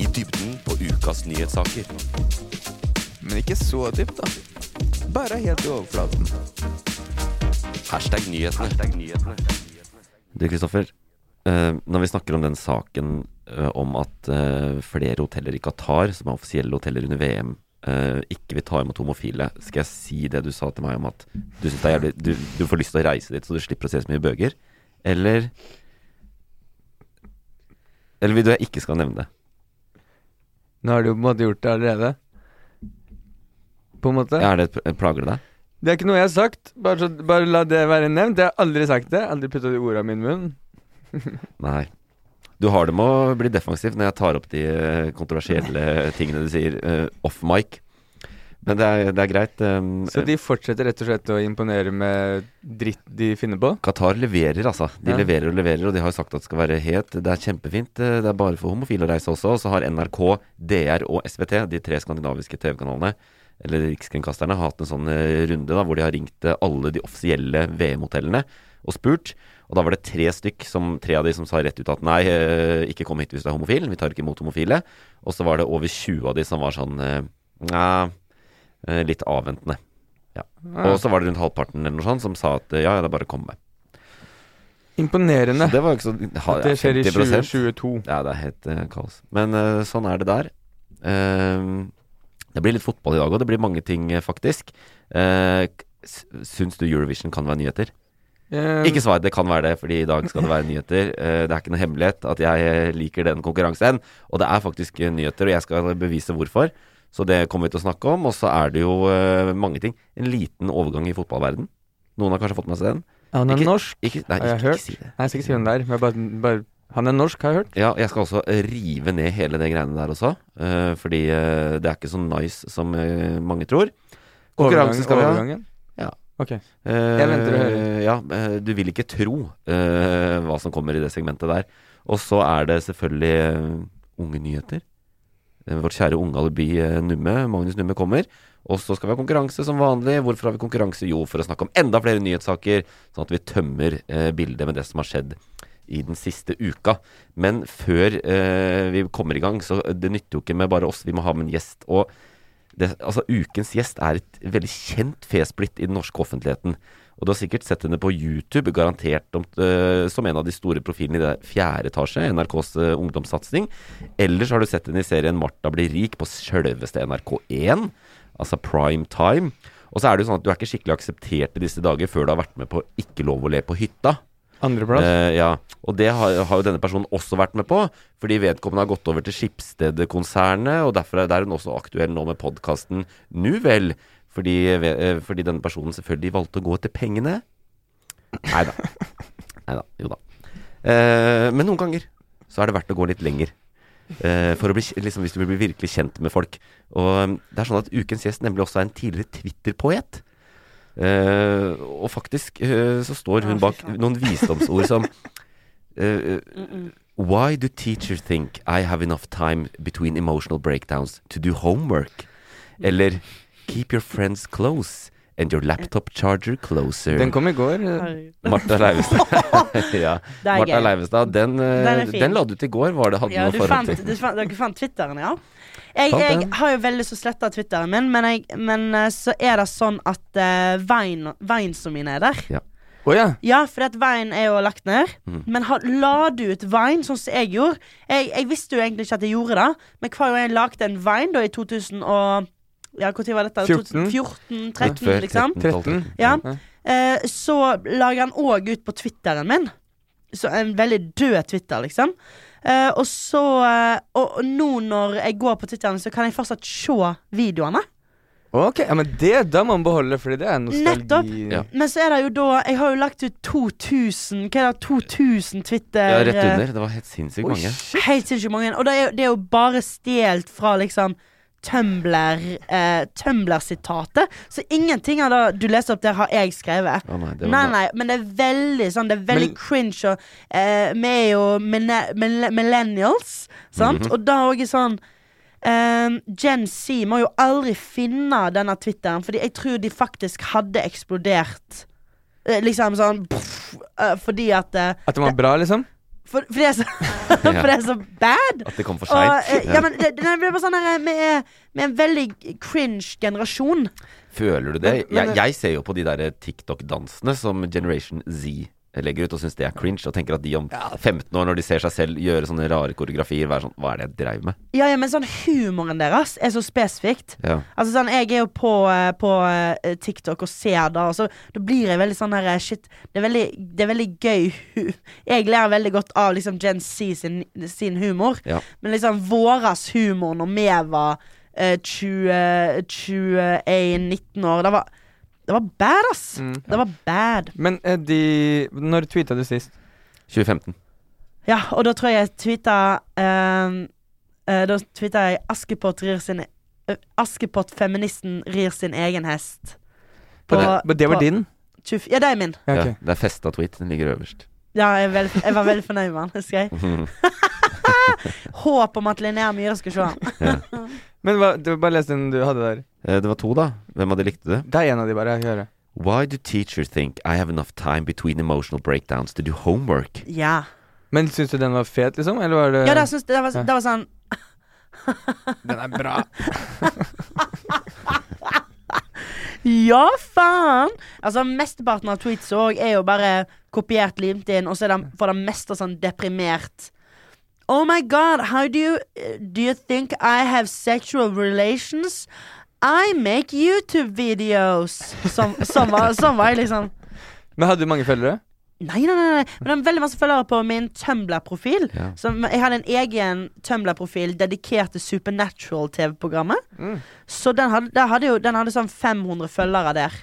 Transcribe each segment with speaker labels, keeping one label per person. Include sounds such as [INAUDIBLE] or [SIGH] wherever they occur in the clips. Speaker 1: I dybden på ukas nyhetssaker.
Speaker 2: Men ikke så dypt, da. Bare helt i overflaten.
Speaker 1: Hashtag nyhetene.
Speaker 3: Du, Kristoffer. eh, når vi snakker om den saken eh, om at eh, flere hoteller i Qatar, som er offisielle hoteller under VM, eh, ikke vil ta imot homofile, skal jeg si det du sa til meg om at du syns det er jævlig du, du får lyst til å reise dit, så du slipper å se så mye bøker? Eller Eller vil du jeg ikke skal nevne det?
Speaker 2: Nå har du jo på en måte gjort det allerede. På en måte.
Speaker 3: Er det et pl- Plager det deg?
Speaker 2: Det er ikke noe jeg har sagt. Bare, så, bare la det være nevnt. Jeg har aldri sagt det. Aldri putta de orda i min munn.
Speaker 3: Nei. Du har det med å bli defensiv når jeg tar opp de eh, kontroversielle tingene du sier eh, off mic. Men det er, det er greit. eh,
Speaker 2: Så de fortsetter rett og slett å imponere med dritt de finner på?
Speaker 3: Qatar leverer, altså. De
Speaker 2: Ja.
Speaker 3: leverer og leverer, og de har jo sagt at det skal være het. Det er kjempefint. eh, Det er bare for homofile å reise også. Og så har NRK, DR og SVT, de tre skandinaviske TV-kanalene, eller rikskringkasterne, har hatt en sånn eh, runde da, hvor de har ringt eh, alle de offisielle VM-hotellene og spurt. Og da var det tre stykk, som, tre av de som sa rett ut at nei, eh, ikke kom hit hvis du er homofil, vi tar ikke imot homofile. Og så var det over 20 av de som var sånn eh, nja, eh, litt avventende. Ja. Og så var det rundt halvparten eller noe sånt som sa at eh, ja, ja, det er bare å komme.
Speaker 2: Imponerende.
Speaker 3: Så det var jo ikke så ha,
Speaker 2: At det skjer i
Speaker 3: 50%.
Speaker 2: 2022.
Speaker 3: Ja, det er helt eh, kaos. Men eh, sånn er det der. Ehm, det blir litt fotball i dag òg. Det blir mange ting, eh, faktisk. Uh, syns du Eurovision kan være nyheter?
Speaker 2: Eh,
Speaker 3: Ikke svar, det kan være det, fordi i dag skal det være nyheter. Eh, det er ikke noe hemmelighet at jeg eh, liker den konkurransen. Og det er faktisk eh, nyheter, og jeg skal bevise hvorfor. Så det kommer vi til å snakke om. Og så er det jo eh, mange ting. En liten overgang i fotballverden. Noen har kanskje fått med seg den?
Speaker 2: han er
Speaker 3: ikke-
Speaker 2: norsk.
Speaker 3: Ikke, nei,
Speaker 2: Har
Speaker 3: ikke,
Speaker 2: jeg
Speaker 3: ikke
Speaker 2: hørt?
Speaker 3: si det.
Speaker 2: Nei, jeg skal ikke si hvem det er. Men jeg bare, bare Han er norsk, har jeg hørt.
Speaker 3: Ja, jeg skal også rive ned hele det greiene der også. eh, fordi eh, det er ikke så nice som eh, mange tror. Konkurranse skal vi ha.
Speaker 2: Overgangen.
Speaker 3: Ja.
Speaker 2: Ok.
Speaker 3: Eh,
Speaker 2: Jeg venter å høre.
Speaker 3: Ja, eh, du vil ikke tro eh, hva som kommer i det segmentet der. Og så er det selvfølgelig eh, unge nyheter. Eh, Vårt kjære ungaleby eh, Numme, Magnus Numme, kommer. Og så skal vi ha konkurranse som vanlig. Hvorfor har vi konkurranse? Jo, for å snakke om enda flere nyhetssaker, sånn at vi tømmer eh, bildet med det som har skjedd i den siste uka. Men før eh, vi kommer i gang, så det nytter jo ikke med bare oss, vi må ha med en gjest. Og det, altså, ukens gjest er et veldig kjent fesplitt i den norske offentligheten. Og du har sikkert sett henne på YouTube, garantert om, eh, som en av de store profilene i det fjerde etasje, NRKs eh, ungdomssatsing. Ellers har du sett henne i serien 'Martha blir rik' på sjølveste NRK1, altså prime time. Og så er det jo sånn at du er ikke skikkelig akseptert i disse dager før du har vært med på 'Ikke lov å le på hytta'.
Speaker 2: Andreplass.
Speaker 3: Eh, ja, og det har, har jo denne personen også vært med på, fordi vedkommende har gått over til Skipsstedet-konsernet, og derfor er der hun også aktuell nå med podkasten Nu vel, fordi, ve- eh, fordi denne personen selvfølgelig valgte å gå etter pengene. Nei da. Nei da. Jo da. Eh, men noen ganger så er det verdt å gå litt lenger. Eh, for å bli, liksom, hvis du vil bli virkelig kjent med folk. Og eh, det er sånn at ukens gjest nemlig også er en tidligere Twitter-poet. Eh, og faktisk eh, så står hun bak noen visdomsord
Speaker 4: [LAUGHS]
Speaker 3: som eh, Why do teachers think I have enough time between emotional breakdowns to do homework?
Speaker 4: Mm.
Speaker 3: Eller Keep your friends close and your laptop
Speaker 4: Eh.
Speaker 3: charger closer.
Speaker 2: Den kom i går.
Speaker 3: Martha
Speaker 4: [LAUGHS]
Speaker 3: Leivestad. [LAUGHS] ja.
Speaker 4: er
Speaker 3: Martha
Speaker 4: gøy.
Speaker 3: Leivestad, den, eh,
Speaker 4: Den er
Speaker 3: den,
Speaker 4: fin.
Speaker 3: la du ut i går, var det hadde
Speaker 4: Ja,
Speaker 3: noe
Speaker 4: du
Speaker 3: forhold
Speaker 4: fant,
Speaker 3: til?
Speaker 4: du fant, dere fant Twitteren, ja? Jeg,
Speaker 3: Fant
Speaker 4: jeg
Speaker 3: den.
Speaker 4: har jo veldig lyst til å slette eh, Twitteren min, men, jeg, men eh, så er det sånn at uh, Vines og mine er der.
Speaker 3: Ja. Mm.
Speaker 2: Å ja.
Speaker 4: Ja, for at Vine er jo lagt ned. Men ha, la du ut Vine, sånn som jeg gjorde? Jeg, jeg visste jo egentlig ikke at jeg gjorde det, men hver gang jeg lagde en Vine da i 2000 og Ja, når var dette?
Speaker 2: 14?
Speaker 4: 14-13,
Speaker 3: Før
Speaker 4: liksom.
Speaker 2: 13.
Speaker 4: Ja. Eh, så lager han òg ut på Twitteren min. Så en veldig død Twitter, liksom. Eh, og så eh, Og og nå når jeg går på Twitteren, så kan jeg fortsatt se videoene.
Speaker 2: Ok, ja, men det da må man beholde, fordi det er nostalgi.
Speaker 4: Nettopp.
Speaker 3: Ja.
Speaker 4: Men så er det jo da Jeg har jo lagt ut 2000 Hva er det? 2000 Twitter eh,
Speaker 3: Ja, rett under. Det var helt sinnssykt
Speaker 2: Oi,
Speaker 3: mange.
Speaker 2: shit.
Speaker 4: Helt sinnssykt mange. Og det er, jo- det er jo bare stjålet fra liksom Tumblr eh, Tumblr-sitatet. Så ingenting av det du leste opp der, har jeg skrevet.
Speaker 3: Å nei, det var
Speaker 4: Nei,
Speaker 3: bra.
Speaker 4: nei, men det er veldig sånn Det er veldig
Speaker 2: Men-
Speaker 4: cringe. Og, eh, vi er jo mille- mille- millennials, sant?
Speaker 3: Mhm.
Speaker 4: Og da òg er sånn Um, Gen Z må jo aldri finne denne Twitteren, Fordi jeg tror de faktisk hadde eksplodert. Eh, liksom sånn pff, eh, Fordi at eh,
Speaker 2: At det var bra, liksom?
Speaker 4: for, for, det er så, [LAUGHS] for det er så bad.
Speaker 3: At det kom for
Speaker 4: Og, eh,
Speaker 3: seint.
Speaker 4: ja, men det, det det blir bare sånn her, eh, vi er- vi er en veldig cringe generasjon.
Speaker 3: Føler du det?
Speaker 2: Men- men-
Speaker 3: jeg, jeg ser jo på de der TikTok-dansene som Generation Z legger ut, og syns det er cringe. Og tenker at de om 15 år, når de ser seg selv gjøre sånne rare koreografier, være sånn Hva er det jeg dreiv med?
Speaker 4: Ja, ja, men sånn humoren deres er så spesifikt.
Speaker 3: Ja.
Speaker 4: Altså sånn, Jeg er jo på, eh, på eh, TikTok og ser det, og så da blir jeg veldig sånn her eh, Shit, det er veldig, det er veldig gøy. hu- Jeg ler veldig godt av liksom Gen Z sin, sin humor,
Speaker 3: Ja.
Speaker 4: men liksom våres humor når vi var eh, 20 21-19 år, det var, det var bad, ass. Det var bad.
Speaker 2: Men eh, de Når tweeta du sist?
Speaker 3: 2015.
Speaker 4: Ja, og da tror jeg jeg tweeta ehm, eh, Da tweeta jeg Askepott rir sin eh, Askepott feministen rir sin egen hest. På-
Speaker 2: Men det- men det var
Speaker 4: på-
Speaker 2: din?
Speaker 4: 24 Ja, det er min.
Speaker 2: Ja, ok.
Speaker 3: Ja, det er festa tweet. Den ligger øverst. [LAUGHS] Eh,
Speaker 4: Ja, jeg, er vel, jeg var veldig fornøyd med den, husker jeg. Håp om at Linnea Myhre skulle se
Speaker 2: [LAUGHS]
Speaker 4: den.
Speaker 2: Men hva, du bare les den du hadde der.
Speaker 3: Eh, Det var to, da. Hvem av de likte det?
Speaker 2: Det er en av de, bare. Jeg hører.
Speaker 3: Why do teachers think I have enough time between emotional breakdowns to do homework?
Speaker 4: Ja.
Speaker 2: Men syns du den var fet, liksom? Eller var det
Speaker 4: Ja, det, synes, det, var, det var sånn
Speaker 2: Den er bra.
Speaker 4: [LAUGHS] Ja, faen! Altså, Mesteparten av tweets òg er jo bare kopiert, limt inn, og så er det for det meste sånn deprimert. Oh my god, how do you Do you think I have sexual relations? I make YouTube videos! Som, som, var, som var jeg liksom
Speaker 2: Men hadde du mange følgere?
Speaker 4: Nei, nei, nei, nei. Men det er veldig masse følgere på min Tumblr-profil. Så Jeg hadde en egen Tumblr-profil dedikert til Supernatural-TV-programmet.
Speaker 3: Mm.
Speaker 4: Så den hadde, den, hadde jo, den hadde sånn 500 følgere der.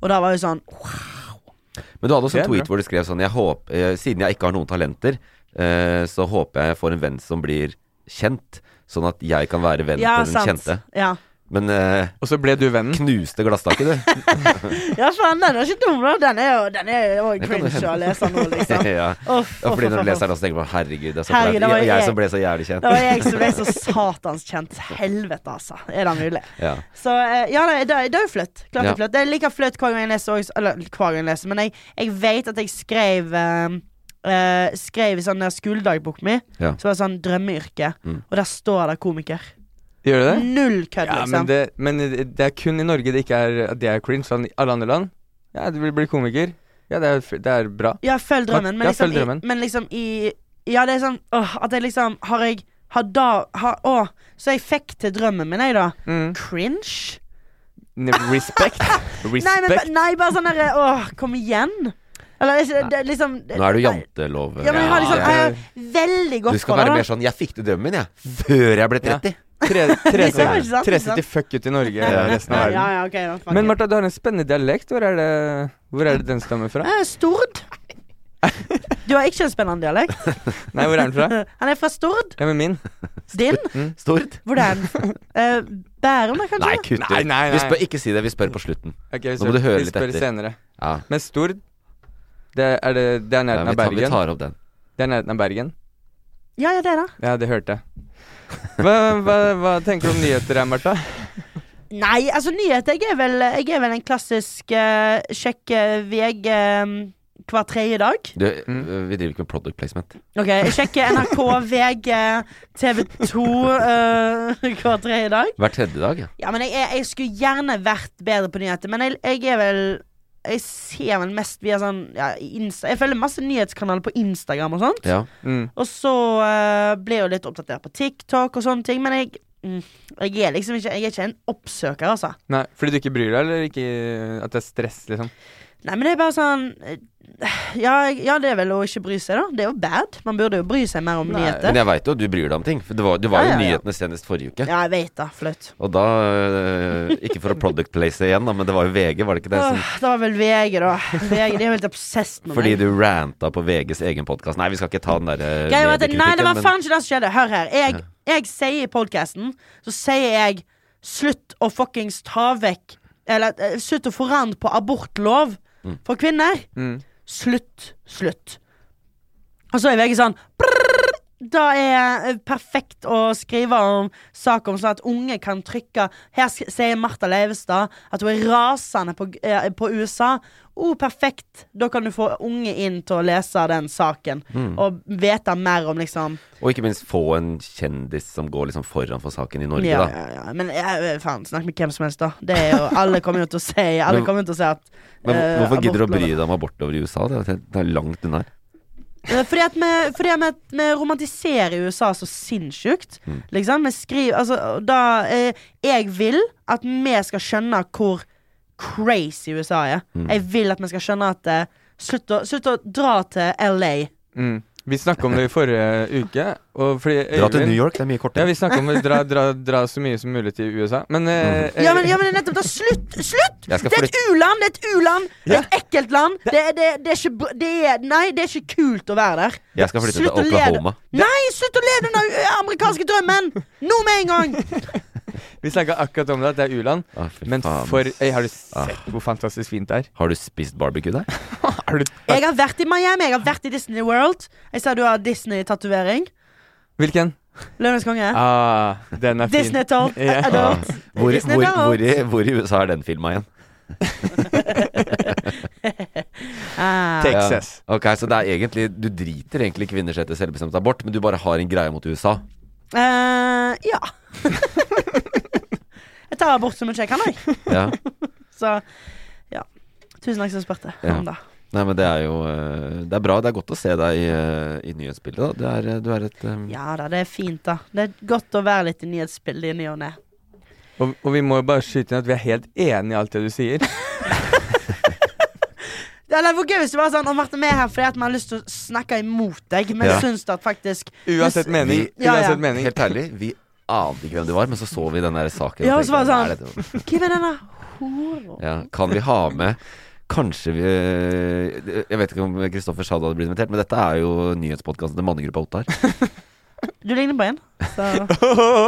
Speaker 4: Og da var jo sånn
Speaker 3: Men du hadde også
Speaker 2: Det
Speaker 3: en
Speaker 2: er
Speaker 3: tweet
Speaker 2: bra.
Speaker 3: hvor du skrev sånn jeg håp, eh, Siden jeg ikke har noen talenter, eh, så håper jeg jeg får en venn som blir kjent. Sånn at jeg kan være venn
Speaker 4: Ja,
Speaker 3: til den
Speaker 4: sant.
Speaker 3: kjente.
Speaker 4: Ja.
Speaker 3: Men eh,
Speaker 2: Og så ble du vennen?
Speaker 3: knuste
Speaker 4: [LAUGHS]
Speaker 3: glasstaket, du. [LAUGHS]
Speaker 4: ja, faen, den er ikke dum, da. Den er jo den er jo
Speaker 3: Det kan du
Speaker 4: cringe
Speaker 3: hende.
Speaker 4: å lese nå,
Speaker 3: [LAUGHS]
Speaker 4: liksom.
Speaker 3: ja.
Speaker 4: Uff,
Speaker 3: Ja,
Speaker 4: uff,
Speaker 3: fordi når du
Speaker 4: uff, uff,
Speaker 3: leser
Speaker 4: uff.
Speaker 3: den, så tenker du bare Herregud, det er så
Speaker 4: Herregud,
Speaker 3: flaut.
Speaker 4: det
Speaker 3: Jeg,
Speaker 4: var jo
Speaker 3: jeg
Speaker 4: jeg.
Speaker 3: som ble så jævlig kjent.
Speaker 4: Det var jeg som ble så satans kjent. Helvete, altså. Er det mulig?
Speaker 3: Ja.
Speaker 4: Så eh, ja, nei, det, det er jo flaut. Klart det
Speaker 3: Ja.
Speaker 4: er flaut. Det er like flaut hver gang jeg leser også, Eller hver gang jeg leser, men jeg, jeg vet at jeg skrev eh, eh, Skrev i sånn der skoledagboken min,
Speaker 3: Ja. Mm.
Speaker 4: så var det sånn drømmeyrke, og der står det komiker.
Speaker 2: Gjør du det?
Speaker 4: Null kødd,
Speaker 2: Ja, men
Speaker 4: liksom.
Speaker 2: det, men det er kun i Norge det ikke er at det er cringe. Sånn i alle andre land. Ja, du vil bli komiker. Ja, det er, f- det er bra.
Speaker 4: Ja, følg drømmen, men
Speaker 2: Ja,
Speaker 4: liksom,
Speaker 2: følg drømmen.
Speaker 4: I, men liksom i Ja, det er sånn åh, at jeg liksom Har jeg Har da har, Å, så jeg fikk til drømmen min, jeg, da.
Speaker 2: Mm.
Speaker 4: Cringe?
Speaker 2: N- Respekt. Respekt.
Speaker 4: [LAUGHS] Nei, men, ba- nei, bare sånn derre Åh, kom igjen. Eller det, det, liksom
Speaker 3: Nå er du
Speaker 4: nei.
Speaker 3: jantelov.
Speaker 4: Ja, men jeg har liksom
Speaker 3: Ja,
Speaker 4: Jeg
Speaker 3: det-
Speaker 4: har veldig
Speaker 3: Du
Speaker 4: godt
Speaker 3: skal
Speaker 4: på
Speaker 3: være
Speaker 4: det.
Speaker 3: mer sånn 'jeg fikk til drømmen, jeg', før jeg ble 30.
Speaker 2: Tre- tre-
Speaker 4: [LAUGHS] Det var ikke sant,
Speaker 2: tre-
Speaker 4: ikke sant?
Speaker 2: 30 fuck ut i Norge
Speaker 3: Ja.
Speaker 2: resten av
Speaker 4: Ja, ja,
Speaker 2: verden.
Speaker 4: ja, ok, da, fuck
Speaker 2: Men
Speaker 4: it.
Speaker 2: Martha, du har en spennende dialekt. Hvor er det, hvor er det den stammer
Speaker 4: [LAUGHS]
Speaker 2: fra?
Speaker 4: Eh, Stord. Du har ikke en spennende dialekt.
Speaker 2: Nei, hvor er den fra?
Speaker 4: Han er fra Stord.
Speaker 2: Ja, men min?
Speaker 4: Din?
Speaker 3: Stord?
Speaker 4: Hvor er den? Eh, Bærum, da, kanskje?
Speaker 3: Nei, kutt
Speaker 2: Nei, nei,
Speaker 3: Vi
Speaker 2: nei.
Speaker 3: spør, ikke si det, vi spør på slutten.
Speaker 2: Ok, vi
Speaker 3: Nå må du høre
Speaker 2: vi
Speaker 3: litt
Speaker 2: spør
Speaker 3: etter.
Speaker 2: senere.
Speaker 3: Ja,
Speaker 2: Men Stord, det er, det, det er
Speaker 3: ja
Speaker 2: nærheten
Speaker 3: vi,
Speaker 2: av
Speaker 3: tar, vi
Speaker 2: Bergen.
Speaker 3: tar opp den.
Speaker 2: Det er nærheten av Bergen.
Speaker 4: Ja, ja, det, da.
Speaker 2: Ja, det hørte jeg. Hva, hva, hva tenker du om nyheter her, Martha?
Speaker 4: Nei, altså, nyheter Jeg er vel, jeg er vel en klassisk eh, sjekke VG eh, hver tredje dag.
Speaker 3: Du,
Speaker 2: Mm.
Speaker 3: øh, Vi driver ikke med product placement.
Speaker 4: Ok, Jeg sjekker NRK, VG, TV 2 hver tredje dag.
Speaker 3: Hver tredje dag, ja.
Speaker 4: Ja, men jeg, er, jeg skulle gjerne vært bedre på nyheter, men jeg, jeg er vel Jeg ser vel mest via sånn ja, Insta. Jeg følger masse nyhetskanaler på Instagram og sånt.
Speaker 3: Ja.
Speaker 2: Mm.
Speaker 4: Og så eh, ble jeg jo litt oppdatert på TikTok og sånne ting, men jeg, mm, jeg er liksom ikke Jeg er ikke en oppsøker, altså.
Speaker 2: Nei, fordi du ikke bryr deg, eller ikke at det er stress, liksom?
Speaker 4: Nei, men det er bare sånn eh, Ja, jeg- ja det er vel å ikke bry seg, da. Det er jo bad. Man burde jo bry seg mer om
Speaker 2: Nei,
Speaker 4: nyheter.
Speaker 3: Men jeg veit jo at du bryr deg om ting. For det var, det var jo
Speaker 4: Ja, ja, ja.
Speaker 3: nyhetene senest forrige uke.
Speaker 4: Ja, jeg vet da. Flaut.
Speaker 3: Og da øh, Ikke for å product place igjen, da, men det var jo VG, var det ikke det? Som,
Speaker 4: Åh, Det var vel VG, da. VG, De er jo helt obsessed med
Speaker 3: fordi
Speaker 4: meg.
Speaker 3: du ranta på VGs egen podkast. Nei, vi skal ikke ta den derre
Speaker 4: Greia var at det- nei, det var
Speaker 3: eh, men-
Speaker 4: faen ikke det som skjedde. Hør her. Jeg, jeg sier i podkasten, så sier jeg slutt å fuckings ta vekk Eller eh, slutt å forandre på abortlov for kvinner. Slutt. Slutt. Og så er VG sånn brrr, Da er eh, perfekt å skrive om sak om sånn at unge kan trykke Her sk- sier Martha Leivestad at hun er rasende på, eh, på USA. Oh, perfekt! Da kan du få unge inn til å lese den saken
Speaker 3: Mm.
Speaker 4: og vite mer om liksom
Speaker 3: Og ikke minst få en kjendis som går liksom foran for saken i Norge,
Speaker 4: ja,
Speaker 3: da.
Speaker 4: ja, ja. Men eh, faen, snakk med hvem som helst, da. Det er jo, alle kommer jo til å si Alle
Speaker 3: Men-
Speaker 4: kommer til å si at
Speaker 3: Men hvor-
Speaker 4: eh,
Speaker 3: hvorfor gidder du å
Speaker 4: abortloven-
Speaker 3: bry deg om abort over i USA? Det er, jo helt- det er langt unna. her.
Speaker 4: Eh, Fordi at vi, fordi at vi, vi romantiserer USA så sinnssykt.
Speaker 3: Mm.
Speaker 4: Liksom. Vi skriver Altså, da eh, Jeg vil at vi skal skjønne hvor crazy USA er.
Speaker 3: Mm.
Speaker 4: Jeg vil at vi skal skjønne at eh, slutt, å, slutt å dra til LA.
Speaker 3: Eh.
Speaker 2: Mm. Vi snakka om det i forrige uke. Og fordi
Speaker 3: Dra til
Speaker 2: Øyvind-
Speaker 3: New York, det er mye
Speaker 2: Ja,
Speaker 3: kortere.
Speaker 2: vi snakka om å dra, dra, dra så mye som mulig til USA. Men,
Speaker 3: Mhm.
Speaker 2: eh,
Speaker 4: Ja, men, ja, men det er nettopp da, Slutt! slutt
Speaker 3: Jeg skal
Speaker 4: Det er et u-land! Det er et u-land Det er et ekkelt land. Det, er- det, det, er ikke, br- det er Nei, det er ikke kult å være der.
Speaker 3: Jeg skal flytte til
Speaker 4: Slutt å leve-
Speaker 3: Oklahoma.
Speaker 4: Nei, slutt å leve den der amerikanske drømmen! Nå med en gang!
Speaker 2: vi snakka akkurat om det, at det er u-land.
Speaker 3: Å, fy
Speaker 2: Men
Speaker 3: faen. Ah.
Speaker 2: for øy, Har du sett hvor fantastisk fint det er?
Speaker 3: Har du spist barbecue der?
Speaker 2: Er du,
Speaker 4: Jeg har vært i Miami, jeg har vært i Disney World. Jeg ser du har Disney-tatovering.
Speaker 2: hvilken?
Speaker 4: Løvenes konge.
Speaker 2: Ah, den er fin.
Speaker 4: Disney
Speaker 2: [LAUGHS]
Speaker 4: Adult.
Speaker 2: Ja.
Speaker 4: Adult.
Speaker 3: Hvor,
Speaker 4: Disney
Speaker 3: hvor, hvor,
Speaker 4: Adult.
Speaker 3: i, hvor i USA er den filma igjen?
Speaker 4: Ah.
Speaker 2: Texas.
Speaker 3: Ok, Så det er egentlig du driter egentlig i kvinners rett til selvbestemt abort, men du bare har en greie mot USA?
Speaker 4: Eh, ja. jeg tar abort så mye jeg kan, jeg.
Speaker 3: Ja.
Speaker 4: Så ja. Tusen takk som spurte.
Speaker 3: Ja.
Speaker 4: om det.
Speaker 3: Nei, men det er jo eh, Det er bra. Det er godt å se deg i, eh, i nyhetsbildet, da. Du er, eh, du er et eh,
Speaker 4: Ja da, det er fint, da. Det er godt å være litt i nyhetsbildet i ny og ne.
Speaker 2: Og, og vi må jo bare skyte inn at vi er helt enige i alt det du sier.
Speaker 4: Eller hvor gøy hvis det var sånn Å, Marte, vi er her fordi at vi har lyst til å snakke imot deg, men
Speaker 3: Ja.
Speaker 4: syns at faktisk
Speaker 2: Uansett mening.
Speaker 4: Ja, ja.
Speaker 2: Uansett mening. [LAUGHS]
Speaker 3: Helt ærlig, [LAUGHS] vi ante ikke hvem du var, men så så vi den der saken. og
Speaker 4: Ja, og så
Speaker 3: tenkte,
Speaker 4: var det
Speaker 3: "Hva er dette?"
Speaker 4: Hvem er denne hora?
Speaker 3: ja, kan vi ha med Kanskje vi eh, Jeg vet ikke om Kristoffer Schad hadde blitt invitert, men dette er jo nyhetspodkasten til mannegruppa
Speaker 4: [LAUGHS]
Speaker 3: Ottar.
Speaker 4: Du ligner på en. Så.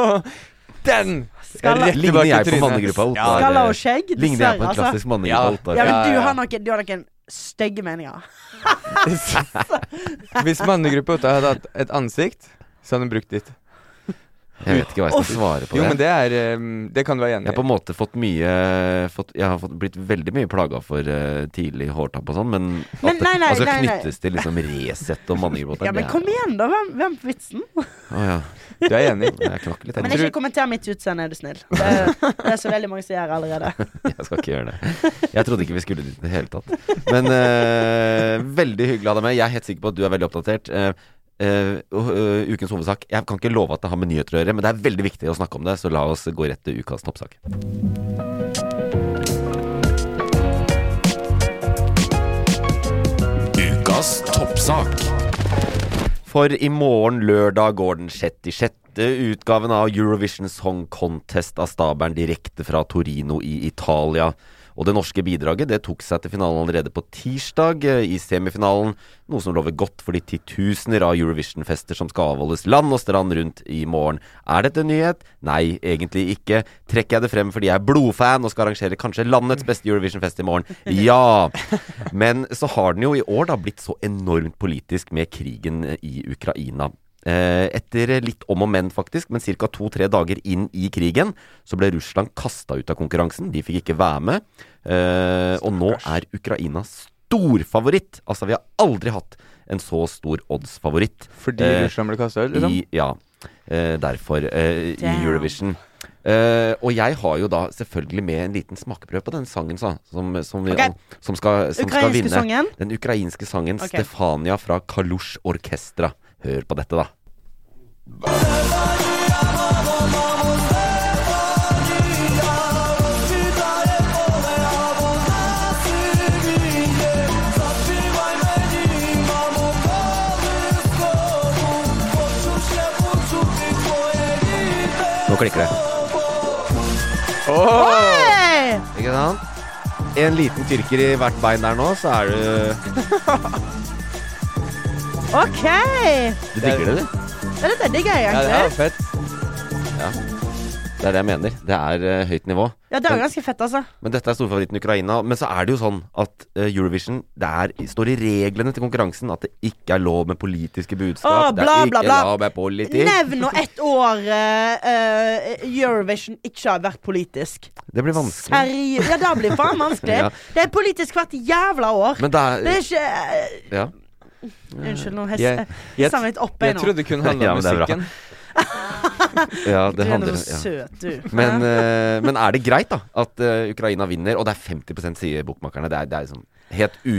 Speaker 3: [LAUGHS]
Speaker 2: Den!
Speaker 4: Skalla.
Speaker 2: Rett
Speaker 3: Ligner
Speaker 2: tilbake i
Speaker 3: jeg på
Speaker 2: trynet.
Speaker 3: mannegruppa Ottar?
Speaker 4: Skalla og skjegg,
Speaker 3: Ligner jeg på
Speaker 4: dessverre,
Speaker 3: en klassisk
Speaker 2: Ja.
Speaker 3: mannegruppa Ottar?
Speaker 4: Ja, men
Speaker 2: Ja, ja,
Speaker 4: du
Speaker 2: ja.
Speaker 4: har noen, du har noen stygge meninger.
Speaker 2: Hvis mannegruppa Ottar hadde hatt et ansikt, så hadde hun brukt ditt.
Speaker 3: Jeg vet ikke hva jeg skal svare på
Speaker 2: Jo, men
Speaker 3: det.
Speaker 2: det er eh, Det kan du være
Speaker 3: Jeg
Speaker 2: enig
Speaker 3: har på
Speaker 2: i.
Speaker 3: en måte fått mye fått, Jeg har fått, blitt veldig mye plaga for eh, tidlig hårtapp og sånn, men at
Speaker 4: Men nei, nei,
Speaker 3: man skal
Speaker 4: nei, nei.
Speaker 3: knyttes til liksom Resett og mannegruppa Ottar
Speaker 4: Ja, men kom igjen, da. Hvem, hvem på vitsen?
Speaker 3: Å ja.
Speaker 2: Du er enig.
Speaker 3: [LAUGHS] Jeg knakk litt.
Speaker 4: Men
Speaker 3: Jeg,
Speaker 2: tror-
Speaker 4: ikke kommenter mitt utseende, er du snill. Det er, det er så veldig mange som gjør allerede.
Speaker 3: jeg skal ikke gjøre det. Jeg trodde ikke vi skulle dit i det hele tatt. Men eh, veldig hyggelig å ha deg med. Jeg er helt sikker på at du er veldig oppdatert. Eh, eh, og, eh, ukens hovedsak Jeg kan ikke love at det har med nyheter å gjøre, men det er veldig viktig å snakke om det, så la oss gå rett til ukas toppsak.
Speaker 1: Ukas toppsak.
Speaker 3: For i morgen lørdag går den 66. utgaven av Eurovision Song Contest av stabelen direkte fra Torino i Italia. Og det norske bidraget det tok seg til finalen allerede på tirsdag eh, i semifinalen, noe som lover godt for de titusener av Eurovision-fester som skal avholdes land og strand rundt i morgen. Er dette en nyhet? Nei, egentlig ikke. Trekker jeg det frem fordi jeg er blodfan og skal arrangere kanskje landets beste Eurovision-fest i morgen? Ja! Men så har den jo i år da blitt så enormt politisk med krigen i Ukraina. Eh, Etter litt om og men, faktisk, men ca. to-tre dager inn i krigen, så ble Russland kasta ut av konkurransen. De fikk ikke være med. Eh, Og nå er Ukraina storfavoritt. Altså, vi har aldri hatt en så stor oddsfavoritt
Speaker 2: Fordi
Speaker 3: Eh,
Speaker 2: Russland ble kasta ut, liksom?
Speaker 3: i, ja, eh, derfor eh, i
Speaker 4: Damn.
Speaker 3: Eurovision. Eh, og jeg har jo da selvfølgelig med en liten smakeprøve på den sangen sa, som, som, vi-
Speaker 4: Ok.
Speaker 3: som, skal, som skal
Speaker 4: Ukrainske
Speaker 3: vinne.
Speaker 4: sangen?
Speaker 3: Den ukrainske sangen
Speaker 4: Ok.
Speaker 3: Stefania fra Kalush Orkestra. Hør på dette, da. Nå klikker det.
Speaker 4: Hey!
Speaker 3: Ikke sant? En liten tyrker i hvert bein der nå, så er du
Speaker 4: OK!
Speaker 3: Du digger det, du?
Speaker 4: Ja, Dette digger jeg
Speaker 2: Ja, det er
Speaker 4: egentlig.
Speaker 2: fett.
Speaker 3: Det er det jeg mener. Det er eh, høyt nivå.
Speaker 4: Ja, det er jo ganske fett, altså.
Speaker 3: Men dette er storfavoritten Ukraina. Men så er det jo sånn at eh, Eurovision det er, står i reglene til konkurransen at det ikke er lov med politiske budskap.
Speaker 4: Å, bla,
Speaker 3: det
Speaker 4: bla,
Speaker 3: er ikke
Speaker 4: bla.
Speaker 3: lov med politikk.
Speaker 4: Nevn nå ett år eh, eh, Eurovision ikke har vært politisk.
Speaker 3: Det blir vanskelig.
Speaker 4: Seriøst? Ja, det blir faen vanskelig.
Speaker 3: Ja.
Speaker 4: Det er politisk hvert jævla år.
Speaker 3: Men det
Speaker 4: Det er
Speaker 3: er
Speaker 4: ikke eh,
Speaker 3: Ja.
Speaker 4: Unnskyld, nå
Speaker 2: Jeg- jeg-
Speaker 4: hessa litt opp
Speaker 2: Jeg
Speaker 4: jeg nå.
Speaker 2: trodde det kun handla
Speaker 3: Ja,
Speaker 2: om
Speaker 3: men det er bra.
Speaker 2: musikken.
Speaker 3: ja
Speaker 4: Du
Speaker 3: det
Speaker 4: er
Speaker 3: handler
Speaker 4: noe
Speaker 3: ja.
Speaker 4: søt, du.
Speaker 3: Men, eh, men er det greit, da? At eh, Ukraina vinner, og det er 50 sier bokmakerne. Det er, det er liksom helt u,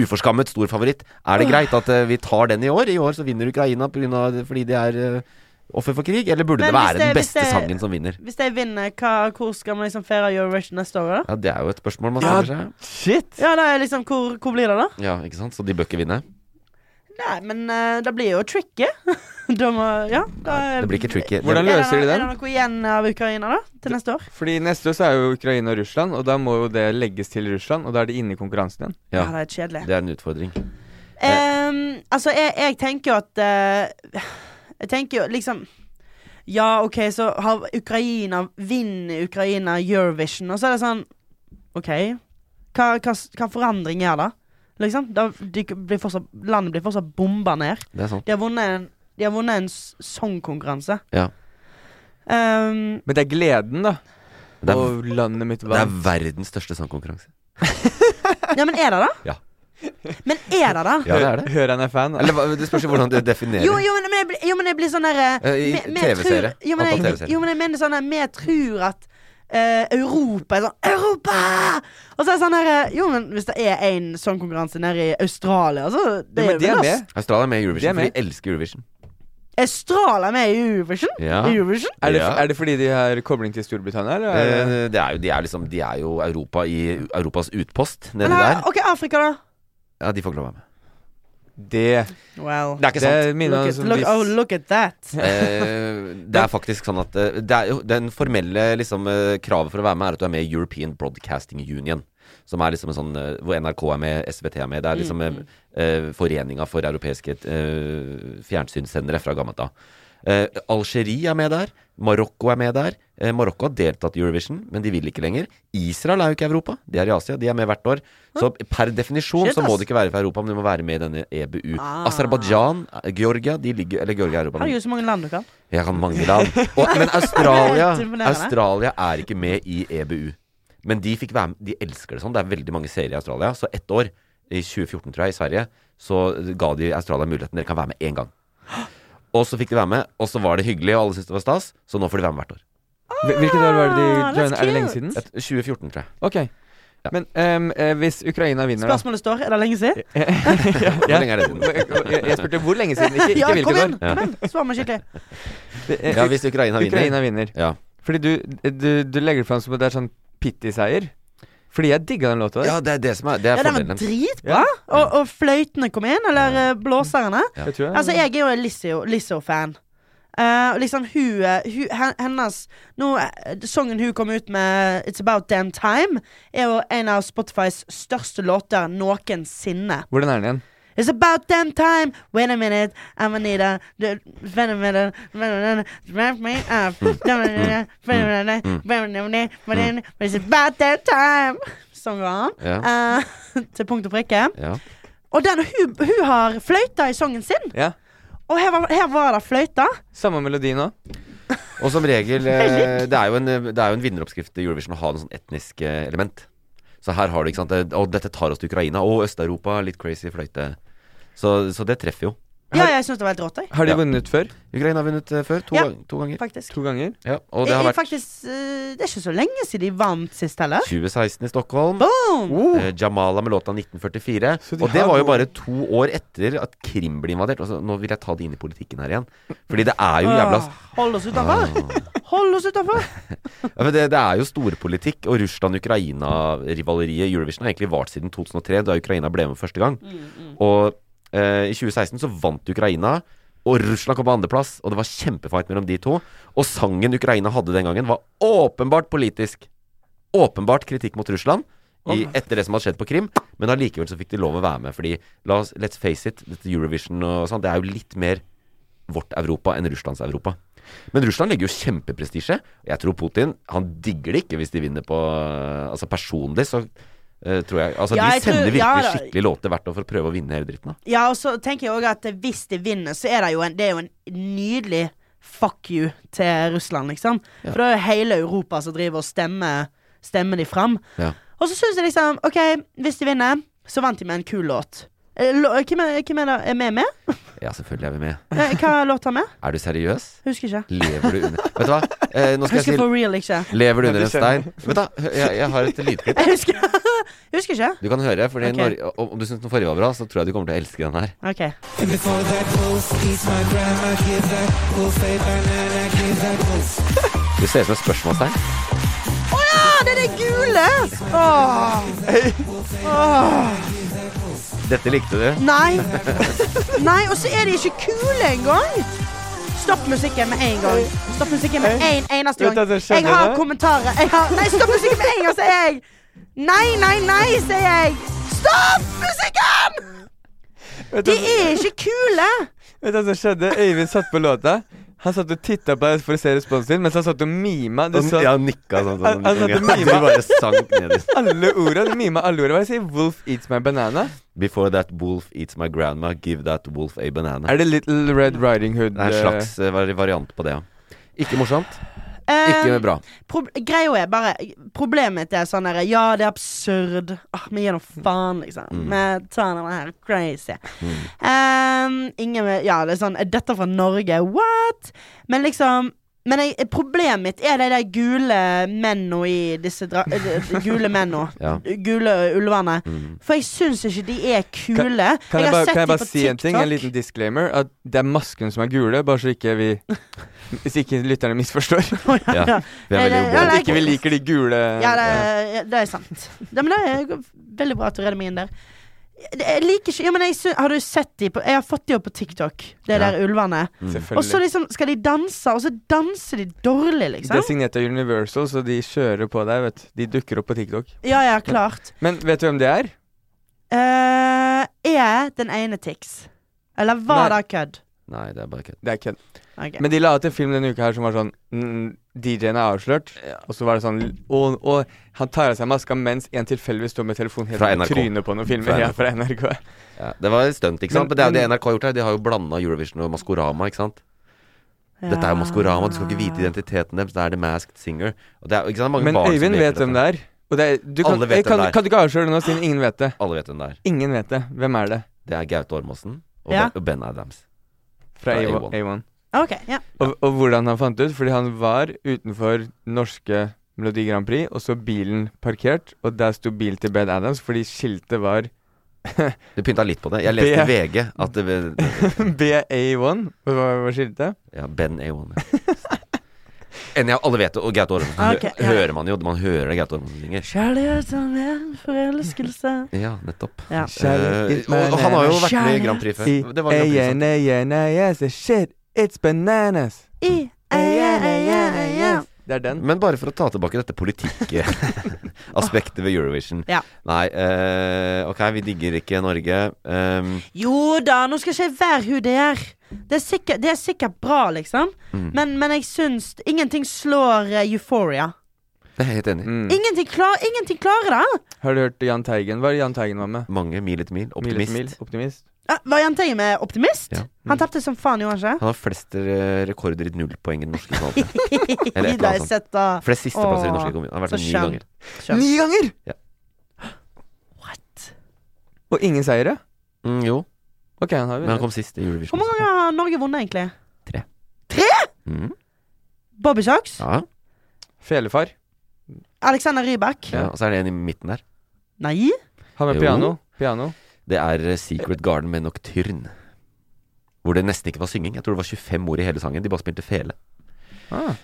Speaker 3: uforskammet stor favoritt. Er det greit at eh, vi tar den i år? I år så vinner Ukraina på grunn av, fordi de er eh, offer for krig? Eller burde det
Speaker 4: Men hvis
Speaker 3: være den
Speaker 4: det- hvis
Speaker 3: beste
Speaker 4: det-
Speaker 3: sangen som vinner?
Speaker 4: Hvis jeg vinner, hva, hvor skal vi liksom feire Eurovision neste år?
Speaker 3: Ja,
Speaker 4: da?
Speaker 3: Det er jo et spørsmål man
Speaker 2: Ja.
Speaker 3: stiller seg.
Speaker 2: Shit!
Speaker 4: Ja, da er liksom, hvor, hvor blir det, da?
Speaker 3: Ja, ikke sant? Så de bør ikke vinne?
Speaker 4: Nei, men eh, det blir jo tricky. [LAUGHS] da må, ja, da,
Speaker 3: Det blir ikke tricky. Det-
Speaker 2: Hvordan
Speaker 4: Er det
Speaker 2: løser de den?
Speaker 4: noe- Er det noe igjen av Ukraina, da? Til neste år?
Speaker 2: Fordi neste år så er jo Ukraina og Russland, og da må jo det legges til Russland, og da er de inne i konkurransen igjen.
Speaker 4: Ja,
Speaker 3: Ja,
Speaker 4: det er kjedelig.
Speaker 3: det er en utfordring.
Speaker 4: Ehm, altså, jeg, jeg tenker jo at eh, Jeg tenker jo liksom Ja, OK, så har Ukraina Vinner Ukraina Eurovision, og så er det sånn OK, hva, hva, s- hva forandring er det? Liksom, da, de blir fortsatt, Landet blir fortsatt bomba ned.
Speaker 3: Det er sant.
Speaker 4: De har vunnet en, de har vunnet en s- sangkonkurranse.
Speaker 3: Ja.
Speaker 4: Ehm,
Speaker 2: Men det er gleden, da.
Speaker 3: Det er,
Speaker 2: Og landet mitt
Speaker 3: det er
Speaker 2: vant.
Speaker 3: verdens største sangkonkurranse.
Speaker 4: ja, men er det det?
Speaker 3: [LAUGHS] Ja.
Speaker 4: Men er det det?
Speaker 3: [LAUGHS] Ja, det er det.
Speaker 2: Hører han er fan?
Speaker 3: Eller hva- det spørs jo hvordan du definerer
Speaker 4: Jo, jo, men jeg, blir- jo, men jeg blir sånn der eh,
Speaker 3: Eh, i
Speaker 4: me- me
Speaker 3: TV-serie.
Speaker 4: tror- Jo, men
Speaker 3: Antall
Speaker 4: jeg-
Speaker 3: TV-serier.
Speaker 4: jo, men jeg mener sånn der Vi tror at eh, Europa er sånn Europa! Og så er det sånn her eh, Jo, men hvis det er en sånn konkurranse nede i Australia, så det
Speaker 2: Ja,
Speaker 4: er
Speaker 2: men de
Speaker 4: jo
Speaker 2: er
Speaker 4: vel
Speaker 2: med.
Speaker 3: Australia er med i
Speaker 2: Det er
Speaker 3: Eurovision, for
Speaker 2: med.
Speaker 3: de elsker Eurovision.
Speaker 4: Australia med i Eurovision?
Speaker 3: Ja.
Speaker 4: Eurovision?
Speaker 2: Er det,
Speaker 3: Ja.
Speaker 2: er det fordi de har kobling til Storbritannia, eller? er det-
Speaker 3: Eh, Det er jo, de er liksom De er jo Europa i Europas utpost nedi
Speaker 4: Men her,
Speaker 3: der.
Speaker 4: OK, Afrika, da.
Speaker 3: Ja, de får ikke lov å være med.
Speaker 2: Det,
Speaker 4: Well
Speaker 3: Det er ikke sant.
Speaker 2: det minner
Speaker 4: Look
Speaker 2: meg
Speaker 4: at,
Speaker 2: som
Speaker 4: look,
Speaker 2: hvis-
Speaker 4: oh, look at
Speaker 3: [LAUGHS]
Speaker 4: that.
Speaker 3: Eh, det er faktisk sånn at eh, det er jo, Den formelle liksom, eh, kravet for å være med er at du er med i European Broadcasting Union. Som er liksom en sånn eh, Hvor NRK er med, SVT er med. Det er liksom eh,
Speaker 4: Mm.
Speaker 3: eh, foreninga for europeiske eh, fjernsynssendere fra gammelt av. Eh, Algerie er med der. Marokko er med der. Eh, Marokko har deltatt i Eurovision, men de vil ikke lenger. Israel er jo ikke Europa, de er i Asia. De er med hvert år. Så per definisjon
Speaker 4: Shit,
Speaker 3: så må
Speaker 4: ass. Ah.
Speaker 3: du ikke være fra Europa, men du må være med i denne EBU. Aserbajdsjan, eh, Georgia de ligger, Eller Georgia er Europa. men-
Speaker 4: Herregud, så mange land du kan.
Speaker 3: jeg kan mange land. Og,
Speaker 4: [LAUGHS]
Speaker 3: men Australia,
Speaker 4: Det er helt imponerende.
Speaker 3: Australia er ikke med i EBU. Men de fikk være med, de elsker det sånn. Det er veldig mange serier i Australia. Så ett år, i 2014 tror jeg, i Sverige, så ga de Australia muligheten. Dere kan være med én gang. Og så fikk de være med, og så var det hyggelig, og alle syntes det var stas. Så nå får de være med hvert år.
Speaker 2: Hvil- Hvilket år var det
Speaker 4: Ah,
Speaker 2: de
Speaker 4: that's
Speaker 2: joina? Er det lenge
Speaker 4: cute.
Speaker 2: siden?
Speaker 3: Et- 2014, tror jeg.
Speaker 2: Ok. Men ehm, eh, hvis Ukraina vinner, da
Speaker 4: Spørsmålet står. Er det lenge siden?
Speaker 3: Hvor lenge er det siden?
Speaker 2: [LAUGHS] jeg, jeg spurte hvor lenge siden, ikke, ikke
Speaker 4: [LAUGHS] Ja, kom
Speaker 2: hvilket
Speaker 4: igjen!
Speaker 2: år.
Speaker 4: Kom igjen. Svar meg skikkelig.
Speaker 2: Eh,
Speaker 3: Ja, hvis Ukraina vinner.
Speaker 2: Ukraina vinner.
Speaker 3: Ja.
Speaker 2: Fordi du, eh, du, du legger det fram som at det er sånn pitty-seier. Fordi jeg digga den låta der.
Speaker 3: ja, det er det som er, det er
Speaker 4: Ja, den var
Speaker 3: fordelen.
Speaker 4: dritbra! Og, og fløytene kom inn, eller eh, blåserne.
Speaker 2: Jeg tror jeg,
Speaker 4: Altså, jeg er jo en Lizzo- Lizzo-fan. Eh, og liksom hun, eh, hun hen- Hennes nå, eh, Sangen hun kom ut med, 'It's About Damn Time', er jo en av Spotifys største låter noensinne.
Speaker 2: Hvordan er den igjen?
Speaker 4: It's about damn time. Wait a minute, I'm Anita. Du- Wait a minute. Wait a minute. Wrap me
Speaker 3: Mm.
Speaker 4: up. Wait a minute. Wait a minute. Wait a minute. Wait a minute. It's about that time. [LAUGHS] Sånn går han.
Speaker 3: Mm. Ja.
Speaker 4: Eh, [LAUGHS] til punkt og prikke.
Speaker 3: Ja.
Speaker 4: Og den, hun, hun har fløyta i sangen sin.
Speaker 2: Ja.
Speaker 4: Og her var, her var det fløyta.
Speaker 2: Samme melodi nå.
Speaker 3: Og som regel eh, Det er jo en, det er jo en vinneroppskrift i Eurovision å ha noe sånn etnisk eh, element. Så her har du ikke sant det- Og dette tar oss til Ukraina og Øst-Europa. Litt crazy fløyte. Så, så det treffer jo.
Speaker 4: Ja, jeg syns det var helt rått, jeg.
Speaker 2: Har de
Speaker 3: Ja.
Speaker 2: vunnet før?
Speaker 3: Ukraina har vunnet eh, før. To,
Speaker 4: Ja.
Speaker 3: gang- to ganger.
Speaker 4: Faktisk.
Speaker 2: To ganger?
Speaker 3: Ja, og det har
Speaker 4: Jeg-
Speaker 3: vært
Speaker 4: faktisk eh, det er ikke så lenge siden de vant sist heller.
Speaker 3: 2016 i Stockholm.
Speaker 4: Boom!
Speaker 2: Oh,
Speaker 3: eh, Jamala med låta 1944.
Speaker 2: Så de
Speaker 3: Og det
Speaker 2: har
Speaker 3: var jo
Speaker 2: noe-
Speaker 3: bare to år etter at Krim ble invadert. Altså, nå vil jeg ta det inn i politikken her igjen. Fordi det er jo jævla
Speaker 4: Ah, Hold oss
Speaker 3: Ah.
Speaker 4: utenfor! Hold oss utenfor!
Speaker 3: ja, men det, det er jo storpolitikk. Og Russland-Ukraina-rivaleriet i Eurovision har egentlig vart siden 2003, da Ukraina ble med første gang. Og eh, i 2016 så vant Ukraina. Og Russland kom på andreplass, og det var kjempefight mellom de to. Og sangen Ukraina hadde den gangen, var åpenbart politisk. Åpenbart kritikk mot Russland i, etter det som hadde skjedd på Krim. Men allikevel så fikk de lov å være med, fordi la oss, let's face it, dette Eurovision og sånn, det er jo litt mer vårt Europa enn Russlands Europa. Men Russland legger jo kjempeprestisje. Jeg tror Putin Han digger det ikke hvis de vinner på Altså personlig, så eh, tror jeg Altså,
Speaker 4: Ja, jeg
Speaker 3: de sender
Speaker 4: tror-
Speaker 3: virkelig
Speaker 4: ja da.
Speaker 3: skikkelig låter hvert år for å prøve å vinne hele dritten. Da.
Speaker 4: Ja, og så tenker jeg òg at hvis de vinner, så er det jo en, det er jo en nydelig fuck you til Russland, liksom. For det er jo hele Europa som driver og stemmer, stemmer de fram.
Speaker 3: Ja.
Speaker 4: Og så syns jeg liksom OK, hvis de vinner, så vant de med en kul låt. Eh, lå- Hvem er, hvem er, det, er vi med? [LAUGHS]
Speaker 3: ja, selvfølgelig er vi med.
Speaker 4: Eh, Hva låt har vi?
Speaker 3: Er du seriøs?
Speaker 4: Husker ikke.
Speaker 3: Lever du under Vet du hva? Eh, nå skal
Speaker 4: Husker
Speaker 3: jeg si
Speaker 4: for real ikke.
Speaker 3: Lever du under
Speaker 2: Ja,
Speaker 3: en
Speaker 2: det
Speaker 3: stein? Vet du, hva? Hø- jeg, jeg har et lydklipp
Speaker 4: Jeg husker, jeg husker ikke.
Speaker 3: du kan høre. Fordi
Speaker 4: Ok.
Speaker 3: Norge- om- om du syns den forrige var bra, så tror jeg du kommer til å elske den her.
Speaker 4: OK.
Speaker 3: Du ser ut som et spørsmålstegn.
Speaker 4: Å ja, det er det gule! Åh.
Speaker 3: Dette likte du.
Speaker 4: Nei. Nei, og så er de ikke kule engang. Stopp musikken med en gang. Stopp musikken med en eneste
Speaker 2: Vet du
Speaker 4: gang.
Speaker 2: at jeg skjønner
Speaker 4: Jeg har
Speaker 2: det?
Speaker 4: kommentarer. Jeg har... Nei, stopp musikken med en gang, sier jeg. Nei, nei, nei, sier jeg. Stopp musikken!
Speaker 2: Vet
Speaker 4: De
Speaker 2: du-
Speaker 4: er ikke kule.
Speaker 2: Vet du hva som skjedde? Øyvind satt på låta. Han satt og titta på deg for å se responsen din, mens han satt og mima. Du sa
Speaker 3: Ja, han nikka sånn. sånn,
Speaker 2: Han- han satte
Speaker 3: Ja,
Speaker 2: mima.
Speaker 3: de bare sank ned i
Speaker 2: alle orda. Du mima alle orda. Hva er det jeg sier? Wolf eats my banana.
Speaker 3: Before that wolf eats my grandma, give that wolf a banana.
Speaker 2: Er det Little Red Riding Hood?
Speaker 3: Det er en
Speaker 2: eh,
Speaker 3: slags eh, vari- variant på
Speaker 2: [LAUGHS]
Speaker 3: det, ja. Ikke morsomt,
Speaker 4: Eh,
Speaker 3: ikke bra.
Speaker 4: prob- Greia er bare Problemet mitt er sånn der Ja, det er absurd. Åh, men gi nå faen, liksom.
Speaker 2: Mm.
Speaker 4: Vi tar den her crazy. Ehm, ingen vil Ja, det er sånn Er dette fra Norge? What? Men liksom men jeg, problemet mitt er de der gule mennene i disse dra eh, de-
Speaker 2: [LAUGHS]
Speaker 4: Gule mennene.
Speaker 3: Ja.
Speaker 4: Gule ulvene. For jeg syns ikke de er kule.
Speaker 2: Mm. Kan jeg,
Speaker 4: har
Speaker 2: bare,
Speaker 4: sett
Speaker 2: kan jeg
Speaker 4: de
Speaker 2: bare
Speaker 4: på
Speaker 2: si en ting? En
Speaker 4: TikTok.
Speaker 2: liten disclaimer. At det er maskene som er gule, bare så ikke vi
Speaker 4: [LAUGHS]
Speaker 2: Hvis ikke lytterne misforstår. [LAUGHS]
Speaker 3: Ja.
Speaker 4: Eh, ja.
Speaker 3: Vi er
Speaker 4: Nei,
Speaker 3: veldig
Speaker 4: det-
Speaker 3: gode.
Speaker 2: At ikke vi liker de gule
Speaker 4: Ja, det, det er sant. Ja, men det er veldig bra at du redder meg inn der. Det- Jeg liker ikke ja, men jeg, sy- Har du sett de på Jeg har fått de opp på TikTok, det
Speaker 3: Ja.
Speaker 4: der ulvene.
Speaker 3: Mm.
Speaker 4: Og så
Speaker 2: Selvfølgelig.
Speaker 4: liksom skal de danse, og så danser de dårlig,
Speaker 2: Det er
Speaker 4: liksom.
Speaker 2: signert av Universal, så de kjører på deg. vet du. De dukker opp på TikTok.
Speaker 4: Ja, ja, klart.
Speaker 2: Men vet du hvem det er?
Speaker 4: Eh, er den ene Tix? Eller var
Speaker 2: Nei.
Speaker 4: det kødd?
Speaker 3: Nei, det er bare kødd.
Speaker 2: Det er kødd.
Speaker 4: Ok.
Speaker 2: Men de la ut en film denne uka her som var sånn mm, DJ-en er avslørt. Og så var det sånn Og, og han tar av seg maska mens en tilfeldigvis står med telefonen helt
Speaker 3: Fra
Speaker 2: i
Speaker 3: NRK.
Speaker 2: trynet på noen filmer.
Speaker 3: Fra
Speaker 2: ja, fra NRK.
Speaker 3: Ja. Det var et stunt, ikke sant?
Speaker 2: Men-
Speaker 3: Men, det er jo det
Speaker 2: men-
Speaker 3: NRK har gjort her. De har jo blanda Eurovision og Maskorama, ikke sant. Dette er jo Maskorama, du skal ikke vite identiteten deres. Det er The Masked Singer. Og det er, ikke sant? Mange
Speaker 2: Men
Speaker 3: barn som
Speaker 2: Øyvind
Speaker 3: leker
Speaker 2: vet
Speaker 3: dette.
Speaker 2: hvem det er. Og det er du kan,
Speaker 3: Alle vet
Speaker 2: jeg
Speaker 3: hvem
Speaker 2: kan,
Speaker 3: det er.
Speaker 2: kan du ikke avsløre det nå, siden ingen vet det?
Speaker 3: Alle vet hvem det er.
Speaker 2: Ingen vet det. Hvem er det?
Speaker 3: Det er Gaute Ormåsen og,
Speaker 4: Ja.
Speaker 3: ben, og Ben Adams.
Speaker 2: Fra
Speaker 3: Fra
Speaker 2: A1.
Speaker 3: A1.
Speaker 2: A1.
Speaker 4: Ok, ja.
Speaker 2: Og, og hvordan han fant det ut? Fordi han var utenfor norske Melodi Grand Prix, og så bilen parkert, og der sto bil til Ben Adams, fordi skiltet var [LAUGHS]
Speaker 3: Du pynta litt på det. Jeg leste i VG at det,
Speaker 2: BA1. Hva var skiltet?
Speaker 3: Ja, Ben [LAUGHS] A1. Ja. Enn jeg alle vet det, og Gaute Ormåsen.
Speaker 4: Ah, Ok, ja.
Speaker 3: Hører man jo. Man hører det Gaute Ormåsen synger.
Speaker 4: Kjærlighet som en forelskelse.
Speaker 3: Ja, nettopp.
Speaker 4: Ja.
Speaker 3: Eh, og, og han har jo vært med i Grand Prix før. Det var Grand Prix, sant?
Speaker 2: Shit, it's bananas.
Speaker 4: I, ei, ei, ei, ei, ei.
Speaker 2: Det er den.
Speaker 3: Men bare for å ta tilbake dette politikkaspektet
Speaker 4: [LAUGHS]
Speaker 3: ved Eurovision.
Speaker 4: Ja.
Speaker 3: Nei, eh, ok, vi digger ikke Norge. Ehm,
Speaker 4: Jo da, nå skal ikke jeg være hun der. Det er sikkert, det er sikkert bra, liksom.
Speaker 3: Mm.
Speaker 4: Men, men jeg syns ingenting slår eh, euphoria.
Speaker 3: det er jeg helt enig i.
Speaker 2: Mm.
Speaker 4: Ingenting, klar, ingenting klarer det!
Speaker 2: Har du hørt Jahn Teigen? Hva er det Jahn Teigen var med?
Speaker 3: Mange mil etter mil.
Speaker 2: Mil etter
Speaker 3: Optimist.
Speaker 2: mil, Optimist.
Speaker 4: Ja, Eh, var Jahn Teigen med optimist?
Speaker 3: Ja. Mm.
Speaker 4: Han tapte som faen, gjorde han ikke?
Speaker 3: Han har flest eh, rekorder i nullpoeng i den norske finalen.
Speaker 4: [LAUGHS]
Speaker 3: Eller et
Speaker 4: Det
Speaker 3: eller
Speaker 4: har
Speaker 3: annet
Speaker 4: jeg
Speaker 3: sånt.
Speaker 4: sett, da.
Speaker 3: Flest sisteplasser i den norske
Speaker 4: Åh,
Speaker 3: kommunen. Han har vært
Speaker 4: så
Speaker 3: med ni
Speaker 4: skjønt.
Speaker 3: ganger.
Speaker 4: Kjør.
Speaker 2: Ni ganger!
Speaker 3: Ja.
Speaker 4: What?
Speaker 2: Og ingen seire?
Speaker 3: Mm, jo.
Speaker 2: Og Ok, han har
Speaker 3: Men han
Speaker 2: vunnet.
Speaker 3: kom sist i Eurovision.
Speaker 4: Hvor mange ganger har Norge vunnet, egentlig?
Speaker 3: Tre.
Speaker 4: Tre?
Speaker 3: Mm.
Speaker 4: Bobby Socks?
Speaker 3: Ja,
Speaker 2: Felefar.
Speaker 4: Alexander Rybak?
Speaker 3: ja, og så er det en i midten der.
Speaker 4: Nei?
Speaker 2: Han
Speaker 3: Jo.
Speaker 2: med piano.
Speaker 3: [LAUGHS]
Speaker 2: Piano.
Speaker 3: Det er eh, Secret Garden med Nocturne. Hvor det nesten ikke var synging. Jeg tror det var 25 ord i hele sangen. De bare spilte fele.
Speaker 2: Ah.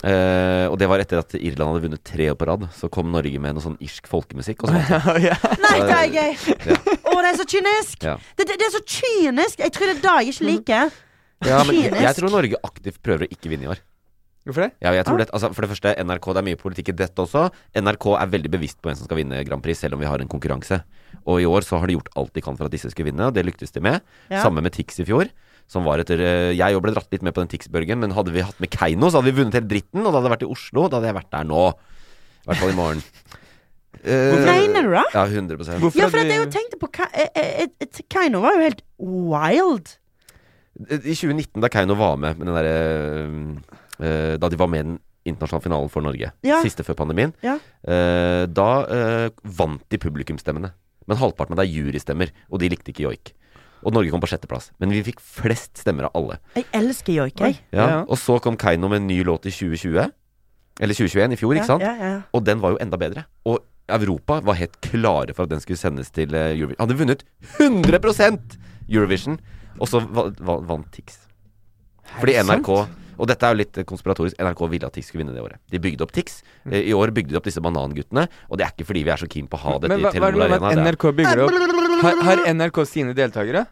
Speaker 3: Eh, og det var etter at Irland hadde vunnet tre år på rad. Så kom Norge med noe sånn irsk folkemusikk. Og så vant de.
Speaker 4: Nei, det er gøy!
Speaker 3: Ja.
Speaker 4: Å, det er så kynisk!
Speaker 3: Ja.
Speaker 4: Det, det, det er så kynisk! Jeg tror det er det jeg ikke liker.
Speaker 3: Mm. Ja, men jeg, jeg
Speaker 4: Kynisk.
Speaker 3: tror Norge aktivt prøver å ikke vinne i år.
Speaker 2: Hvorfor det?
Speaker 3: Ja, jeg tror det, altså, for det første, NRK, det er mye politikk i dette også. NRK er veldig bevisst på hvem som skal vinne Grand Prix, selv om vi har en konkurranse. Og i år så har de gjort alt de kan for at disse skulle vinne, og det lyktes de med.
Speaker 4: Ja.
Speaker 3: Samme med Tix i fjor. Som var etter, eh, jeg jo ble dratt litt med på den Tix-børgen, men hadde vi hatt med Keiino, så hadde vi vunnet hele dritten, og da hadde jeg vært i Oslo, da hadde jeg vært der nå. I hvert fall i morgen. Eh,
Speaker 4: Mener du det?
Speaker 3: ja, 100
Speaker 2: Hvorfor
Speaker 4: Ja,
Speaker 2: har
Speaker 4: for at
Speaker 2: de-
Speaker 4: jeg jo tenkte på Ka- eh, eh, eh, Keiino var jo helt wild.
Speaker 3: I 2019, da Keiino var med, med den derre eh, Da de var med i den internasjonale finalen for Norge,
Speaker 4: Ja.
Speaker 3: siste før pandemien,
Speaker 4: Ja.
Speaker 3: eh, da eh, vant de publikumsstemmene. Men halvparten av det er jurystemmer, og de likte ikke joik. Og Norge kom på sjetteplass. Men vi fikk flest stemmer av alle.
Speaker 4: Jeg elsker joik, jeg.
Speaker 3: Ja.
Speaker 2: Ja.
Speaker 3: Og så kom Keiino med en ny låt i 2020. Eller 2021, i fjor, ikke sant?
Speaker 4: Ja, ja, ja.
Speaker 3: Og den var jo enda bedre. Og Europa var helt klare for at den skulle sendes til eh, Eurovision. Han Hadde vunnet 100 Eurovision, og så va va vant Tix. Fordi
Speaker 2: det
Speaker 3: NRK Og dette er jo litt eh, konspiratorisk. NRK ville at Tix skulle vinne det året. De bygde opp Tix.
Speaker 2: Mm.
Speaker 3: Eh, I år bygde de opp disse bananguttene, og det er ikke fordi vi er så keen på å ha dette
Speaker 2: Men hva,
Speaker 3: i
Speaker 2: hva er
Speaker 3: Telenor
Speaker 2: det med
Speaker 3: Arena.
Speaker 2: at
Speaker 3: Det er-
Speaker 2: NRK bygger
Speaker 4: [LAUGHS]
Speaker 2: opp? Har, har NRK sine deltakere?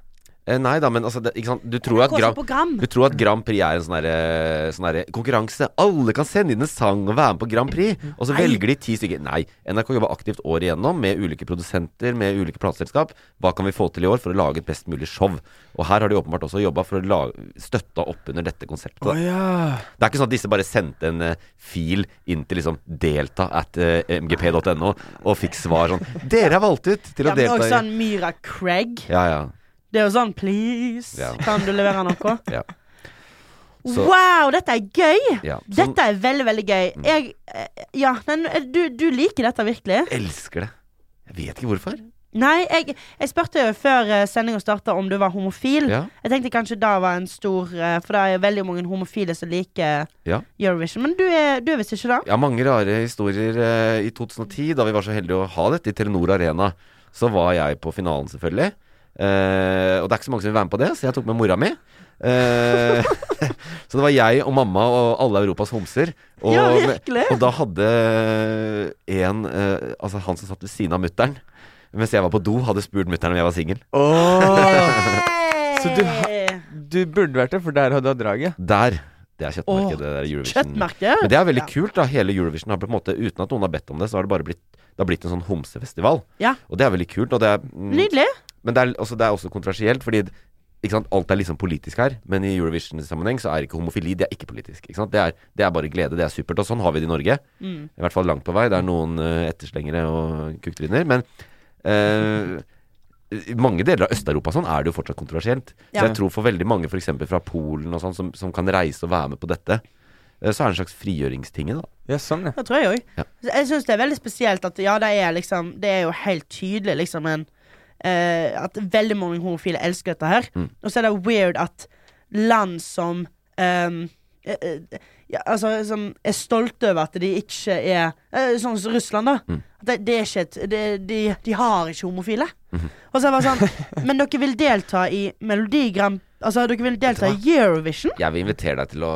Speaker 3: Eh, Nei da, men altså, det, ikke sant? Du tror at
Speaker 4: Hva
Speaker 3: Grand
Speaker 4: slags program?
Speaker 3: Du tror at Grand Prix er en sånn derre- sånn derre konkurranse. Alle kan sende inn en sang og være med på Grand Prix. Og så velger de ti stykker. Nei. NRK jobber aktivt året igjennom med ulike produsenter, med ulike plateselskap. Hva kan vi få til i år for å lage et best mulig show? Og her har de åpenbart også jobba for å lage, støtta opp under dette konseptet. da. Det er ikke sånn at disse bare sendte en eh, fil inn til liksom delta at eh, mgp.no og fikk svar sånn Dere er valgt ut til å
Speaker 4: Ja, men også
Speaker 3: delta i
Speaker 4: sånn Myra Craig.
Speaker 3: Ja, ja.
Speaker 4: Det er jo sånn Please,
Speaker 3: Ja.
Speaker 4: kan du levere noe?
Speaker 3: [LAUGHS] ja. Så-
Speaker 4: Wow, dette er gøy!
Speaker 3: Ja, Mm. sånn-
Speaker 4: Dette er veldig, veldig gøy. Jeg eh, Ja, men du, du liker dette virkelig?
Speaker 3: Elsker det. Jeg vet ikke hvorfor.
Speaker 4: Nei, jeg, jeg spurte jo før eh, sendinga starta om du var homofil.
Speaker 3: Ja.
Speaker 4: Jeg tenkte kanskje da var en stor eh, For det er jo veldig mange homofile som liker
Speaker 3: Ja.
Speaker 4: Eurovision. Men du er, du er visst ikke det?
Speaker 3: Ja, mange rare historier eh, i 2010, da vi var så heldige å ha dette i Telenor Arena. Så var jeg på finalen, selvfølgelig. Eh, og det er ikke så mange som vil være med på det, så jeg tok med mora mi. Eh, [LAUGHS] så det var jeg og mamma og alle Europas homser. Og,
Speaker 4: Ja, virkelig.
Speaker 3: og da hadde en eh, Altså han som satt ved siden av mutter'n mens jeg var på do, hadde spurt mutter'n om jeg var singel. [LAUGHS]
Speaker 2: Så du har- Du burde vært det, for der hadde du hatt draget.
Speaker 3: Der! Det er kjøttmarkedet. det der Eurovision.
Speaker 4: Kjøttmerke?
Speaker 3: Men det er veldig
Speaker 4: Ja.
Speaker 3: kult. da Hele Eurovision har på en måte, uten at noen har bedt om det, så har det bare blitt, det har blitt en sånn homsefestival.
Speaker 4: Ja.
Speaker 3: Og det er veldig kult. Og det er, mm,
Speaker 4: Nydelig.
Speaker 3: men det er, altså, det er også kontroversielt, fordi ikke sant? alt er liksom politisk her. Men i Eurovision-sammenheng så er ikke homofili det er ikke politisk. Ikke sant? Det, er, det er bare glede. Det er supert. Og sånn har vi det i Norge. I hvert fall langt på vei. Det er noen eh, etterslengere og kukktryner. Men eh, i mange deler av Øst-Europa og sånn er det jo fortsatt kontroversielt.
Speaker 4: Ja.
Speaker 3: Så jeg tror for veldig mange f.eks. fra Polen og sånn, som, som kan reise og være med på dette, eh, så er det en slags frigjøringsting. da.
Speaker 2: Ja, sånn, ja.
Speaker 4: Det tror jeg òg.
Speaker 3: Ja.
Speaker 4: Jeg syns det er veldig spesielt at ja, det er liksom Det er jo helt tydelig liksom en eh, At veldig mange homofile elsker dette her.
Speaker 3: Mm.
Speaker 4: Og så er det weird at land som ehm, eh, eh, ja, altså, som er stolte over at de ikke er eh, Sånn som Russland, da.
Speaker 3: Mm.
Speaker 4: At det, det er ikke et det, de, de har ikke homofile.
Speaker 3: Mhm.
Speaker 4: Og så er det bare
Speaker 3: [LAUGHS]
Speaker 4: sånn Men dere vil delta i Melodi Grand Altså, dere vil delta i Eurovision?
Speaker 3: Jeg vil invitere deg til å,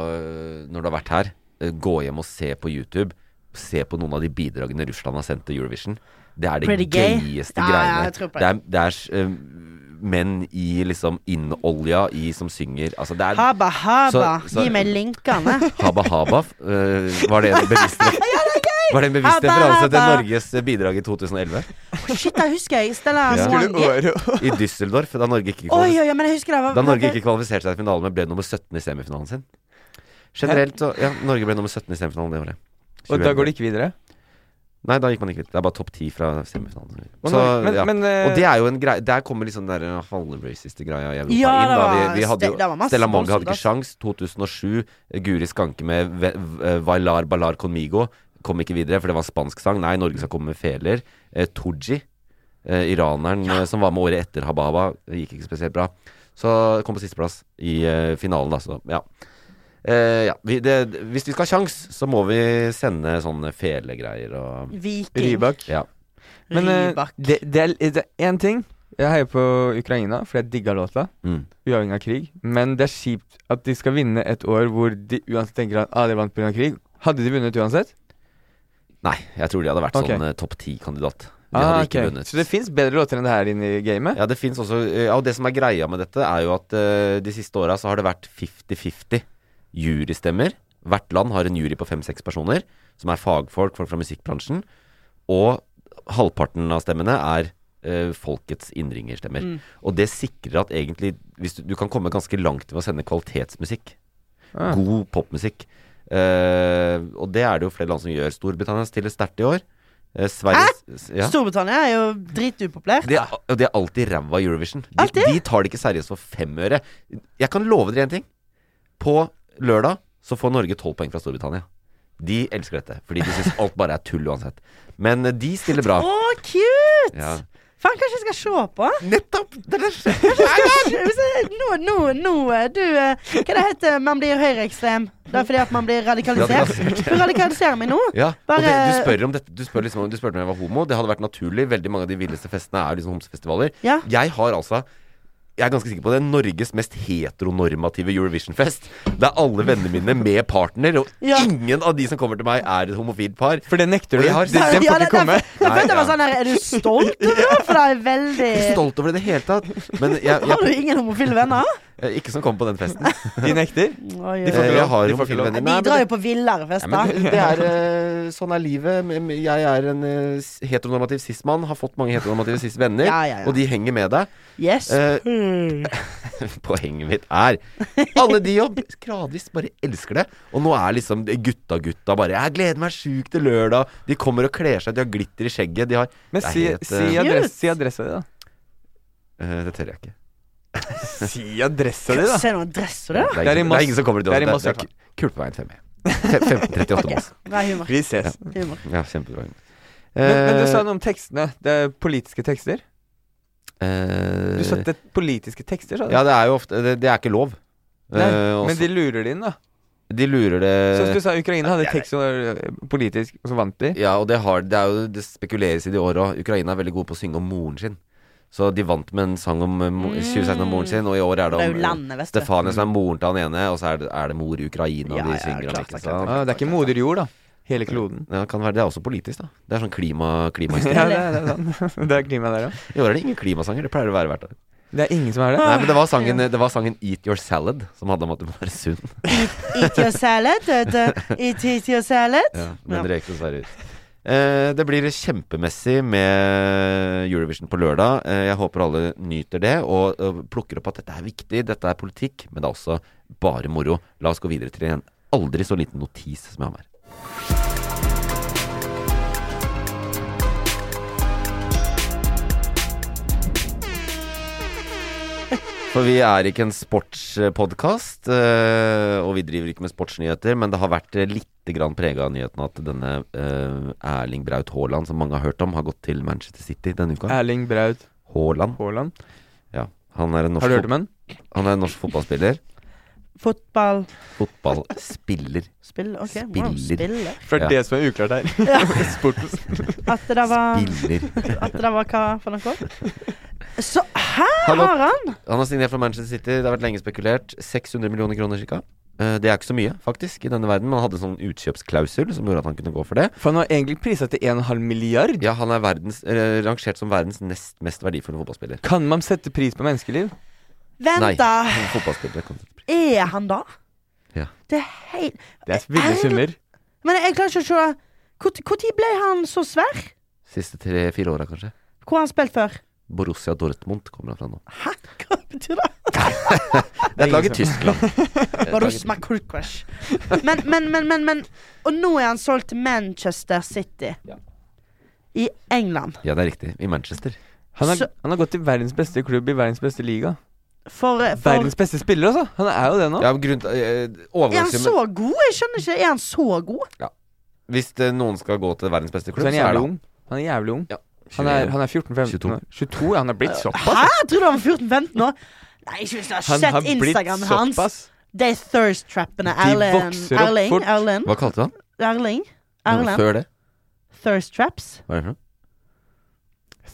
Speaker 3: når du har vært her, eh, gå hjem og se på YouTube. Se på noen av de bidragene Russland har sendt til Eurovision. Det er det
Speaker 4: Pretty gay.
Speaker 3: gøyeste
Speaker 4: Ja, ja,
Speaker 3: greiene.
Speaker 4: jeg tror på
Speaker 3: det er, det er eh, menn i liksom innolja i som synger Altså, det er
Speaker 4: Haba, haba.
Speaker 3: Så- så-
Speaker 4: Gi meg linkene.
Speaker 3: [LAUGHS] Haba Haba. eh, var det en bevisst
Speaker 4: [LAUGHS]
Speaker 3: Var det en bevisst
Speaker 4: Haba
Speaker 3: referanse til
Speaker 4: Haba.
Speaker 3: Norges eh, bidrag i 2011?
Speaker 4: Shit, det husker jeg. Stella
Speaker 3: Ja.
Speaker 4: Mwangi.
Speaker 3: I Düsseldorf, da Norge ikke
Speaker 4: Oi,
Speaker 3: kvalifiserte
Speaker 4: oi, oi, men jeg husker det var
Speaker 3: Da Norge ikke kvalifiserte seg til finalen, men ble nummer 17 i semifinalen sin. Generelt så Ja, Norge ble nummer 17 i semifinalen det året.
Speaker 2: Og da går det ikke videre.
Speaker 3: Nei, da gikk man ikke ut. Det er bare topp ti fra semifinalen.
Speaker 2: Og
Speaker 3: Så,
Speaker 2: Norge- men-
Speaker 3: ja.
Speaker 2: men, eh,
Speaker 3: og det er jo en greie Der kommer liksom den der halvraciste greia i Europa
Speaker 4: Ja,
Speaker 3: inn.
Speaker 4: det
Speaker 3: Da. Vi,
Speaker 4: var-
Speaker 3: vi hadde
Speaker 4: det- det var
Speaker 3: jo
Speaker 4: masse
Speaker 3: Stella Mange hadde
Speaker 4: voldsomt,
Speaker 3: ikke sjans. 2007, eh, Guri Skanke med Ve- V- eh, Vailar Ballar Conmigo kom ikke videre, for det var en spansk sang. Nei, Norge skal komme med feler. Eh, Tooji eh, iraneren eh, som var med året etter Hababa. Det gikk ikke spesielt bra. Så kom på sisteplass i eh, finalen, da. Så ja. Eh, ja vi, det, hvis vi skal ha kjangs, så må vi sende sånne felegreier og
Speaker 4: Viking.
Speaker 2: Rybak.
Speaker 3: Ja.
Speaker 2: Men eh,
Speaker 4: Rybak.
Speaker 2: det, det, er, det er én ting. Jeg heier på Ukraina, fordi jeg digga låta.
Speaker 3: Mm.
Speaker 2: Uavhengig av krig. Men det er kjipt at de skal vinne et år hvor de uansett tenker at ah, de vant pga. krig. Hadde de vunnet uansett?
Speaker 3: Nei, jeg tror de hadde vært
Speaker 2: Ok.
Speaker 3: sånn eh, topp ti-kandidat. De
Speaker 2: Ah,
Speaker 3: hadde ikke
Speaker 2: ok.
Speaker 3: vunnet.
Speaker 2: Så det fins bedre låter enn det her inne i gamet?
Speaker 3: Ja, det finnes også Ja, og det som er greia med dette, er jo at eh, de siste åra så har det vært 50-50 jurystemmer. Hvert land har en jury på fem-seks personer, som er fagfolk, folk fra musikkbransjen. Og halvparten av stemmene er eh, folkets innringerstemmer. Og det sikrer at egentlig hvis du, du kan komme ganske langt ved å sende kvalitetsmusikk.
Speaker 2: Ah.
Speaker 3: God popmusikk. Eh, og det er det jo flere land som gjør. Storbritannia stiller sterkt i år. Eh, Sverige Hæ?
Speaker 4: Storbritannia er jo dritupopulært.
Speaker 3: Det er, og det er alltid ræva i Eurovision. De,
Speaker 4: Alltid?
Speaker 3: de tar det ikke seriøst for fem øre. Jeg kan love dere én ting. På lørdag så får Norge tolv poeng fra Storbritannia. De elsker dette, fordi de syns alt bare er tull uansett. Men eh, de stiller bra.
Speaker 4: Å, cute!
Speaker 3: Ja.
Speaker 4: Faen, kanskje jeg skal se
Speaker 3: [LAUGHS]
Speaker 4: på?
Speaker 3: Nettopp! Det er det som skjer.
Speaker 4: Nå, nå, nå eh, Du, eh, hva det heter man blir høyreekstrem? Det er fordi at man blir radikalisert?
Speaker 3: Radikalisert.
Speaker 4: Du radikaliserer meg nå?
Speaker 3: Ja, og det, du
Speaker 4: Bare-
Speaker 3: spør om dette Du spør liksom om, du spurte om jeg var homo. Det hadde vært naturlig. Veldig mange av de villeste festene er liksom homsefestivaler.
Speaker 4: Ja.
Speaker 3: Jeg har altså jeg er ganske sikker på det Norges mest heteronormative Eurovision-fest. Det er alle vennene mine med partner, og
Speaker 4: Ja.
Speaker 3: ingen av de som kommer til meg, er et homofilt par.
Speaker 2: For det nekter du.
Speaker 3: Og jeg har-
Speaker 2: De- Den
Speaker 4: Ja,
Speaker 2: får
Speaker 4: det-
Speaker 2: ikke komme.
Speaker 4: Jeg følte jeg var sånn her Er du
Speaker 3: [LAUGHS]
Speaker 4: stolt over det? For det er veldig
Speaker 3: Ikke stolt over det i det hele tatt. Men jeg, jeg,
Speaker 4: Har du ingen homofile venner?
Speaker 3: eh, ikke som kom på den festen.
Speaker 2: De nekter.
Speaker 4: Oi,
Speaker 2: De får ikke
Speaker 4: oi, oi.
Speaker 3: Eh, Jeg
Speaker 2: lov.
Speaker 3: har
Speaker 2: De får ikke
Speaker 3: homofile
Speaker 2: lov.
Speaker 3: venner.
Speaker 4: De
Speaker 3: Nei,
Speaker 4: drar jo
Speaker 3: men
Speaker 4: på villere
Speaker 3: Ja,
Speaker 4: fester.
Speaker 3: men [LAUGHS] det, det er eh, Sånn er livet. Men Jeg er en eh, s- heteronormativ cis-mann. Har fått mange heteronormative cis-venner,
Speaker 4: Ja, ja, ja.
Speaker 3: og de henger med deg.
Speaker 4: Yes.
Speaker 3: Eh,
Speaker 4: Hmm.
Speaker 3: [LAUGHS] Poenget mitt er Alle de jobb gradvis bare elsker det. Og nå er liksom det gutta-gutta bare Jeg gleder meg sjukt til lørdag. De kommer og kler seg, de har glitter i skjegget. De har
Speaker 2: Men
Speaker 3: Det er
Speaker 2: si,
Speaker 3: helt,
Speaker 2: si,
Speaker 3: eh,
Speaker 2: adress, si adressa di, da.
Speaker 3: eh, Det tør jeg ikke.
Speaker 2: Si adressa di, da.
Speaker 4: Se noen dress og det, da.
Speaker 3: Det er,
Speaker 2: Det er i
Speaker 3: ingen, det
Speaker 2: Moss.
Speaker 3: er ingen som kommer dit.
Speaker 2: Det er i
Speaker 3: uansett.
Speaker 2: Moss,
Speaker 3: det, er ku- Kulpeveien 5E. 1538 Moss.
Speaker 2: [LAUGHS]
Speaker 4: Bra humor.
Speaker 2: Vi ses.
Speaker 4: humor.
Speaker 3: Ja, kjempebra.
Speaker 2: Men, men du sa noe om tekstene. Det er politiske tekster.
Speaker 3: Eh,
Speaker 2: Du sa det er politiske tekster, sa du.
Speaker 3: Ja, det er jo ofte Det, det er ikke lov.
Speaker 2: Nei,
Speaker 3: Eh, og
Speaker 2: men de lurer det inn, da.
Speaker 3: så- de lurer
Speaker 2: Sånn som du
Speaker 3: det
Speaker 2: sa, Ukraina hadde tekst som var eh, politisk, og så vant de.
Speaker 3: Ja, og det, har, det er jo Det spekuleres i de åra. Ukraina er veldig gode på å synge om moren sin. Så de vant med en sang om eh, mo- 2016 om moren sin, og i år er det
Speaker 4: Mm. Det er jo
Speaker 3: om eh,
Speaker 4: landet, vet du.
Speaker 3: Stefania som er moren til han ene, og så er det, er det mor Ukraina
Speaker 4: Ja, ja,
Speaker 3: de synger om.
Speaker 4: klart,
Speaker 3: Ikke
Speaker 4: klart, klart,
Speaker 3: sant?
Speaker 2: Ah, det er ikke moder jord, da. Hele kloden.
Speaker 3: Ja, det kan være, det er også politisk, da. Det er sånn klima, klimahistorie.
Speaker 2: [LAUGHS] Ja, det er, det er sant. [LAUGHS] Det er klimaet der, ja.
Speaker 3: I år er det ingen klimasanger. Det pleier det å være hvert år.
Speaker 2: Det er ingen som er det.
Speaker 3: Nei, men det var, sangen, det var sangen 'Eat Your Salad' som handla om at du må være sunn.
Speaker 4: Eat your salad. vet du. eh, Eat, eat your salad.
Speaker 3: Ja, den
Speaker 4: Ja.
Speaker 3: røyk dessverre ut. Eh, det blir kjempemessig med Eurovision på lørdag. Eh, jeg håper alle nyter det og, og plukker opp at dette er viktig, dette er politikk, men det er også bare moro. La oss gå videre til en aldri så liten notis som jeg har med her. For vi er ikke en sportspodkast, eh, og vi driver ikke med sportsnyheter, men det har vært eh, lite grann prega av nyheten at denne eh, Erling Braut Haaland, som mange har hørt om, har gått til Manchester City denne uka.
Speaker 2: Erling Braut
Speaker 3: Haaland.
Speaker 2: Haaland.
Speaker 3: Ja. Han er en norsk,
Speaker 2: Har du hørt om han?
Speaker 3: fot- han er en norsk fotballspiller.
Speaker 4: Fotballspill.
Speaker 3: Fotballspiller.
Speaker 4: OK.
Speaker 3: Spiller.
Speaker 4: Wow, spiller.
Speaker 2: For det er
Speaker 3: Ja.
Speaker 2: det som er uklart her. Sporten.
Speaker 4: At det
Speaker 2: Ah.
Speaker 4: var
Speaker 3: Spiller.
Speaker 4: At det var hva for noe? Så her
Speaker 3: Han har-
Speaker 4: har han!
Speaker 3: Han har signert for Manchester City, det har vært lenge spekulert. 600 millioner kroner ca. Eh, Det er ikke så mye, faktisk, i denne verden. Man hadde en sånn utkjøpsklausul som gjorde at han kunne gå for det.
Speaker 2: For han har egentlig prisa til 1,5 milliard.
Speaker 3: Ja, han er verdens, eh, rangert som verdens nest mest verdifulle fotballspiller.
Speaker 2: Kan man sette pris på menneskeliv?
Speaker 4: Vent, da.
Speaker 3: Nei, fotballspillere kan
Speaker 4: Er han da?
Speaker 3: Ja.
Speaker 4: Det er helt
Speaker 2: Det er ville
Speaker 4: Erling-
Speaker 2: summer.
Speaker 4: Men jeg klarer ikke å se Hvor- Hvor tid ble han så svær?
Speaker 3: Siste tre-fire åra, kanskje.
Speaker 4: Hvor har han spilt før?
Speaker 3: Borussia Dortmund kommer han fra nå.
Speaker 4: Hæ? Hva betyr det?
Speaker 2: Ah,
Speaker 3: Det er et lag i Tyskland.
Speaker 4: Borussia Makulkvash. Men, men, men, men, men Og nå er han solgt til Manchester City.
Speaker 3: Ja.
Speaker 4: I England.
Speaker 3: Ja, det er riktig. I Manchester.
Speaker 2: Han har,
Speaker 4: Så-
Speaker 2: han har gått til verdens beste klubb i verdens beste liga.
Speaker 4: For, for
Speaker 2: Verdens beste spiller, altså! Han er jo det nå.
Speaker 3: Ja, grunn, eh,
Speaker 4: Er han
Speaker 3: overgangssummen
Speaker 4: så god? Jeg skjønner ikke. Er han så god?
Speaker 3: Hvis det, noen skal gå til verdens beste
Speaker 2: Så
Speaker 3: klubb,
Speaker 2: han er
Speaker 3: så er
Speaker 2: jævlig
Speaker 3: det han.
Speaker 2: ung. Han er jævlig ung.
Speaker 3: Ja,
Speaker 2: Han er, han er 14-15
Speaker 3: 22.
Speaker 2: år. 22, ja, han er
Speaker 4: Øh,
Speaker 2: blitt såpass.
Speaker 4: Hæ? Jeg trodde han var 14-15 nå. Nei, ikke hvis du har
Speaker 2: Han har
Speaker 4: sett
Speaker 2: blitt
Speaker 4: Instagramen hans.
Speaker 2: såpass.
Speaker 4: Det er thirst-trappene.
Speaker 2: De
Speaker 4: Erlend.
Speaker 2: vokser opp
Speaker 4: Erling.
Speaker 2: fort.
Speaker 4: Erlend.
Speaker 3: Hva kalte du han?
Speaker 4: Erling.
Speaker 3: Noe
Speaker 4: Erlend.
Speaker 3: Før det?
Speaker 4: Thirst-traps.
Speaker 3: Hva er det for noe?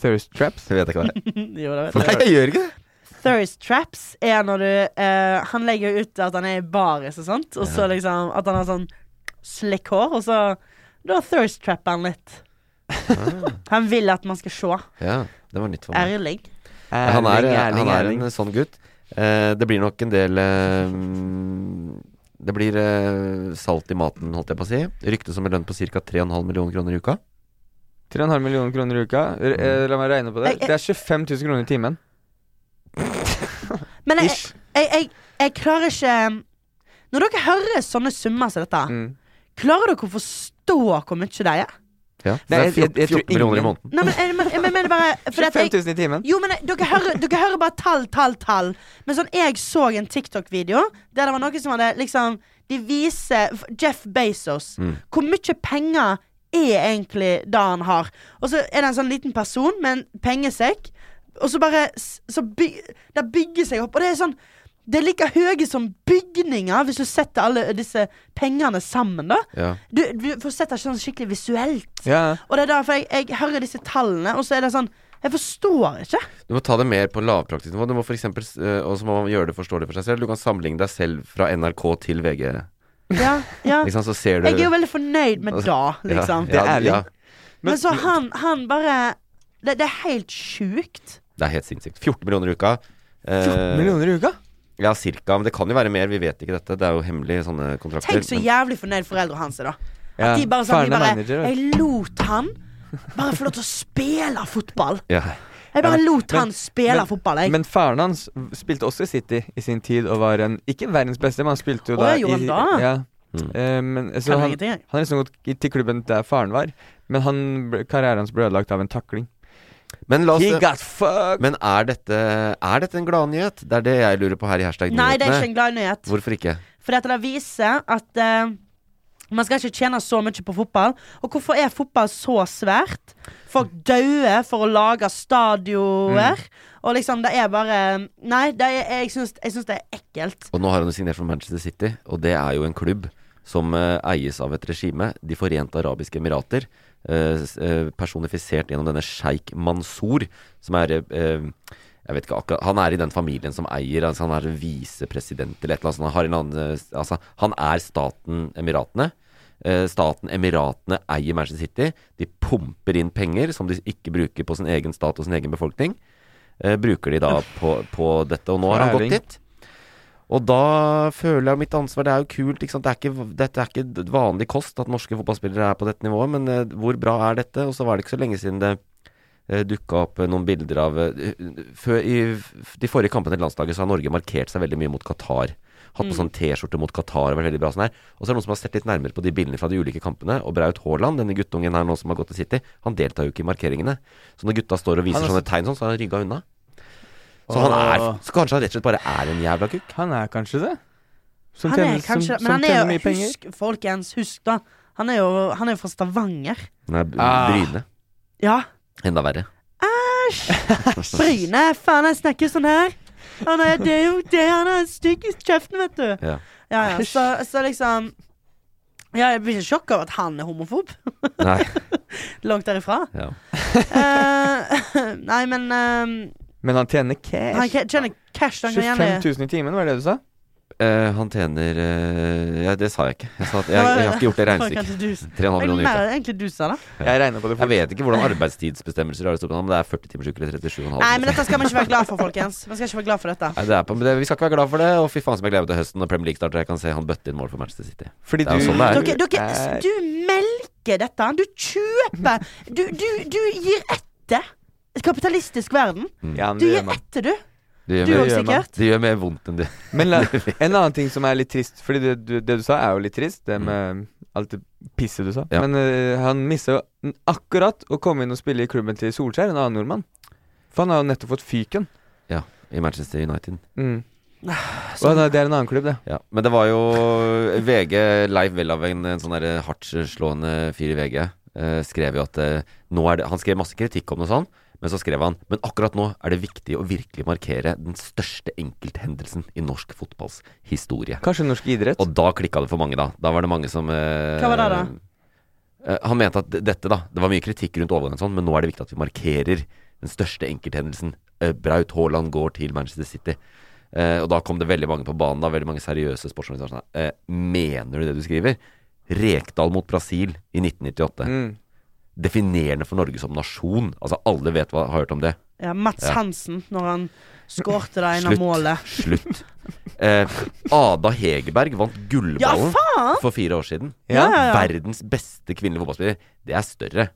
Speaker 2: Thirst traps.
Speaker 3: Jeg vet ikke hva det er.
Speaker 4: Mm, Jo,
Speaker 3: [LAUGHS]
Speaker 4: det vet jeg.
Speaker 3: Nei, jeg gjør ikke det!
Speaker 4: Thirst traps er når du eh, Han legger jo ut at han er i baris og sånt, og så liksom at han har sånn slick hår, og så Da thirst trapper han litt. Han vil at man skal se.
Speaker 3: Ah, Ja, det var nytt for meg.
Speaker 4: Erling.
Speaker 3: Han er,
Speaker 2: Erling,
Speaker 3: han
Speaker 2: Erling,
Speaker 3: er
Speaker 2: Erling.
Speaker 3: en sånn gutt. Eh, det blir nok en del eh, mm, Det blir eh, salt i maten, holdt jeg på å si. Rykte som en lønn på ca. 3,5 millioner kroner i uka.
Speaker 2: 3,5 millioner kroner i uka. R
Speaker 3: Mm.
Speaker 2: eh, la meg regne på det.
Speaker 4: Jeg- jeg-
Speaker 2: Det er 25 000 kroner i timen.
Speaker 4: Men jeg,
Speaker 2: Ish.
Speaker 4: jeg, jeg, jeg klarer ikke Når dere hører sånne summer som dette,
Speaker 2: Mm.
Speaker 4: klarer dere å forstå hvor mye det er?
Speaker 3: Ja. Så det
Speaker 2: Nei,
Speaker 3: er
Speaker 2: jeg- jeg- jeg
Speaker 3: 14
Speaker 2: tror
Speaker 3: millioner i
Speaker 2: ingen-
Speaker 3: måneden.
Speaker 4: Nei, men jeg, men- jeg mener bare for at
Speaker 2: 25
Speaker 4: jeg,
Speaker 2: 000 i timen.
Speaker 4: Jo, men jeg- dere hører, dere hører bare tall, tall, tall. Men sånn, jeg så en TikTok-video der det var noen som hadde liksom De viser f- Jeff Bezos. Hvor mye penger er egentlig det han har? Og så er det en sånn liten person med en pengesekk, og så bare s- så by, Det bygger seg opp, og det er sånn det er like høye som bygninger, hvis du setter alle disse pengene sammen. da
Speaker 3: Ja.
Speaker 4: Du, du får sett det sånn skikkelig visuelt.
Speaker 2: Ja.
Speaker 4: Og det er derfor jeg, jeg hører disse tallene, og så er det sånn Jeg forstår ikke.
Speaker 3: Du må ta det mer på lavpraktisk nivå. Du må for eksempel, s- eh, Og så må man gjøre det forståelig for seg selv. Du kan sammenligne deg selv fra NRK til VG.
Speaker 4: Ja,
Speaker 3: [LAUGHS]
Speaker 4: ja.
Speaker 3: Ikke sant? Så ser du Altså,
Speaker 4: Jeg er jo veldig fornøyd med da, liksom.
Speaker 2: Det er ærlig.
Speaker 4: Men så han, han bare det, det er helt sjukt.
Speaker 3: Det er helt sinnssykt. 14 millioner i uka. Eh,
Speaker 2: 14 millioner i uka?
Speaker 3: Ja, cirka. Men det kan jo være mer. Vi vet ikke dette. Det er jo hemmelig sånne kontrakter.
Speaker 4: Tenk så
Speaker 3: men-
Speaker 4: jævlig fornøyd foreldrene hans er, da.
Speaker 2: Ja.
Speaker 4: De bare sånn,
Speaker 2: Faren
Speaker 4: de
Speaker 2: er
Speaker 4: bare
Speaker 2: manager, vet du.
Speaker 4: Jeg lot han bare få lov til å spille fotball.
Speaker 3: ja.
Speaker 4: Jeg bare lot
Speaker 2: men-
Speaker 4: han spille
Speaker 2: men-
Speaker 4: fotball, jeg.
Speaker 2: Men faren hans spilte også i City i sin tid og var en Ikke verdens beste, men han spilte jo
Speaker 4: Å,
Speaker 2: da
Speaker 4: gjorde han
Speaker 2: i,
Speaker 4: da?
Speaker 2: Ja.
Speaker 3: Mm.
Speaker 2: Eh, men, så
Speaker 4: Kan
Speaker 2: han,
Speaker 4: ingenting, jeg.
Speaker 2: han har liksom gått i- til klubben der faren var, men han, ble- karrieren hans ble ødelagt av en takling.
Speaker 3: Men la
Speaker 2: He
Speaker 3: oss
Speaker 2: got fucked!
Speaker 3: Men er dette, er dette en gladnyhet? Det er det jeg lurer på her i hashtag
Speaker 4: Nei, det er ikke
Speaker 3: nyhetene.
Speaker 4: en glad nyhet.
Speaker 3: Hvorfor ikke?
Speaker 4: For dette det viser at eh, man skal ikke tjene så mye på fotball. Og hvorfor er fotball så svært? Folk dauer for å lage stadioner.
Speaker 2: Mm.
Speaker 4: Og liksom, det er bare Nei, det er, jeg syns jeg syns det er ekkelt.
Speaker 3: Og nå har han jo signert for Manchester City, og det er jo en klubb som eh, eies av et regime, De forente arabiske emirater, eh, s- eh, personifisert gjennom denne sjeik Mansour, som er eh, eh, jeg vet ikke akkurat, Han er i den familien som eier altså Han er visepresident eller et eller annet. sånt, Han, har en annen, eh, altså, han er staten Emiratene. Eh, staten Emiratene eier Manchester City. De pumper inn penger som de ikke bruker på sin egen stat og sin egen befolkning. Eh, bruker de da på, på dette. Og nå har han gått
Speaker 2: Fæling.
Speaker 3: dit. Og da føler jeg mitt ansvar. Det er jo kult. Ikke sant? Det er ikke, dette er ikke d- vanlig kost at norske fotballspillere er på dette nivået, men eh, hvor bra er dette? Og så var det ikke så lenge siden det eh, dukka opp eh, noen bilder av eh, før, I f- de forrige kampene til landslaget så har Norge markert seg veldig mye mot Qatar. Hatt på
Speaker 2: Mm.
Speaker 3: sånn T-skjorte mot Qatar og vært veldig bra sånn her. Og så er det noen som har sett litt nærmere på de bildene fra de ulike kampene. Og Braut Haaland, denne guttungen her nå som har gått til City, han deltar jo ikke i markeringene. Så når gutta står og viser
Speaker 2: Han er
Speaker 3: sånne tegn sånn, så har han rygga unna. Så han er
Speaker 2: Åh.
Speaker 3: Så kanskje han rett og slett bare er en jævla kukk.
Speaker 2: Han er kanskje det? Som
Speaker 4: Han er
Speaker 2: tjener-
Speaker 4: kanskje
Speaker 2: som,
Speaker 4: Men
Speaker 2: som
Speaker 4: han er
Speaker 2: tjener mye
Speaker 4: jo
Speaker 2: penger.
Speaker 4: Husk, folkens, husk da. Han er jo, han er jo fra Stavanger.
Speaker 3: Nei, b-
Speaker 2: Ah.
Speaker 3: Bryne.
Speaker 4: Ja.
Speaker 3: Enda verre.
Speaker 2: [LAUGHS]
Speaker 4: Bryne. Faen, jeg snakker sånn her. Han er, det er jo det han er stygg i kjeften, vet du.
Speaker 3: Ja.
Speaker 4: Ja, ja. Så, så liksom Ja, jeg blir ikke sjokk over at han er homofob.
Speaker 3: Nei. [LAUGHS]
Speaker 4: Langt derifra.
Speaker 3: Ja.
Speaker 4: Eh, [LAUGHS] nei, men eh,
Speaker 2: Men han tjener cash.
Speaker 4: Han kan- tjener cash. Han
Speaker 2: 25
Speaker 4: kan gjerne
Speaker 2: 000 i timen, var det det du sa?
Speaker 3: Eh, han tjener eh, Ja, det sa jeg ikke. Jeg, sa at jeg, jeg har ikke gjort det regnestykket.
Speaker 4: Kanskje
Speaker 3: 3,5
Speaker 4: du- Det er
Speaker 3: millioner i uka.
Speaker 4: mer egentlig du sa det.
Speaker 2: Jeg regner på det
Speaker 3: Jeg
Speaker 2: fort.
Speaker 3: vet ikke hvordan arbeidstidsbestemmelser er, i Storbritannia, men det er 40 timers uke eller 37,5.
Speaker 4: Nei, men
Speaker 3: Nei,
Speaker 4: dette skal man ikke være glad
Speaker 3: [LAUGHS]
Speaker 4: for, folkens. Man skal ikke være glad for dette.
Speaker 3: det er på, men det, vi skal ikke være glad for det, og fy faen som jeg gleder meg til høsten når Premier League starter. Jeg kan se han bøtte inn mål for Manchester City.
Speaker 2: Fordi
Speaker 3: Det er jo sånn det er.
Speaker 4: Dere, dere,
Speaker 2: er-
Speaker 4: du melker dette. Du kjøper. Du, du, du gir etter. Kapitalistisk verden.
Speaker 2: Ja, men
Speaker 4: Du
Speaker 2: det
Speaker 4: gir
Speaker 2: gjør man.
Speaker 4: etter, du.
Speaker 3: Det gjør,
Speaker 4: Du
Speaker 2: det
Speaker 4: òg,
Speaker 2: gjør man.
Speaker 4: sikkert.
Speaker 3: det gjør mer vondt enn [LAUGHS] det.
Speaker 2: Men la, en annen ting som er litt trist, fordi det du, det du sa er jo litt trist, det med um, alt det pisset du sa.
Speaker 3: Mm. Ja.
Speaker 2: Men eh, han mista jo akkurat å komme inn og spille i klubben til Solskjær, en annen nordmann. For han har jo nettopp fått fyken.
Speaker 3: Ja, i Manchester United.
Speaker 2: Mm.
Speaker 3: Altså,
Speaker 2: Og han er- det er en annen klubb, det.
Speaker 3: Ja. Men det var jo VG, Leif Welhaven, en sånn derre hardtslående fyr i VG. eh, skrev jo at eh, nå er det, Han skrev masse kritikk om det og sånn, men så skrev han Men akkurat nå er det viktig å virkelig markere den største enkelthendelsen i norsk fotballs historie.
Speaker 2: Kanskje norsk idrett?
Speaker 3: Og da klikka det for mange, da. Da var det mange som eh,
Speaker 4: Hva var det da?
Speaker 3: eh, han mente at d- dette, da Det var mye kritikk rundt overgangen og sånn, men nå er det viktig at vi markerer den største enkelthendelsen. Eh, Braut Haaland går til Manchester City. Eh, og da kom det veldig mange på banen, da. Veldig mange seriøse sportsjournalister. som sa, Eh, mener du det du skriver? Rekdal mot Brasil i 1998.
Speaker 2: Mm.
Speaker 3: Definerende for Norge som nasjon. Altså, alle vet hva, har hørt om det.
Speaker 4: Ja, Mats
Speaker 3: Ja.
Speaker 4: Hansen, når han skårte det ene
Speaker 3: Slutt.
Speaker 4: målet.
Speaker 3: Slutt. Eh, Ada Hegerberg vant
Speaker 4: Ja,
Speaker 3: gullballen
Speaker 4: faen!
Speaker 3: for fire år siden.
Speaker 4: Ja, ja, ja.
Speaker 3: Verdens beste kvinnelige fotballspiller. Det er større.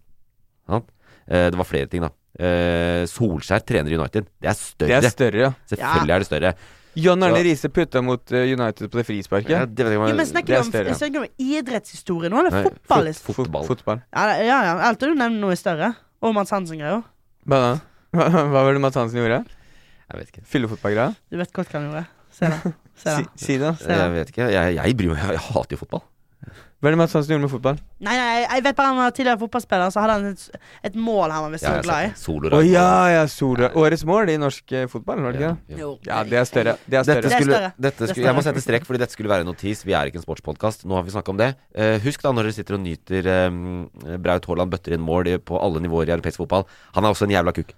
Speaker 3: Sant? Eh, det var flere ting, da. Eh, Solskjær trener i United. Det er
Speaker 2: Det
Speaker 3: større.
Speaker 2: er større, ja.
Speaker 3: Selvfølgelig er det større.
Speaker 2: Jan Arne
Speaker 3: Ja.
Speaker 2: Riise putta mot eh, United på det frisparket.
Speaker 3: Ja, det vet jeg ikke om
Speaker 4: Jo,
Speaker 3: jeg-
Speaker 4: men
Speaker 2: det
Speaker 4: snakker
Speaker 2: er
Speaker 4: vi om,
Speaker 2: større.
Speaker 4: snakker vi om idrettshistorie nå, eller
Speaker 3: Nei,
Speaker 4: fotball? liksom?
Speaker 2: Fo-
Speaker 3: Fotball.
Speaker 2: fotball.
Speaker 4: Ja, ja. ja. Alt du nevner noe er større. Og Mats Hansen-greia.
Speaker 2: Hva da? Hva hva var det Mads Hansen gjorde?
Speaker 3: Jeg vet ikke.
Speaker 2: Fyllefotballgreia?
Speaker 4: Du vet godt hva han gjorde. Se
Speaker 3: [LAUGHS]
Speaker 4: det. Se
Speaker 2: Si,
Speaker 4: det.
Speaker 2: si det.
Speaker 4: Se
Speaker 3: Jeg
Speaker 4: det.
Speaker 3: vet ikke. Jeg, jeg bryr meg Jeg hater jo fotball.
Speaker 2: Hva er det Mads Hansen gjorde med fotball?
Speaker 4: Nei, nei, jeg vet bare han var tidligere fotballspiller, så hadde han et, et mål han var visst
Speaker 3: Ja,
Speaker 4: så
Speaker 3: jeg
Speaker 4: glad i.
Speaker 3: ser det. Solo
Speaker 2: Å ja, ja, Sola. Årets mål i norsk eh, fotball, var det ikke det?
Speaker 3: Ja.
Speaker 4: Jo.
Speaker 2: Ja, det er større. Det er
Speaker 3: Dette
Speaker 2: større.
Speaker 4: er
Speaker 3: skulle,
Speaker 4: større.
Speaker 3: dette
Speaker 4: Det er
Speaker 3: skulle, jeg må
Speaker 4: større.
Speaker 3: sette strek, fordi dette skulle være en notis. Vi er ikke en sportspodkast. Nå har vi snakka om det. Eh, husk da, når dere sitter og nyter eh, Braut Haaland bøtter inn mål i- på alle nivåer i europeisk fotball, han er også en jævla kuk.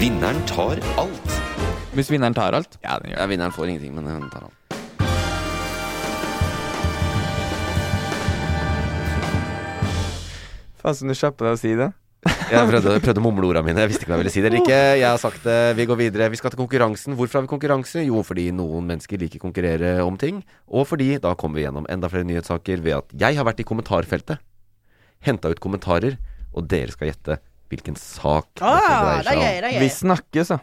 Speaker 3: Vinneren tar alt.
Speaker 1: Hvis vinneren tar alt.
Speaker 3: Ja, vinneren får ingenting, men han tar alt.
Speaker 2: Faen som du kjappa deg å si det.
Speaker 3: Jeg prøvde, prøvde å mumle orda mine. Jeg visste ikke om jeg ville si det eller ikke. Jeg har sagt det. Vi går videre. Vi skal til konkurransen. Hvorfor har vi konkurranse? Jo, fordi noen mennesker liker å konkurrere om ting. Og fordi da kommer vi gjennom enda flere nyhetssaker ved at jeg har vært i kommentarfeltet. Henta ut kommentarer, og dere skal gjette hvilken sak dette
Speaker 4: Ah,
Speaker 3: dreier
Speaker 4: det er gøy,
Speaker 3: seg om.
Speaker 4: det er
Speaker 2: Vi
Speaker 4: gøy.
Speaker 2: snakkes, da.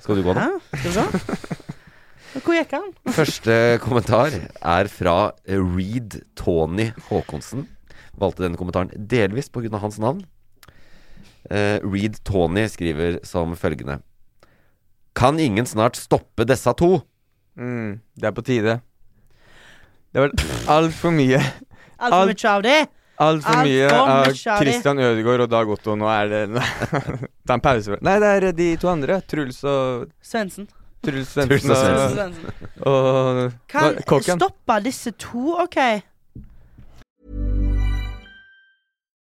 Speaker 3: Skal du gå,
Speaker 4: Hæ?
Speaker 3: da?
Speaker 4: Skal vi
Speaker 3: [LAUGHS]
Speaker 4: se. Hvor gikk han?
Speaker 3: Første kommentar er fra Reed Tony Håkonsen. Valgte denne kommentaren delvis pga. hans navn. Eh, Reed Tony skriver som følgende Kan ingen snart stoppe disse to?
Speaker 2: Mm, det er på tide. Det var altfor mye.
Speaker 4: Altfor
Speaker 2: Alt-
Speaker 4: mye av det?
Speaker 2: Altfor
Speaker 4: Alt
Speaker 2: mye
Speaker 4: for
Speaker 2: av
Speaker 4: mye av de.
Speaker 2: Christian Ødegaard og Dag Otto. Nå er det [LAUGHS] Ta en pause. Nei, det er de to andre. Truls og
Speaker 4: Svendsen.
Speaker 2: Truls
Speaker 3: Truls
Speaker 2: Svendsen
Speaker 3: og
Speaker 4: Svendsen,
Speaker 2: og,
Speaker 4: Svendsen.
Speaker 2: og
Speaker 4: Kan
Speaker 2: hva- Kåken.
Speaker 4: stoppe disse to? OK. Eh,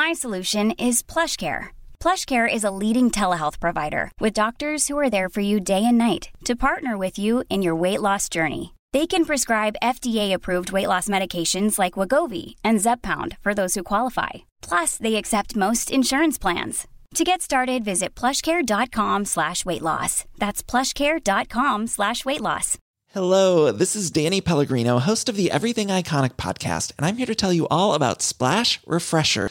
Speaker 5: My solution is PlushCare. PlushCare is a leading telehealth provider with doctors who are there for you day and night to partner with you in your weight loss journey. They can prescribe FDA-approved weight loss medications like Wagovi and Zepbound for those who qualify. Plus, they accept most insurance plans. To get started, visit plushcare.com slash weight loss. That's plushcare.com slash weight loss.
Speaker 6: Hello, this is Danny Pellegrino, host of the Everything Iconic podcast, and I'm here to tell you all about Splash Refresher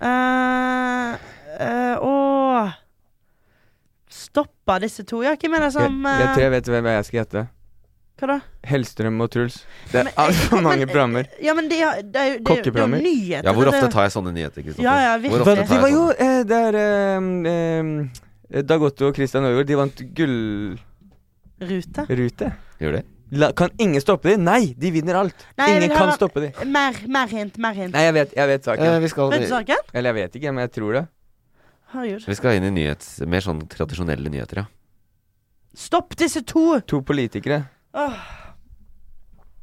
Speaker 4: Eh, stoppe disse to? Ja, hvem er det
Speaker 2: Jeg,
Speaker 4: som
Speaker 2: jeg
Speaker 4: eh,
Speaker 2: tror jeg vet hvem jeg skal hete.
Speaker 4: Hva da?
Speaker 2: Hellstrøm og Truls. Det er altfor mange programmer.
Speaker 4: eh, Ja, men det, er- det, er jo- det, er jo- det er jo
Speaker 2: Kokkeprogrammer.
Speaker 4: nyheter.
Speaker 3: Ja, hvor
Speaker 4: det er
Speaker 3: ofte
Speaker 4: jo-
Speaker 3: tar jeg sånne nyheter? Kristoffer?
Speaker 4: Ja, ja,
Speaker 3: Hvor
Speaker 4: virkelig.
Speaker 3: ofte
Speaker 2: Men
Speaker 3: tar
Speaker 2: de
Speaker 3: jeg
Speaker 2: var jo
Speaker 3: sånne?
Speaker 2: eh, Der eh, eh, Dag Otto og Christian Øygaard, de vant gullrute.
Speaker 4: Rute?
Speaker 3: Gjør det?
Speaker 2: La, kan ingen stoppe dem? Nei, de vinner alt.
Speaker 4: Nei, jeg
Speaker 2: ingen
Speaker 4: vil
Speaker 2: kan
Speaker 4: ha-
Speaker 2: stoppe dem.
Speaker 4: Mer, mer hint, mer hint.
Speaker 2: Nei, jeg vet, jeg vet saken.
Speaker 3: Eh, vi skal-
Speaker 4: Vet du saken?
Speaker 2: Eller jeg vet ikke, men jeg tror det.
Speaker 4: Herregud.
Speaker 3: Vi skal inn i nyhets, mer sånn tradisjonelle nyheter, ja.
Speaker 4: Stopp disse to!
Speaker 2: To politikere.
Speaker 4: Åh,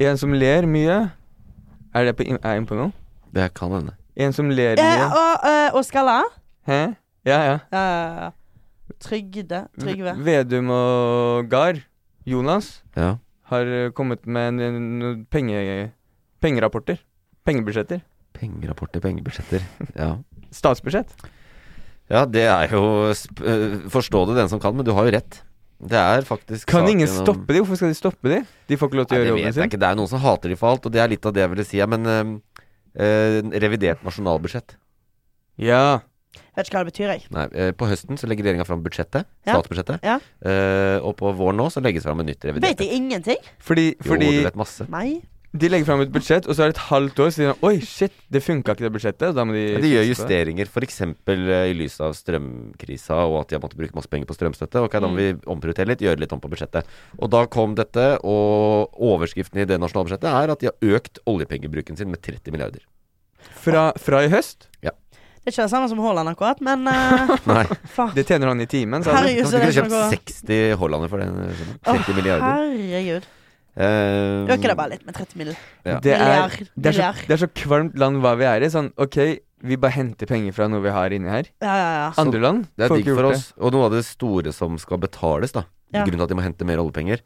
Speaker 2: En som ler mye. Er det på, in- er jeg inne på noe?
Speaker 3: Det kan hende.
Speaker 2: En som ler
Speaker 4: Eh,
Speaker 2: mye.
Speaker 4: og eh, Oskar La?
Speaker 2: Hæ? Ja, ja.
Speaker 4: Eh, Trygde. Trygve.
Speaker 2: Vedum og Gahr, Jonas,
Speaker 3: ja.
Speaker 2: har eh, kommet med en- en- noen penge, pengerapporter. Pengebudsjetter.
Speaker 3: Pengerapporter, pengebudsjetter. Ja.
Speaker 2: Statsbudsjett.
Speaker 3: ja, det er jo sp eh, Forstå det den som kan, men du har jo rett. Det er faktisk
Speaker 2: Kan ingen
Speaker 3: saken om-
Speaker 2: stoppe de? Hvorfor skal de stoppe de? De får ikke lov til
Speaker 3: Nei,
Speaker 2: å gjøre
Speaker 3: det
Speaker 2: jobben
Speaker 3: vet jeg
Speaker 2: sin.
Speaker 3: ikke. Det er noen som hater de for alt, og det er litt av det jeg ville si. Ja, men eh, eh, revidert nasjonalbudsjett.
Speaker 2: Ja.
Speaker 4: Vet ikke hva det betyr, jeg.
Speaker 3: Nei, eh, på høsten så legger regjeringa fram budsjettet,
Speaker 4: Ja.
Speaker 3: statsbudsjettet.
Speaker 4: Ja.
Speaker 3: Eh, og på våren nå så legges fram et nytt revidert.
Speaker 4: Vet jeg ingenting?
Speaker 2: Fordi,
Speaker 3: Jo,
Speaker 2: fordi
Speaker 3: du vet masse.
Speaker 4: Nei.
Speaker 2: de legger fram et budsjett, og så er det et halvt år, så sier de oi, shit, det funka ikke det budsjettet. og Da må de
Speaker 3: Men de gjør
Speaker 2: fikse på det.
Speaker 3: justeringer, f.eks. i lys av strømkrisa og at de har måttet bruke masse penger på strømstøtte. Ok,
Speaker 4: Mm.
Speaker 3: Da må vi omprioritere litt, gjøre litt om på budsjettet. Og da kom dette, og overskriften i det nasjonalbudsjettet er at de har økt oljepengebruken sin med 30 milliarder.
Speaker 2: Fra, fra i høst.
Speaker 4: Det er ikke det samme som Haaland akkurat, men eh, [LAUGHS]
Speaker 3: Nei,
Speaker 4: faen.
Speaker 2: Det tjener han i timen, sa de.
Speaker 4: Herregud,
Speaker 3: kan
Speaker 4: så
Speaker 3: du
Speaker 4: det
Speaker 3: kunne
Speaker 4: er ikke
Speaker 3: kjøpt
Speaker 4: noe
Speaker 3: 60 Hollander for den? skjønner du? 30
Speaker 4: Åh,
Speaker 3: milliarder.
Speaker 4: Herregud.
Speaker 3: Eh,
Speaker 4: Øker det bare litt med 30 mill.
Speaker 3: Ja.
Speaker 2: Det er,
Speaker 4: Milliard,
Speaker 2: det, er så,
Speaker 4: milliard.
Speaker 2: det er så kvalmt land hva vi er i. Sånn, OK, vi bare henter penger fra noe vi har inni her.
Speaker 4: Ja, ja, ja.
Speaker 2: Andre land
Speaker 3: Det er
Speaker 2: får
Speaker 3: digg
Speaker 2: ikke
Speaker 3: for
Speaker 2: gjort
Speaker 3: oss. Og noe av det store som skal betales, da.
Speaker 4: Ja.
Speaker 3: Grunnen til at de må hente mer oljepenger.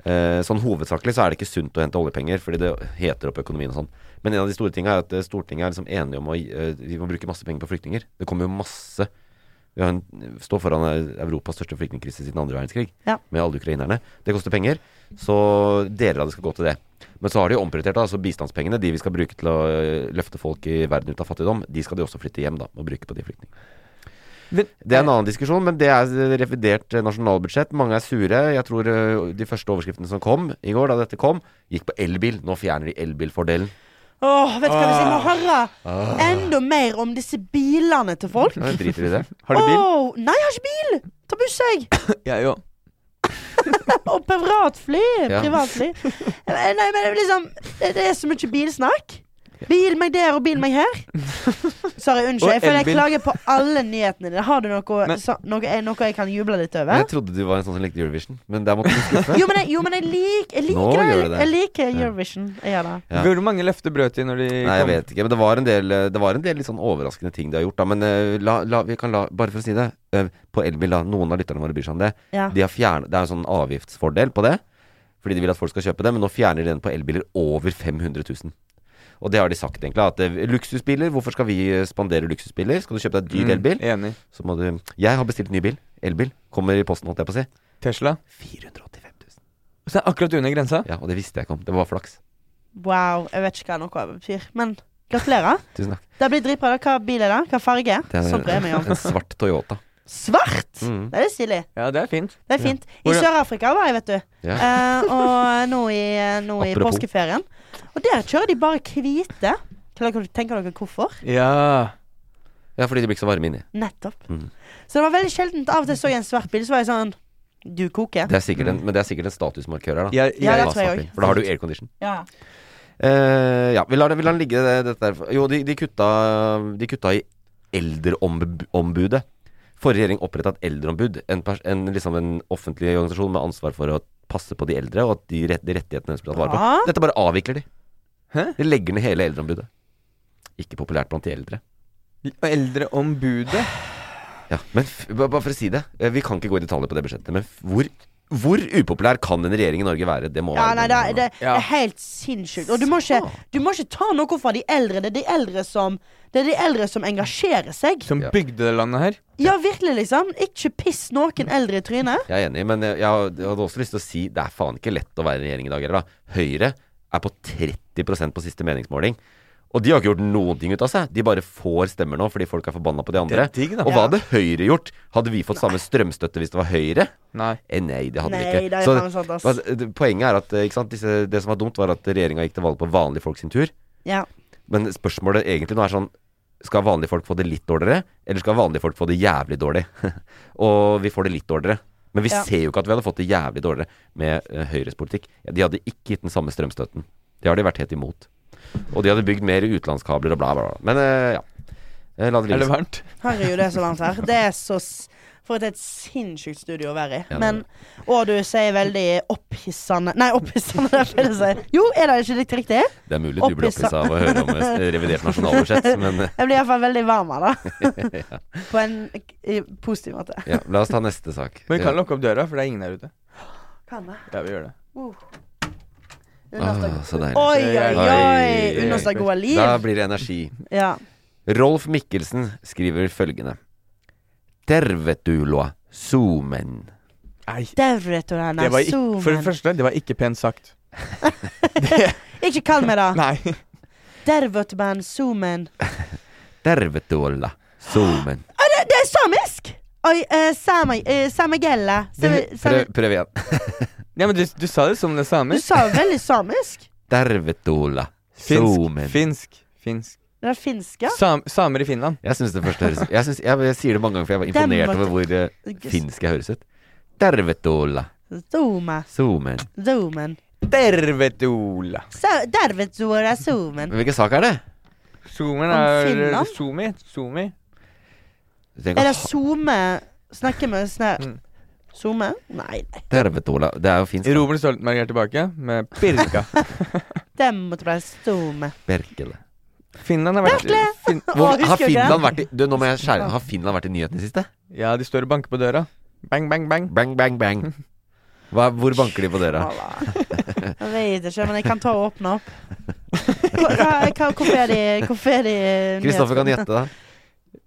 Speaker 3: Eh, sånn hovedsakelig så er det ikke sunt å hente oljepenger, fordi det heter opp økonomien og sånn. Men en av de store tinga er at eh, Stortinget er liksom enige om å gi- eh, vi må bruke masse penger på flyktninger. Det kommer jo masse Vi har en, står foran eh, Europas største flyktningkrise siden andre verdenskrig,
Speaker 4: Ja.
Speaker 3: med alle ukrainerne. Det koster penger, så deler av det skal gå til det. Men så har de jo omprioritert da, altså bistandspengene, de vi skal bruke til å eh, løfte folk i verden ut av fattigdom, de skal de også flytte hjem da, og bruke på de flyktningene.
Speaker 2: Men-
Speaker 3: Det er en annen diskusjon, men det er revidert eh, nasjonalbudsjett. Mange er sure. Jeg tror eh, de første overskriftene som kom i går, da dette kom, gikk på elbil. Nå fjerner de elbilfordelen.
Speaker 4: Åh, vet du hva, hvis jeg må høre enda mer om disse bilene til folk
Speaker 3: Nå driter de i det.
Speaker 2: Har du bil?
Speaker 4: Åh, nei, jeg har ikke bil! Ta buss, jeg.
Speaker 2: Jeg òg.
Speaker 4: Og privatfly.
Speaker 3: Ja.
Speaker 4: Privatfly. Nei, men det er liksom Det det er så mye bilsnakk. Bil meg der og bil meg her. Sorry, unnskyld.
Speaker 2: Og
Speaker 4: Jeg føler jeg
Speaker 2: elbil.
Speaker 4: klager på alle nyhetene dine. Har du noe,
Speaker 2: Men-
Speaker 4: så, noe, jeg- noe jeg kan juble litt
Speaker 3: Men
Speaker 4: over?
Speaker 3: jeg trodde du var en sånn som likte Eurovision, men der måtte du skuffe.
Speaker 4: Jo, men jeg, jo, men jeg, lik, jeg
Speaker 3: Nå
Speaker 4: liker
Speaker 3: gjør du
Speaker 4: det.
Speaker 3: det.
Speaker 4: Jeg liker Eurovision. Jeg gjør det.
Speaker 3: Ja.
Speaker 2: Hvor mange løfter brøt de når de
Speaker 3: Nei, jeg
Speaker 2: kom?
Speaker 3: vet ikke. Men det var en del, eh, det var en del litt sånn overraskende ting de har gjort, da. Men eh, la, la, vi kan la Bare for å si det. eh, På elbil, da. Noen av lytterne våre bryr seg om det.
Speaker 4: Ja.
Speaker 3: De har fjern, det er en sånn avgiftsfordel på det, fordi de vil at folk skal kjøpe det, men nå fjerner de den på elbiler over 500 000. Og det har de sagt, egentlig. At eh, luksusbiler, hvorfor skal vi eh, spandere luksusbiler? Skal du kjøpe deg dyr
Speaker 2: Mm,
Speaker 3: elbil,
Speaker 2: Enig.
Speaker 3: så må du Jeg har bestilt ny bil. Elbil. Kommer i posten, holdt jeg på å si.
Speaker 2: Tesla.
Speaker 3: 485 000.
Speaker 2: Så det er akkurat under grensa.
Speaker 3: Ja, og det visste jeg ikke om. Det var flaks.
Speaker 4: Wow. Jeg vet ikke hva noe av det betyr. Men gratulerer.
Speaker 3: Tusen takk.
Speaker 4: Det blir dritbra. da. Hva bil er det? Hva farge?
Speaker 3: Det er
Speaker 4: Sånt bryr Sånn jeg meg om.
Speaker 3: en svart Toyota.
Speaker 4: Svart!
Speaker 3: Mm.
Speaker 4: Det er litt stilig.
Speaker 2: Ja, det er fint.
Speaker 4: Det er fint. I
Speaker 2: Hvordan-
Speaker 4: Sør-Afrika var jeg, vet du.
Speaker 3: Ja.
Speaker 4: Eh, og nå i, nå i
Speaker 3: Apropos.
Speaker 4: påskeferien. Og der kjører de bare hvite. Kan dere- Tenker dere hvorfor?
Speaker 2: Ja.
Speaker 3: ja, fordi de blir ikke så varme inni.
Speaker 4: Nettopp.
Speaker 3: Mm.
Speaker 4: Så det var veldig sjeldent. Av og til så jeg en svart bil, så var jeg sånn Du koker.
Speaker 3: Det er sikkert en, men det er sikkert en statusmarkør her, da.
Speaker 2: Jeg,
Speaker 4: Ja,
Speaker 2: jeg,
Speaker 4: det tror jeg
Speaker 3: Svart bil.
Speaker 4: også.
Speaker 3: For da har du aircondition.
Speaker 4: Ja.
Speaker 3: Eh, ja, vi lar, det- vi lar den ligge det, dette der. Jo, de, de, kutta, de kutta i eldreombudet. Forrige regjering oppretta et eldreombud. En, pers- en, liksom en offentlig organisasjon med ansvar for å passe på de eldre, og at de, rett, de rettighetene deres blir tatt vare på.
Speaker 4: Ja.
Speaker 3: Dette bare avvikler de.
Speaker 2: Hæ?
Speaker 3: De legger ned hele eldreombudet. Ikke populært blant de eldre.
Speaker 2: Eldreombudet.
Speaker 3: Ja, men f ba- bare for å si det, eh, vi kan ikke gå i detaljer på det budsjettet, men f hvor, hvor upopulær kan en regjering i Norge være? Det må være
Speaker 4: ja nei, det, er- det, det
Speaker 2: Ja.
Speaker 4: er helt sinnssykt. Og du må, ikke, du må ikke ta noe fra de eldre. Det er de eldre som, det er de eldre som engasjerer seg.
Speaker 2: Som
Speaker 3: Ja.
Speaker 2: bygde det landet her.
Speaker 4: Ja, virkelig, liksom. Ikke piss noen eldre i trynet.
Speaker 3: Jeg er enig, men jeg, jeg hadde også lyst til å si det er faen ikke lett å være regjering i dag heller, da. Høyre er på 30 på siste meningsmåling, Og de har ikke gjort noen ting ut av seg. De bare får stemmer nå fordi folk er forbanna på de andre.
Speaker 2: Det er digg, da.
Speaker 3: Og hva hadde Høyre gjort? Hadde vi fått samme strømstøtte hvis det var Høyre?
Speaker 2: Nei.
Speaker 3: Eh, nei, det hadde
Speaker 4: Nei,
Speaker 3: vi
Speaker 4: det
Speaker 3: ikke.
Speaker 4: er
Speaker 3: Så
Speaker 4: faen sant, ass.
Speaker 3: altså, det- poenget er at eh, ikke sant, disse, det som var dumt, var at regjeringa gikk til valg på vanlige folk sin tur.
Speaker 4: Ja.
Speaker 3: Men spørsmålet egentlig nå er sånn Skal vanlige folk få det litt dårligere, eller skal vanlige folk få det jævlig dårlig? [LAUGHS] og vi får det litt dårligere. Men vi
Speaker 4: Ja.
Speaker 3: ser jo ikke at vi hadde fått det jævlig dårligere med eh, Høyres politikk. Ja, de hadde ikke gitt den samme strømstøtten. Det har de vært helt imot. Og de hadde bygd mer utenlandskabler og bla, bla, bla. Men eh, ja. Eh, La det
Speaker 2: Er det
Speaker 3: ligge.
Speaker 2: varmt?
Speaker 4: Herregud, det er så varmt her. Det er så s- For et helt sinnssykt studio å være i.
Speaker 3: Ja, det er
Speaker 4: Men Og du sier veldig opphissende Nei, opphissende, det er feil å si. Jo, er det ikke litt riktig?
Speaker 3: Det er mulig du blir
Speaker 4: Opphissa.
Speaker 3: opphissa av å høre om eh, revidert nasjonalbudsjett, men eh,
Speaker 4: Jeg blir iallfall veldig varm av det.
Speaker 3: ja.
Speaker 4: På en i positiv måte.
Speaker 3: ja. La oss ta neste sak.
Speaker 2: Men vi kan
Speaker 3: Ja.
Speaker 2: lukke opp døra, for det er ingen der ute.
Speaker 4: Kan det.
Speaker 2: Ja, vi gjør det.
Speaker 3: Åh, Ah, så deilig.
Speaker 4: Oi, oi, oi.
Speaker 3: Oi.
Speaker 4: Understad gode liv.
Speaker 3: Da blir det energi.
Speaker 4: Ja.
Speaker 3: Rolf Mikkelsen skriver følgende Tervetuloa zoomen
Speaker 2: Nei.
Speaker 4: Devretorana
Speaker 2: Det var ikke, for det
Speaker 4: zoomen.
Speaker 2: første, det var ikke pent sagt.
Speaker 4: Ikke kall meg
Speaker 2: [LAUGHS]
Speaker 4: det.
Speaker 2: Nei.
Speaker 4: Dervotban zoomen.
Speaker 3: Tervetuloa
Speaker 4: [GASPS]
Speaker 3: zoomen
Speaker 4: Å, det, det er samisk! Oi, eh, same- eh, samegella. Same, same,
Speaker 3: Prøv, prøv igjen [LAUGHS]
Speaker 2: Nei, men du, du sa det som det
Speaker 4: du
Speaker 2: samme.
Speaker 4: sa jo veldig samisk.
Speaker 3: Tervetuloa
Speaker 2: Finsk.
Speaker 3: zoomen
Speaker 2: Finsk. Finsk.
Speaker 4: Det er finsk, ja.
Speaker 2: Sam, samer i Finland.
Speaker 3: Jeg synes det første høres jeg, synes, jeg, jeg sier det mange ganger for jeg var imponert over hvor eh, finsk jeg høres ut Tervetuloa
Speaker 4: Zooma.
Speaker 3: zoomen
Speaker 4: Zoomen.
Speaker 2: Dervetola.
Speaker 4: Så- Dervetora zoomen.
Speaker 3: Men hvilken sak er det?
Speaker 2: Zoomen
Speaker 4: Om
Speaker 2: er
Speaker 4: Finland?
Speaker 2: Zoomi. Zoomi.
Speaker 3: Du tenker,
Speaker 4: Er det
Speaker 3: «Ha,
Speaker 4: zoome? Snakke med snø...
Speaker 2: Mm.
Speaker 4: Zoome? Nei, nei.
Speaker 3: Tervetuloa Det er jo finsk
Speaker 2: Robert Stoltenberg er tilbake med Birka.
Speaker 4: Det måtte være zoome.
Speaker 3: Berkele
Speaker 2: [LAUGHS] Finland har vært fin
Speaker 4: Å,
Speaker 3: Hvor,
Speaker 4: husker
Speaker 3: Har
Speaker 4: du ikke?
Speaker 3: Finland vært i Du, nå må jeg skjære Har Finland vært i nyheten i siste?
Speaker 2: Ja, de står og banker på døra. Bang, bang, bang.
Speaker 3: Bang, bang, bang Hva, Hvor banker de på dere?
Speaker 4: Jeg vet ikke, men jeg kan ta og åpne opp. Hva- hva- hva- Hvorfor er de Hvorfor er de
Speaker 3: Kristoffer kan gjette da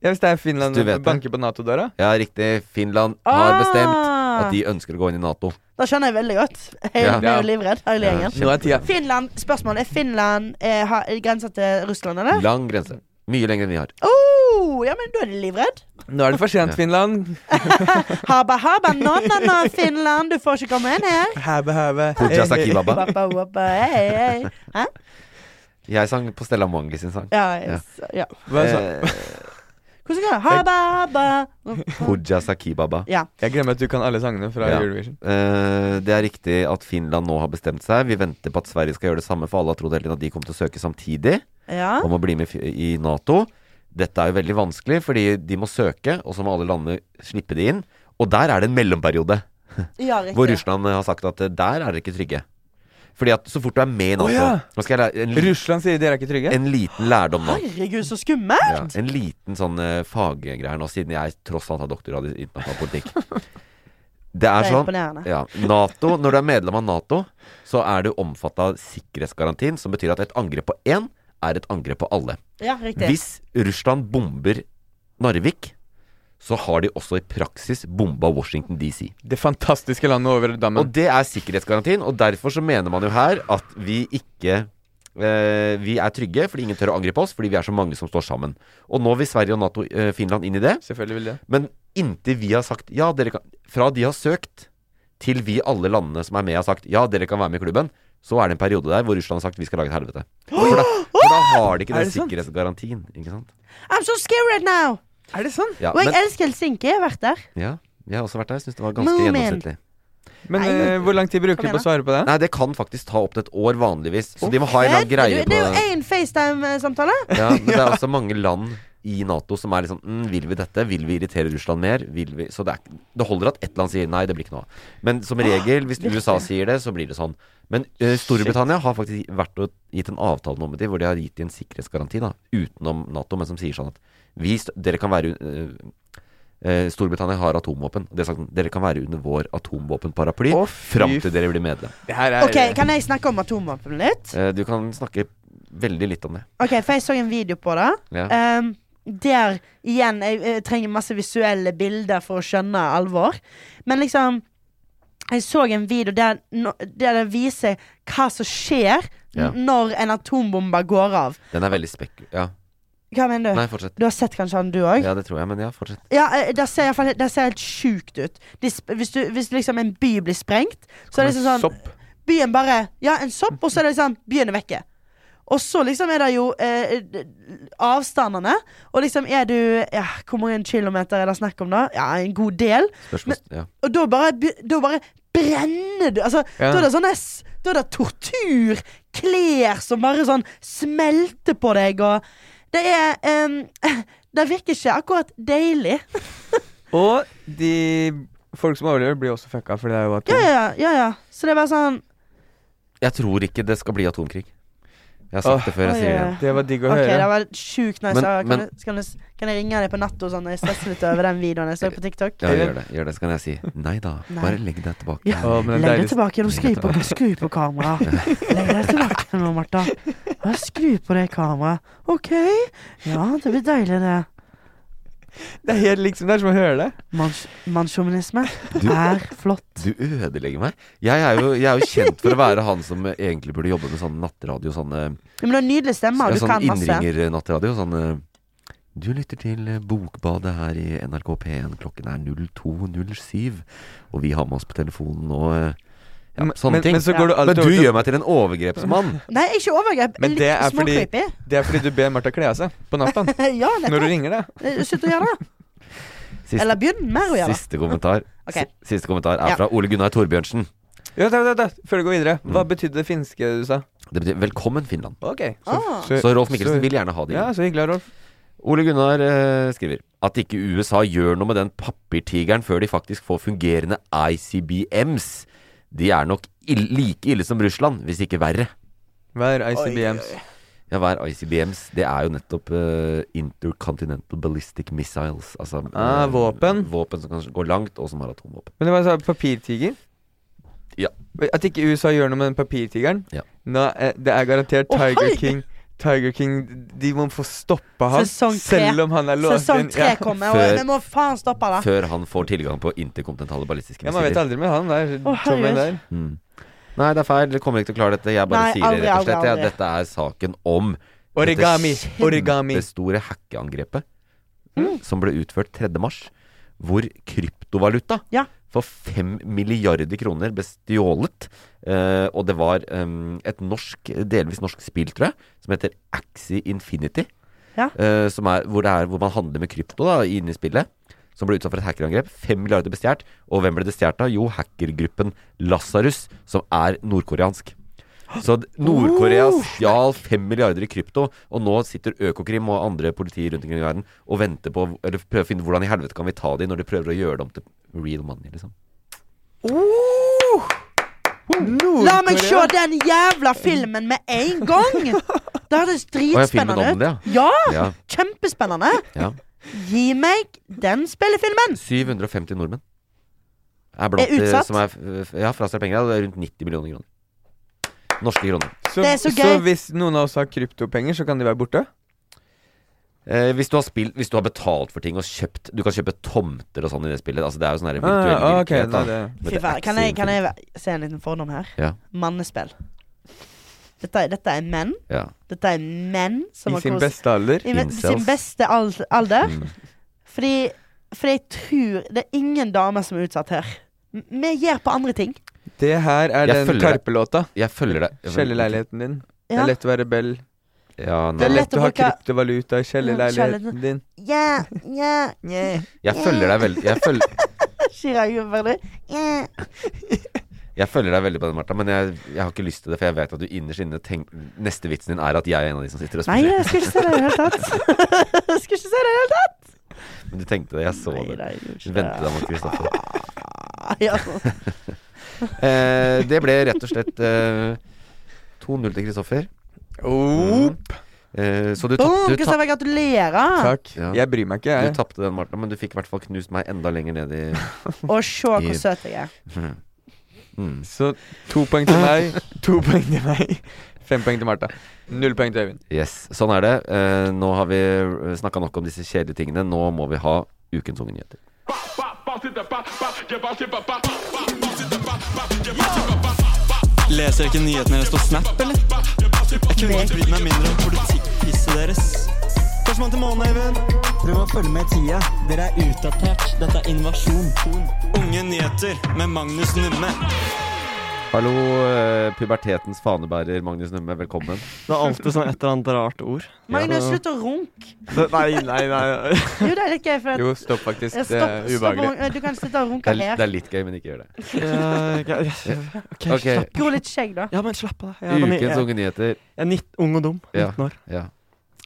Speaker 2: Ja, Hvis det er Finland
Speaker 3: Du vet det.
Speaker 2: banker på Nato-døra.
Speaker 3: Ja, riktig. Finland har bestemt
Speaker 4: Ah,
Speaker 3: at de ønsker å gå inn i Nato.
Speaker 4: Da skjønner jeg veldig godt. Jeg
Speaker 3: Ja.
Speaker 4: jeg er jo livredd, hele
Speaker 3: Ja.
Speaker 4: gjengen.
Speaker 2: Nå er tida
Speaker 4: Finland, spørsmål. Er Finland eh, har- er grensa til Russland, eller?
Speaker 3: Lang grense. Mye lenger enn vi har.
Speaker 4: Oh, ja, men da er de livredd.
Speaker 2: Nå er det for sent, Finland.
Speaker 4: Haba, haba, na-na-na, Finland, du får ikke komme inn her.
Speaker 2: Habe, habe.
Speaker 3: Puja Sakibaba.
Speaker 4: Wappa, wappa, hey, hey. Hæ?
Speaker 3: [LAUGHS] Jeg sang på Stella Mangi sin sang.
Speaker 4: Ja, jeg s- ja.
Speaker 2: Hva sa-
Speaker 4: Hvordan går det? Haba, haba.
Speaker 3: Puja Sakibaba.
Speaker 4: Ja.
Speaker 2: Jeg glemmer at du kan alle sangene fra
Speaker 3: Ja.
Speaker 2: Eurovision.
Speaker 3: Eh, det er riktig at Finland nå har bestemt seg. Vi venter på at Sverige skal gjøre det samme, for alle har trodd hele tiden at de kommer til å søke samtidig
Speaker 4: ja.
Speaker 3: om å bli med i fi- i Nato. Dette er jo veldig vanskelig, fordi de må søke, og så må alle landene slippe de inn. Og der er det en mellomperiode.
Speaker 4: Ja, riktig.
Speaker 3: Hvor Russland har sagt at eh, der er dere ikke trygge. Fordi at så fort du er med i Nato
Speaker 2: Å, ja.
Speaker 3: Nå skal jeg lære
Speaker 4: Mm.
Speaker 3: en, li-
Speaker 2: Russland sier dere er ikke trygge?
Speaker 3: en liten lærdom nå.
Speaker 4: Herregud, så skummelt!
Speaker 3: Ja, en liten sånn eh, faggreie her nå, siden jeg tross alt har doktorgrad i internasjonal politikk. Det er
Speaker 4: Det er
Speaker 3: sånn
Speaker 4: imponerende.
Speaker 3: ja, NATO, Når du er medlem av Nato, så er du omfatta av sikkerhetsgarantien, som betyr at et angrep på én er et angrep på alle.
Speaker 4: Ja, riktig.
Speaker 3: Hvis Russland bomber Narvik, så har de også i praksis bomba Washington DC.
Speaker 2: Det fantastiske landet over dammen.
Speaker 3: Og det er sikkerhetsgarantien, og derfor så mener man jo her at vi ikke eh, Vi er trygge fordi ingen tør å angripe oss, fordi vi er så mange som står sammen. Og nå vil Sverige og Nato, eh, Finland inn i det.
Speaker 2: Selvfølgelig vil det.
Speaker 3: Men inntil vi har sagt ja, dere kan Fra de har søkt, til vi alle landene som er med har sagt ja, dere kan være med i klubben, så er det en periode der hvor Russland har sagt vi skal lage et helvete. For da, for da har
Speaker 4: [GASPS]
Speaker 3: de ikke
Speaker 2: Er
Speaker 3: den
Speaker 2: det sant?
Speaker 3: sikkerhetsgarantien, ikke sant.
Speaker 4: I'm so scared now!
Speaker 2: Er det sånn?
Speaker 3: Ja,
Speaker 4: Og jeg
Speaker 3: men,
Speaker 4: elsker Helsinki. Jeg har vært der.
Speaker 3: ja, jeg har også vært der. Jeg syns det var ganske
Speaker 4: Moment.
Speaker 3: gjennomsnittlig.
Speaker 2: Men
Speaker 4: Nei, men-
Speaker 2: eh, hvor lang tid bruker du på
Speaker 4: Kom
Speaker 2: å
Speaker 4: igjen, da.
Speaker 2: svare på det?
Speaker 3: Nei, det kan faktisk ta opptil et år vanligvis, så de må ha en eller annen greie
Speaker 4: det,
Speaker 3: på
Speaker 4: Eh, det er jo eh, én FaceTime-samtale.
Speaker 3: Ja, men det er også mange land i Nato som er liksom mm, Vil vi dette? Vil vi irritere Russland mer? Vil vi? Så det, er, ikke- det holder at ett land sier nei, det blir ikke noe av. Men som
Speaker 2: Ah,
Speaker 3: regel, hvis USA sier det, så blir det sånn. Men eh, Storbritannia har faktisk vært og gitt en avtale nå med de, hvor de har gitt de en sikkerhetsgaranti da, utenom Nato, men som sier sånn at vi, st- dere kan være eh, eh, Storbritannia har atomvåpen. Og de har sagt sånn, dere kan være under vår atomvåpenparaply
Speaker 2: Å, fy
Speaker 3: fram
Speaker 2: f-
Speaker 3: til dere blir medlem.
Speaker 2: Det her er
Speaker 4: Ok, Kan jeg snakke om atomvåpen litt?
Speaker 3: Eh, du kan snakke veldig litt om det.
Speaker 4: Ok, For jeg så en video på det.
Speaker 3: Ja.
Speaker 2: Eh.
Speaker 4: Ehm, der igjen jeg, jeg trenger masse visuelle bilder for å skjønne alvor. Men liksom Jeg så en video der, no- der det viser hva som skjer
Speaker 3: Ja.
Speaker 4: n- når en atombombe går av.
Speaker 3: Den er veldig spekk... Ja.
Speaker 4: Hva mener
Speaker 2: Eh.
Speaker 4: du?
Speaker 3: Nei, fortsett.
Speaker 4: Du har sett kanskje han, du òg?
Speaker 3: Ja, det tror jeg, men ja, fortsett.
Speaker 4: Ja, eh, det ser, i hvert fall- det ser helt sjukt ut. De, sp- hvis, du, hvis liksom en by blir sprengt, så er det liksom sånn
Speaker 2: Sopp.
Speaker 4: Byen bare Ja, en sopp, og så er det liksom Byen er vekke. Og så liksom er det jo eh, d- avstandene. Og liksom er du ja, Hvor mange kilometer er det snakk om, da? Ja, en god del.
Speaker 3: Spørsmål ja.
Speaker 4: Og da bare, be- da bare brenner du Altså,
Speaker 3: Ja.
Speaker 4: da er det sånn der s- Da er det tortur. Klær som bare sånn smelter på deg, og Det er em, [LAUGHS] Det virker ikke akkurat deilig.
Speaker 2: Og de folk som overlever, blir også fucka fordi det er jo at
Speaker 4: Ja, ja, ja, ja. Så det er bare sånn
Speaker 3: Jeg tror ikke det skal bli atomkrig. Jeg har sagt
Speaker 2: Åh.
Speaker 3: det før, jeg sier det igjen.
Speaker 2: Det var digg å
Speaker 4: Ok, det
Speaker 2: høre.
Speaker 4: var sjukt nice.
Speaker 3: Men-
Speaker 4: Ja, kan,
Speaker 3: men-
Speaker 4: jeg, kan, jeg, kan jeg ringe deg på natta og sånn når jeg stresser litt over den videoen jeg så på TikTok?
Speaker 3: Ja, gjør det. Gjør det, så kan jeg si nei da.
Speaker 4: Nei.
Speaker 3: Bare legg deg tilbake.
Speaker 4: Ja.
Speaker 2: Åh, men det er
Speaker 4: Legg det
Speaker 2: deilig.
Speaker 4: tilbake igjen og skru på, skru på kameraet. Legg det tilbake nå, Martha. Ja, Skru på det kameraet. OK. Ja, det blir deilig, det.
Speaker 2: Det er helt liksom det er som å høre det.
Speaker 4: Manns- Mannssjåvinisme
Speaker 3: Du-
Speaker 4: er flott.
Speaker 3: Du ødelegger meg. Jeg er, jo, jeg er jo kjent for å være han som egentlig burde jobbe med sånn nattradio, sånne
Speaker 4: Ja, men du har nydelig stemme, og
Speaker 3: ja,
Speaker 4: du kan
Speaker 3: sånn
Speaker 4: masse.
Speaker 3: innringer-nattradio. Sånn eh, Du lytter til eh, Bokbadet her i NRK P1. Klokken er 02.07, og vi har med oss på telefonen nå eh, ja,
Speaker 2: Men-
Speaker 3: Sånne
Speaker 2: men-
Speaker 3: ting.
Speaker 2: men så går du alltid
Speaker 3: men du
Speaker 2: over til-
Speaker 3: gjør meg til en overgrepsmann.
Speaker 4: Nei, ikke overgrep.
Speaker 2: Men det
Speaker 4: Litt
Speaker 2: er fordi,
Speaker 4: småcreepy. Eh,
Speaker 2: det er fordi du ber Martha kle av seg på
Speaker 4: [LAUGHS]
Speaker 2: natta
Speaker 4: Ja,
Speaker 2: når du
Speaker 4: nettopp.
Speaker 2: ringer deg.
Speaker 4: Eh, Slutt å gjøre det.
Speaker 3: Siste-
Speaker 4: Eller begynn mer å gjøre det.
Speaker 3: Siste kommentar
Speaker 4: Ok.
Speaker 3: Si- Siste kommentar er
Speaker 4: Ja.
Speaker 3: fra Ole Gunnar Torbjørnsen.
Speaker 2: Ja, da, da, da. Før du går videre,
Speaker 4: Mm.
Speaker 2: hva betydde det finske du sa?
Speaker 3: Det betyr 'Velkommen, Finland'.
Speaker 2: Ok.
Speaker 4: Ah.
Speaker 3: Så Rolf Mikkelsen vil gjerne ha det.
Speaker 2: Ja, Eh, så hyggelig, Rolf.
Speaker 3: Ole Gunnar eh, skriver at ikke USA gjør noe med den papirtigeren før de faktisk får fungerende ICBMs. De er nok ill like ille som Russland, hvis ikke verre.
Speaker 2: Hver ICBMs.
Speaker 3: Ja, hva er ICBMs? Det er jo nettopp eh, Intercontinental Ballistic Missiles. Altså eh,
Speaker 2: Ah, våpen.
Speaker 3: Våpen som kan gå langt, og som har atomvåpen.
Speaker 2: Men det var sånn papirtiger?
Speaker 3: Ja.
Speaker 2: At ikke USA gjør noe med den papirtigeren?
Speaker 3: Ja.
Speaker 2: Nå, eh, det er garantert
Speaker 4: Å,
Speaker 2: Tiger
Speaker 4: hei!
Speaker 2: King. Tiger King, de må få stoppa han.
Speaker 4: Sesong tre.
Speaker 2: Selv om han er låst
Speaker 4: Sesong
Speaker 2: inn.
Speaker 4: tre
Speaker 2: ja.
Speaker 4: kommer, og
Speaker 3: Før-
Speaker 4: vi må faen stoppe det.
Speaker 3: Før han får tilgang på interkontinentale ballistiske
Speaker 2: ja, Man vet
Speaker 3: missiler.
Speaker 2: aldri med han der.
Speaker 4: Å,
Speaker 2: Tommy
Speaker 4: herregud.
Speaker 2: der.
Speaker 3: Mm. Nei, det er feil. Dere kommer ikke til å klare dette. Jeg bare
Speaker 4: Nei,
Speaker 3: sier det,
Speaker 4: aldri,
Speaker 3: rett og slett.
Speaker 4: aldri,
Speaker 3: Ja,
Speaker 4: aldri.
Speaker 3: dette er saken om
Speaker 2: Origami. Origami.
Speaker 3: Det store hackeangrepet
Speaker 4: Mm.
Speaker 3: som ble utført 3. mars, hvor kryptovaluta
Speaker 4: Ja.
Speaker 3: for 5 milliarder kroner ble stjålet. Eh, og det var em, et norsk, delvis norsk spill, tror jeg, som heter Axie Infinity.
Speaker 4: Ja.
Speaker 3: eh, som er, hvor, det er, hvor man handler med krypto da, inne i spillet. Som ble utsatt for et hackerangrep. 5 milliarder ble stjålet. Og hvem ble det stjålet av? Jo, hackergruppen Lasarus, som er nordkoreansk. Så d- Nord-Korea stjal 5 milliarder i krypto, og nå sitter Økokrim og andre politi rundt omkring i verden og venter på Eller prøver å finne hvordan i helvete kan vi ta de når de prøver å gjøre det om til real money, liksom.
Speaker 4: Oh! La meg se den jævla filmen med en gang! Det
Speaker 3: Å,
Speaker 4: høres
Speaker 3: ja, filmen
Speaker 4: dritspennende
Speaker 3: om
Speaker 4: ut.
Speaker 3: det,
Speaker 4: Ja,
Speaker 3: Ja.
Speaker 4: kjempespennende.
Speaker 3: ja.
Speaker 4: Gi meg den spillefilmen!
Speaker 3: 750 nordmenn er blant
Speaker 4: Er
Speaker 3: de
Speaker 4: utsatt?
Speaker 3: som er f- f- Ja, frastjålet penger. og Det er rundt 90 millioner kroner. Norske kroner.
Speaker 2: Så,
Speaker 4: Det er så
Speaker 2: så
Speaker 4: gøy.
Speaker 2: hvis noen av oss har kryptopenger, så kan de være borte?
Speaker 3: Eh, hvis, du har spilt, hvis du har betalt for ting og kjøpt Du kan kjøpe tomter og sånn i det spillet. Altså Det er jo sånn her virtuell
Speaker 2: Ah, ok,
Speaker 3: virkelighet. da.
Speaker 2: nei, det.
Speaker 3: Men
Speaker 4: Fy
Speaker 3: det er
Speaker 4: faen, kan
Speaker 3: ikke
Speaker 4: jeg, kan
Speaker 3: infinity.
Speaker 4: jeg se en liten fordom her?
Speaker 3: Ja.
Speaker 4: Mannespill. Dette, er- dette er menn.
Speaker 3: Ja.
Speaker 4: Dette er menn
Speaker 2: I
Speaker 4: som har
Speaker 2: sin
Speaker 4: kost
Speaker 2: beste alder?
Speaker 4: I ve-
Speaker 3: incels. Mm.
Speaker 4: sin beste al- alder. Fordi, fordi jeg tror det er ingen damer som er utsatt her. M- Vi gir på andre ting.
Speaker 2: Det her er
Speaker 3: Jeg
Speaker 2: den
Speaker 3: følger deg.
Speaker 2: Karpe-låta.
Speaker 3: Jeg følger deg.
Speaker 2: Kjellerleiligheten din. Det
Speaker 4: Ja.
Speaker 2: er lett å være rebell.
Speaker 3: Ja,
Speaker 2: Det
Speaker 3: nei.
Speaker 2: er lett å ha
Speaker 4: bruke-
Speaker 2: kryptovaluta i kjellerleiligheten
Speaker 4: Kjellerleiligheten.
Speaker 2: din.
Speaker 4: Yeah, yeah, [LAUGHS]
Speaker 3: Jeg følger deg veldig jeg, føl
Speaker 4: Chirag Uberli. Yeah.
Speaker 3: jeg følger deg veldig på den, Martha, men jeg, jeg har ikke lyst til det. For jeg vet at du innerst inne tenk- Neste vitsen din er at jeg er en av de som sitter og
Speaker 4: Nei,
Speaker 3: spiller.
Speaker 4: jeg skulle ikke se det i det hele tatt. [LAUGHS] jeg skulle ikke se det i det hele tatt.
Speaker 3: Men du tenkte det. Jeg så
Speaker 4: Nei,
Speaker 3: det.
Speaker 4: nei, jeg gjorde ikke
Speaker 3: Du ventet deg mot Kristoffer.
Speaker 4: det.
Speaker 3: [LAUGHS]
Speaker 4: Ja.
Speaker 3: Eh, det ble rett og slett eh, 2-0 til Kristoffer.
Speaker 2: Oh,
Speaker 3: Eh, så du
Speaker 4: Boom,
Speaker 3: tapte
Speaker 4: Kristoffer, gratulerer.
Speaker 2: Takk.
Speaker 3: Ja.
Speaker 2: Jeg bryr meg ikke,
Speaker 3: du
Speaker 2: jeg.
Speaker 3: tapte den, Martha, men du fikk i hvert fall knust meg enda lenger ned i
Speaker 4: Og se hvor
Speaker 3: I-
Speaker 4: søt jeg er.
Speaker 2: Så to poeng til meg, to poeng til meg, fem poeng til Martha. Null poeng til Øyvind.
Speaker 3: Yes, sånn er det. Eh, nå har vi snakka nok om disse kjedelige tingene. Nå må vi ha ukens unge nyheter.
Speaker 7: Leser jeg ikke nyhetene deres på Snap, eller? Jeg kunne ikke brydd meg mindre om politikkpisset deres. Førstemann til månen, Eivind. Prøv å følge med i tida. Dere er utdatert. Dette er invasjon. Unge nyheter med Magnus Numme.
Speaker 3: Hallo, eh, pubertetens fanebærer Magnus Numme, velkommen.
Speaker 8: Det er alltid sånn et eller annet rart ord.
Speaker 4: Magnus, slutt å runke.
Speaker 8: Det- Nei, nei, nei.
Speaker 4: Jo, det er litt gøy. For at,
Speaker 3: Jo, stopp faktisk.
Speaker 4: Ja,
Speaker 3: Det er
Speaker 4: stopp
Speaker 3: ubehagelig.
Speaker 4: å runke. Du kan slutte å
Speaker 3: Det
Speaker 4: runke
Speaker 3: er,
Speaker 4: her.
Speaker 3: det er litt gøy, men ikke gjør det.
Speaker 8: Ok,
Speaker 3: Ok.
Speaker 4: Gro litt skjegg, da.
Speaker 8: Ja, men slapp av. Jeg er ni-
Speaker 3: Ukens
Speaker 8: jeg-
Speaker 3: Unge nyheter.
Speaker 8: Jeg er nitt, ung og dum.
Speaker 3: Ja.
Speaker 8: 19 år.
Speaker 3: Ja.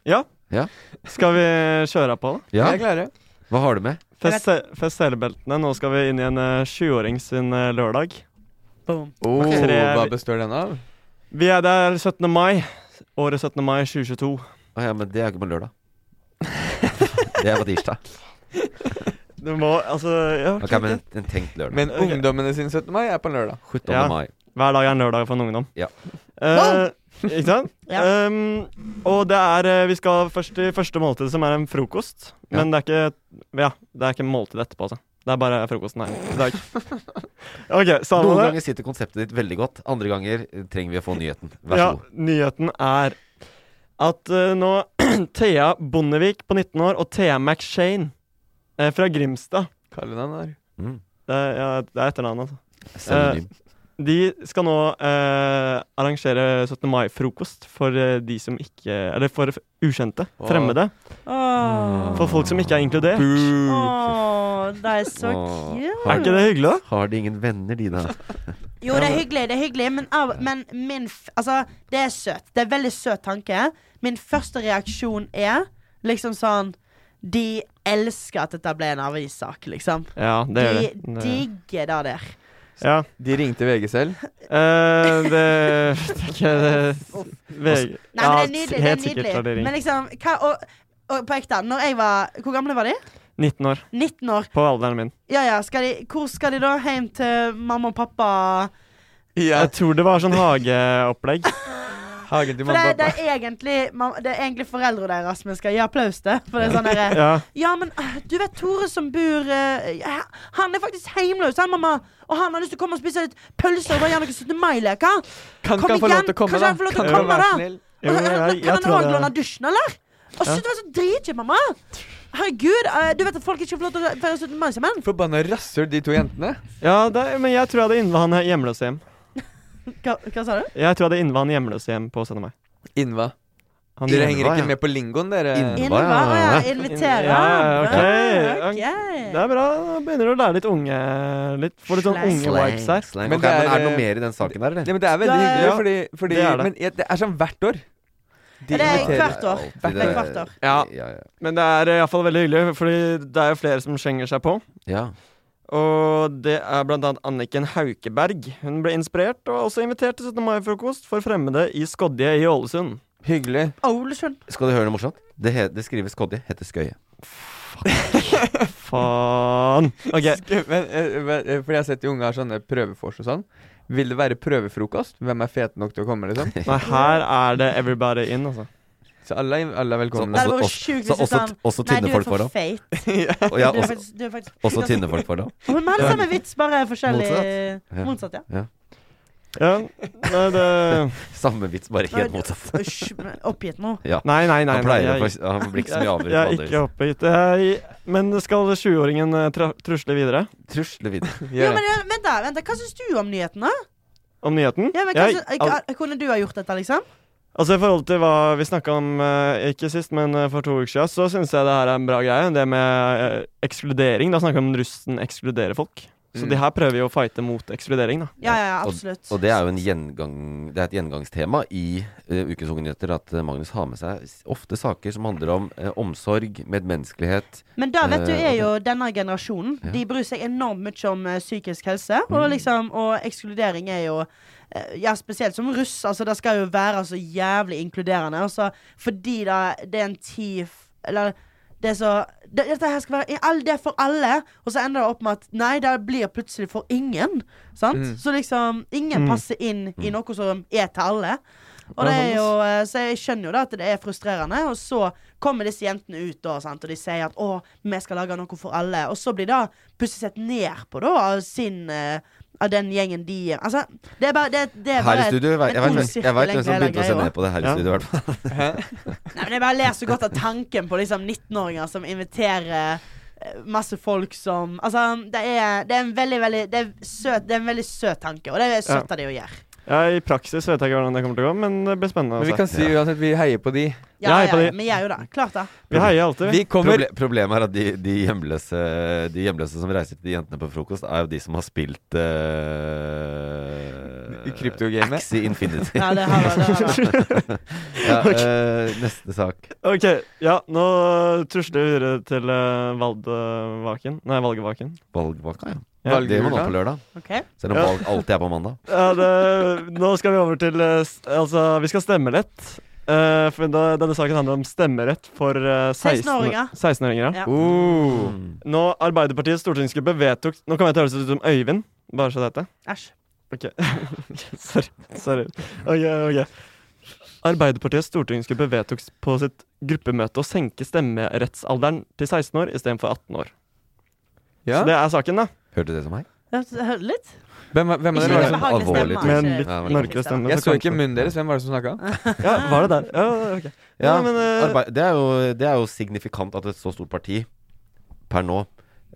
Speaker 8: Ja.
Speaker 3: Ja.
Speaker 8: Skal vi kjøre på, da?
Speaker 3: Ja. Jeg er klar, Hva har du med?
Speaker 8: Fest, se- fest selebeltene. Nå skal vi inn i en eh, sjuåring sin eh, lørdag.
Speaker 4: Boom.
Speaker 2: Oh,
Speaker 8: Ok. Tre-
Speaker 2: hva består den av?
Speaker 8: Vi er der 17. mai. Året 17. mai 2022.
Speaker 3: Å ja, men det er ikke på lørdag. Det er på tirsdag.
Speaker 8: [LAUGHS] Du må altså ja,
Speaker 3: Ok,
Speaker 8: ok,
Speaker 3: men
Speaker 8: ok.
Speaker 3: en tenkt lørdag.
Speaker 2: Men ungdommene sin 17. mai er på en lørdag.
Speaker 3: 17.
Speaker 8: Ja.
Speaker 3: mai.
Speaker 8: Hver dag er en lørdag for en ungdom.
Speaker 3: Ja.
Speaker 8: Eh, ikke sant?
Speaker 4: [LAUGHS] Ja.
Speaker 8: Ehm, og det er eh, Vi skal først til første måltid, som er en frokost.
Speaker 3: Ja.
Speaker 8: Men det er ikke Ja, det er ikke måltid etterpå, altså. Det er bare frokosten her i
Speaker 2: [LAUGHS]
Speaker 8: dag. OK, samme
Speaker 3: Noen
Speaker 8: det.
Speaker 3: ganger sitter konseptet ditt veldig godt. Andre ganger eh, trenger vi å få nyheten. Vær så
Speaker 8: Ja,
Speaker 3: god.
Speaker 8: nyheten er at eh, nå [CLEARS THROAT] Thea Bondevik på 19 år og Thea McShane eh, fra Grimstad
Speaker 2: Kallenavn her.
Speaker 3: Mm.
Speaker 8: Det er, ja, det er etternavnet, altså.
Speaker 3: Pseudonym.
Speaker 8: De skal nå eh, arrangere 17. mai-frokost for eh, de som ikke Eller for f- ukjente.
Speaker 2: Åh.
Speaker 8: Fremmede.
Speaker 4: Åh,
Speaker 8: For folk som ikke er inkludert.
Speaker 4: Åh, det er så
Speaker 3: Åh.
Speaker 4: cute.
Speaker 8: Er ikke det hyggelig, da?
Speaker 3: Har de ingen venner, de da?
Speaker 4: Jo, det er hyggelig, det er hyggelig, men, av, men min f Altså, det er søt. Det er veldig søt tanke. Min første reaksjon er liksom sånn De elsker at dette ble en avissak, liksom.
Speaker 8: Ja, det gjør
Speaker 4: De
Speaker 8: det. Det-
Speaker 4: digger det der.
Speaker 8: Ja.
Speaker 2: De ringte VG selv.
Speaker 8: [LAUGHS] Eh, det det er ikke det VG
Speaker 4: Nei, men det
Speaker 8: Ja,
Speaker 4: er
Speaker 8: s-
Speaker 4: nydelig.
Speaker 8: Helt
Speaker 4: det er
Speaker 8: sikkert har de
Speaker 4: nydelig. Men
Speaker 8: ringt.
Speaker 4: liksom hva, og, og på ekte, når jeg var Hvor gamle var de?
Speaker 8: 19 år.
Speaker 4: 19 år.
Speaker 8: På alderen min.
Speaker 4: Ja ja, skal de, hvor skal de da? Hjem til mamma og pappa?
Speaker 8: Jeg tror det var sånn
Speaker 2: [LAUGHS]
Speaker 8: hageopplegg.
Speaker 2: Hagen til
Speaker 4: For
Speaker 2: mamma
Speaker 4: det,
Speaker 2: og
Speaker 4: det,
Speaker 2: pappa.
Speaker 4: er egentlig, mam- det er egentlig foreldrene deres vi skal gi applaus til. For det er sånn derre
Speaker 8: Ja.
Speaker 4: Ja, men øh, du vet Tore som bor øh, ja, Han er faktisk heimløs, han, mamma. Og han har lyst til å komme og spise litt pølser og bare gjøre noen 17. mai-leker.
Speaker 2: Kan
Speaker 4: Kom
Speaker 2: ikke han få lov
Speaker 4: igjen,
Speaker 2: til å komme, da?
Speaker 4: kanskje han får lov til å
Speaker 2: Kan ikke
Speaker 4: komme,
Speaker 2: han være
Speaker 4: da?
Speaker 2: snill?
Speaker 8: Jo,
Speaker 4: Og så- eh,
Speaker 8: jeg, jeg,
Speaker 4: kan han
Speaker 8: tror
Speaker 4: òg låne
Speaker 8: det.
Speaker 4: dusjen, eller? Og slutt å være så dritkjip, mamma. Herregud, øh, du vet at folk ikke får lov til å feire 17. mai sammen?
Speaker 2: Forbanna rasshøl, de to jentene.
Speaker 8: Ja, det, men jeg tror jeg hadde innva han hjemløse hjem.
Speaker 4: Hva, hva sa du?
Speaker 8: Jeg tror jeg hadde innva han hjemløse hjem på 17. mai.
Speaker 2: Innva.
Speaker 8: Han
Speaker 2: Dere
Speaker 8: hjemløse-
Speaker 2: henger
Speaker 3: ja.
Speaker 2: ikke med på lingoen, dere.
Speaker 3: Innva.
Speaker 4: Innvare? Ja, invitere?
Speaker 8: Ja, ok.
Speaker 4: Ah,
Speaker 8: Det er bra. Da begynner du å lære litt unge litt, Får litt sånn
Speaker 4: Slang.
Speaker 8: unge vibes her.
Speaker 3: Slang.
Speaker 2: Men
Speaker 3: Ok,
Speaker 2: det
Speaker 3: men
Speaker 2: er,
Speaker 3: er det noe
Speaker 2: eh,
Speaker 3: mer i den saken der,
Speaker 2: Nei,
Speaker 3: eller?
Speaker 2: men det er veldig
Speaker 4: Ja, ja,
Speaker 2: hyggelig,
Speaker 8: ja.
Speaker 2: fordi, fordi
Speaker 8: Det er det.
Speaker 2: Men ja, det er sånn hvert år. De
Speaker 4: Det er
Speaker 2: inviterer.
Speaker 4: hvert år.
Speaker 3: Alltid
Speaker 4: Hvert hvert år.
Speaker 8: Ja.
Speaker 3: Ja, ja.
Speaker 8: Men det er iallfall veldig hyggelig, Fordi det er jo flere som slenger seg på.
Speaker 3: ja.
Speaker 8: Og det er blant annet Anniken Haukeberg. Hun ble inspirert og også invitert til 17. mai-frokost for fremmede i Skodje i Ålesund.
Speaker 2: Hyggelig.
Speaker 4: Ålesund.
Speaker 3: Skal du høre noe morsomt? Det, he det skrives Skodje, heter Skøye.
Speaker 8: Faen.
Speaker 2: [LAUGHS]
Speaker 8: Ok.
Speaker 2: Sk- Men, eh, men, eh, fordi jeg har sett de unge har sånne prøvefors og sånn. Vil det være prøvefrokost? Hvem er fete nok til å komme, liksom?
Speaker 8: [LAUGHS] Nei, her er det everybody in, altså.
Speaker 2: Så alle er, alle er velkomne.
Speaker 4: Det
Speaker 3: Så
Speaker 4: hadde vært
Speaker 3: også-
Speaker 4: sjukt
Speaker 3: så
Speaker 4: hvis du
Speaker 3: også-
Speaker 4: sa
Speaker 3: også
Speaker 4: Nei, du
Speaker 3: tynne
Speaker 4: er
Speaker 3: folk
Speaker 4: for
Speaker 3: var da.
Speaker 4: feit.
Speaker 3: Og ja,
Speaker 4: Du er
Speaker 3: også,
Speaker 4: faktisk, du er faktisk
Speaker 3: også tynne folk var det.
Speaker 4: Men vi hadde samme vits, bare forskjellig
Speaker 3: Motsatt. Ja.
Speaker 4: Motsatt, ja.
Speaker 8: Ja, nei, det
Speaker 3: Samme vits, bare helt motsatt.
Speaker 4: Usch, men oppgitt nå.
Speaker 3: Ja.
Speaker 8: Nei, nei, nei.
Speaker 3: han
Speaker 8: nei
Speaker 3: pleier å
Speaker 8: jeg,
Speaker 3: få- Han blir ikke så mye avbrutt.
Speaker 8: jeg
Speaker 3: på
Speaker 8: er
Speaker 3: andre
Speaker 8: ikke oppgitt. Jeg- Men skal 20-åringen eh, tra- trusle videre
Speaker 3: vis. Trusle videre.
Speaker 4: Jo,
Speaker 2: Yeah.
Speaker 4: men eh, vent da, vent da, Hva syns du om nyheten, da?
Speaker 8: om nyheten?
Speaker 4: Ja, men, hva
Speaker 8: jeg,
Speaker 4: syns- eh,
Speaker 8: al
Speaker 4: hva- kunne du ha gjort dette, liksom?
Speaker 8: altså I forhold til hva vi snakka om eh, ikke sist, men eh, for to uker siden, så syns jeg det her er en bra greie. Det med eh, ekskludering. Da snakker vi om russen ekskluderer folk. Så
Speaker 2: Mm.
Speaker 8: de her prøver jo å fighte mot ekskludering, da.
Speaker 4: Ja, ja,
Speaker 3: Og-
Speaker 4: absolutt.
Speaker 3: Og det er jo en gjengang, det er et gjengangstema i eh, Ukens Unge Nyheter at eh, Magnus har med seg s- ofte saker som handler om eh, omsorg, medmenneskelighet
Speaker 4: Men da vet du
Speaker 3: Eh,
Speaker 4: er
Speaker 3: ok.
Speaker 4: jo denne generasjonen. De bryr seg enormt mye om eh, psykisk helse. Og,
Speaker 3: Mm.
Speaker 4: liksom, og ekskludering er jo eh, Ja, spesielt som russ. Altså, det skal jo være så jævlig inkluderende. Og så fordi da, det er en tid f- Eller det er så det, Dette her skal være all- Det er for alle. Og så ender det opp med at nei, det blir plutselig for ingen. Sant?
Speaker 3: Mm.
Speaker 4: Så liksom ingen passer inn i noe som er til alle. Og det er jo, eh, så jeg skjønner jo da at det er frustrerende. Og så kommer disse jentene ut da, sant? og de sier at 'å, vi skal lage noe for alle'. Og så blir da plutselig sett ned på da, av sin eh, av den gjengen de Altså, det er bare Det, det
Speaker 3: Her
Speaker 4: er bare
Speaker 3: i studio, jeg vet- jeg
Speaker 4: en ond
Speaker 3: vet- jeg
Speaker 4: sirkel,
Speaker 3: vet hvem som
Speaker 4: egentlig, hele
Speaker 3: begynte å se
Speaker 4: greia.
Speaker 3: ned på det her i
Speaker 8: Ja.
Speaker 3: studio, i hvert fall.
Speaker 4: Nei, men jeg bare ler så godt av tanken på liksom 19-åringer som inviterer eh, masse folk som Altså, det er, det er en veldig, veldig det er, søt, det er en veldig søt tanke, og det er søtt av de å gjøre.
Speaker 8: Ja, I praksis vet jeg ikke hvordan det kommer til å gå, men det blir spennende.
Speaker 2: Men vi
Speaker 8: altså.
Speaker 2: kan si uansett, vi heier på de.
Speaker 8: Jeg
Speaker 4: Ja,
Speaker 8: heier
Speaker 4: ja,
Speaker 8: på
Speaker 4: ja,
Speaker 8: de.
Speaker 4: vi gjør jo det. Klart det.
Speaker 8: Vi heier alltid, vi.
Speaker 2: Vi kommer
Speaker 3: Proble problemet er at de, de, hjemløse, de hjemløse som reiser til de jentene på frokost, er jo de som har spilt uh,
Speaker 2: I kryptogamet.
Speaker 3: Axie
Speaker 8: [LAUGHS]
Speaker 3: Infinity.
Speaker 4: Ja, det har det, det
Speaker 3: ja,
Speaker 4: har
Speaker 8: Ok.
Speaker 3: eh, neste sak.
Speaker 8: Ok, ja, nå tusler vi videre til eh, Valdevaken. Nei, Valgevaken.
Speaker 3: Valgvaka, ja.
Speaker 8: Ja.
Speaker 3: Det gjør man nå på lørdag.
Speaker 4: Ok.
Speaker 3: Selv om
Speaker 8: Ja.
Speaker 3: valg alltid er på mandag.
Speaker 8: Ja, det, nå skal vi over til eh, s- Altså, vi skal stemme lett. Eh, for da, denne saken handler om stemmerett for eh,
Speaker 4: 16-åringer.
Speaker 8: 16 16-åringer.
Speaker 4: Ja.
Speaker 8: ja. Oh. Nå Arbeiderpartiets stortingsgruppe vedtok Nå kan jeg høres ut som Øyvind, bare så det heter.
Speaker 4: Æsj.
Speaker 8: Ok. sorry. sorry. Ok, ok. Arbeiderpartiets stortingsgruppe vedtok s- på sitt gruppemøte å senke stemmerettsalderen til 16 år istedenfor 18 år.
Speaker 2: Ja.
Speaker 8: Så det er saken, da.
Speaker 3: Hørte du det som meg?
Speaker 4: Hørte du litt?
Speaker 2: Hvem, er- hvem er
Speaker 4: Ikke
Speaker 2: det?
Speaker 4: så
Speaker 2: som-
Speaker 4: behagelig
Speaker 3: alvorlig ting.
Speaker 4: stemme.
Speaker 8: Med en
Speaker 4: ikke
Speaker 8: litt
Speaker 3: Ja,
Speaker 4: riktig
Speaker 3: men-
Speaker 8: mørkere
Speaker 4: stemme.
Speaker 8: stemme.
Speaker 2: Jeg så ikke
Speaker 8: kanskje-
Speaker 2: munnen deres. Hvem var det som snakka?
Speaker 8: Ja, var det der? Ja, ok.
Speaker 3: Ja,
Speaker 8: Nei, men, eh,
Speaker 3: arbe- det, er jo, det er jo signifikant at et så stort parti per nå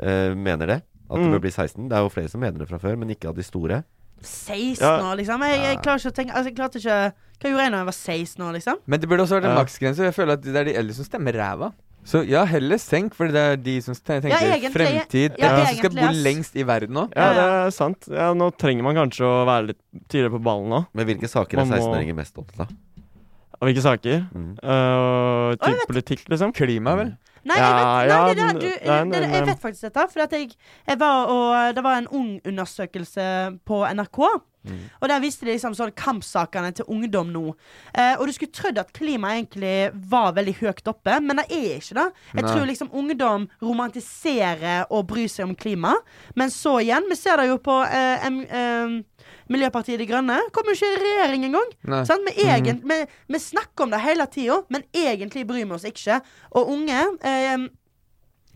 Speaker 3: eh, mener det. At det
Speaker 8: Mm.
Speaker 3: bør bli 16. Det er jo flere som mener det fra før, men ikke av de store.
Speaker 4: 16
Speaker 8: Ja.
Speaker 4: år, liksom. Jeg, jeg klarer ikke å tenke altså, jeg klarte ikke, Hva gjorde jeg da jeg var 16 år, liksom?
Speaker 2: Men det burde også vært en
Speaker 8: Ja.
Speaker 2: maksgrense. Jeg føler at det er de eldre som stemmer ræva. Så ja, heller senk, for det er de som te- tenker
Speaker 4: egentlig,
Speaker 2: fremtid. Det
Speaker 4: ja,
Speaker 2: er de som skal
Speaker 4: egentlig,
Speaker 2: bo
Speaker 4: ass.
Speaker 2: lengst i verden nå.
Speaker 8: Ja,
Speaker 4: Ja,
Speaker 8: det
Speaker 4: ja.
Speaker 8: er sant. Ja, nå trenger man kanskje å være litt tidligere på ballen nå.
Speaker 3: Men hvilke saker er
Speaker 8: Man må-
Speaker 3: 16-åringer mest opptatt av?
Speaker 8: Og hvilke saker?
Speaker 3: Mm.
Speaker 8: Uh,
Speaker 4: Å, jeg Mm.
Speaker 8: type politikk, liksom.
Speaker 2: Klima, vel.
Speaker 4: Nei, jeg vet,
Speaker 8: Ja,
Speaker 4: nei,
Speaker 8: ja,
Speaker 4: det, er
Speaker 8: den-
Speaker 4: det, du,
Speaker 8: den-
Speaker 4: det, det,
Speaker 8: den-
Speaker 4: jeg vet faktisk dette. For at jeg, jeg var og, det var en Ung-undersøkelse på NRK. Og Der viste de liksom sånn kampsakene til ungdom nå. Eh, og Du skulle trodd at klima egentlig var veldig høyt oppe, men det er ikke det.
Speaker 2: Nei.
Speaker 4: Jeg tror liksom ungdom romantiserer og bryr seg om klima. Men så igjen, vi ser det jo på eh, em, em, Miljøpartiet De Grønne. Kommer jo ikke i regjering engang.
Speaker 2: Nei.
Speaker 4: Sant? Vi, egent, vi, vi snakker om det hele tida, men egentlig bryr vi oss ikke. Og unge eh,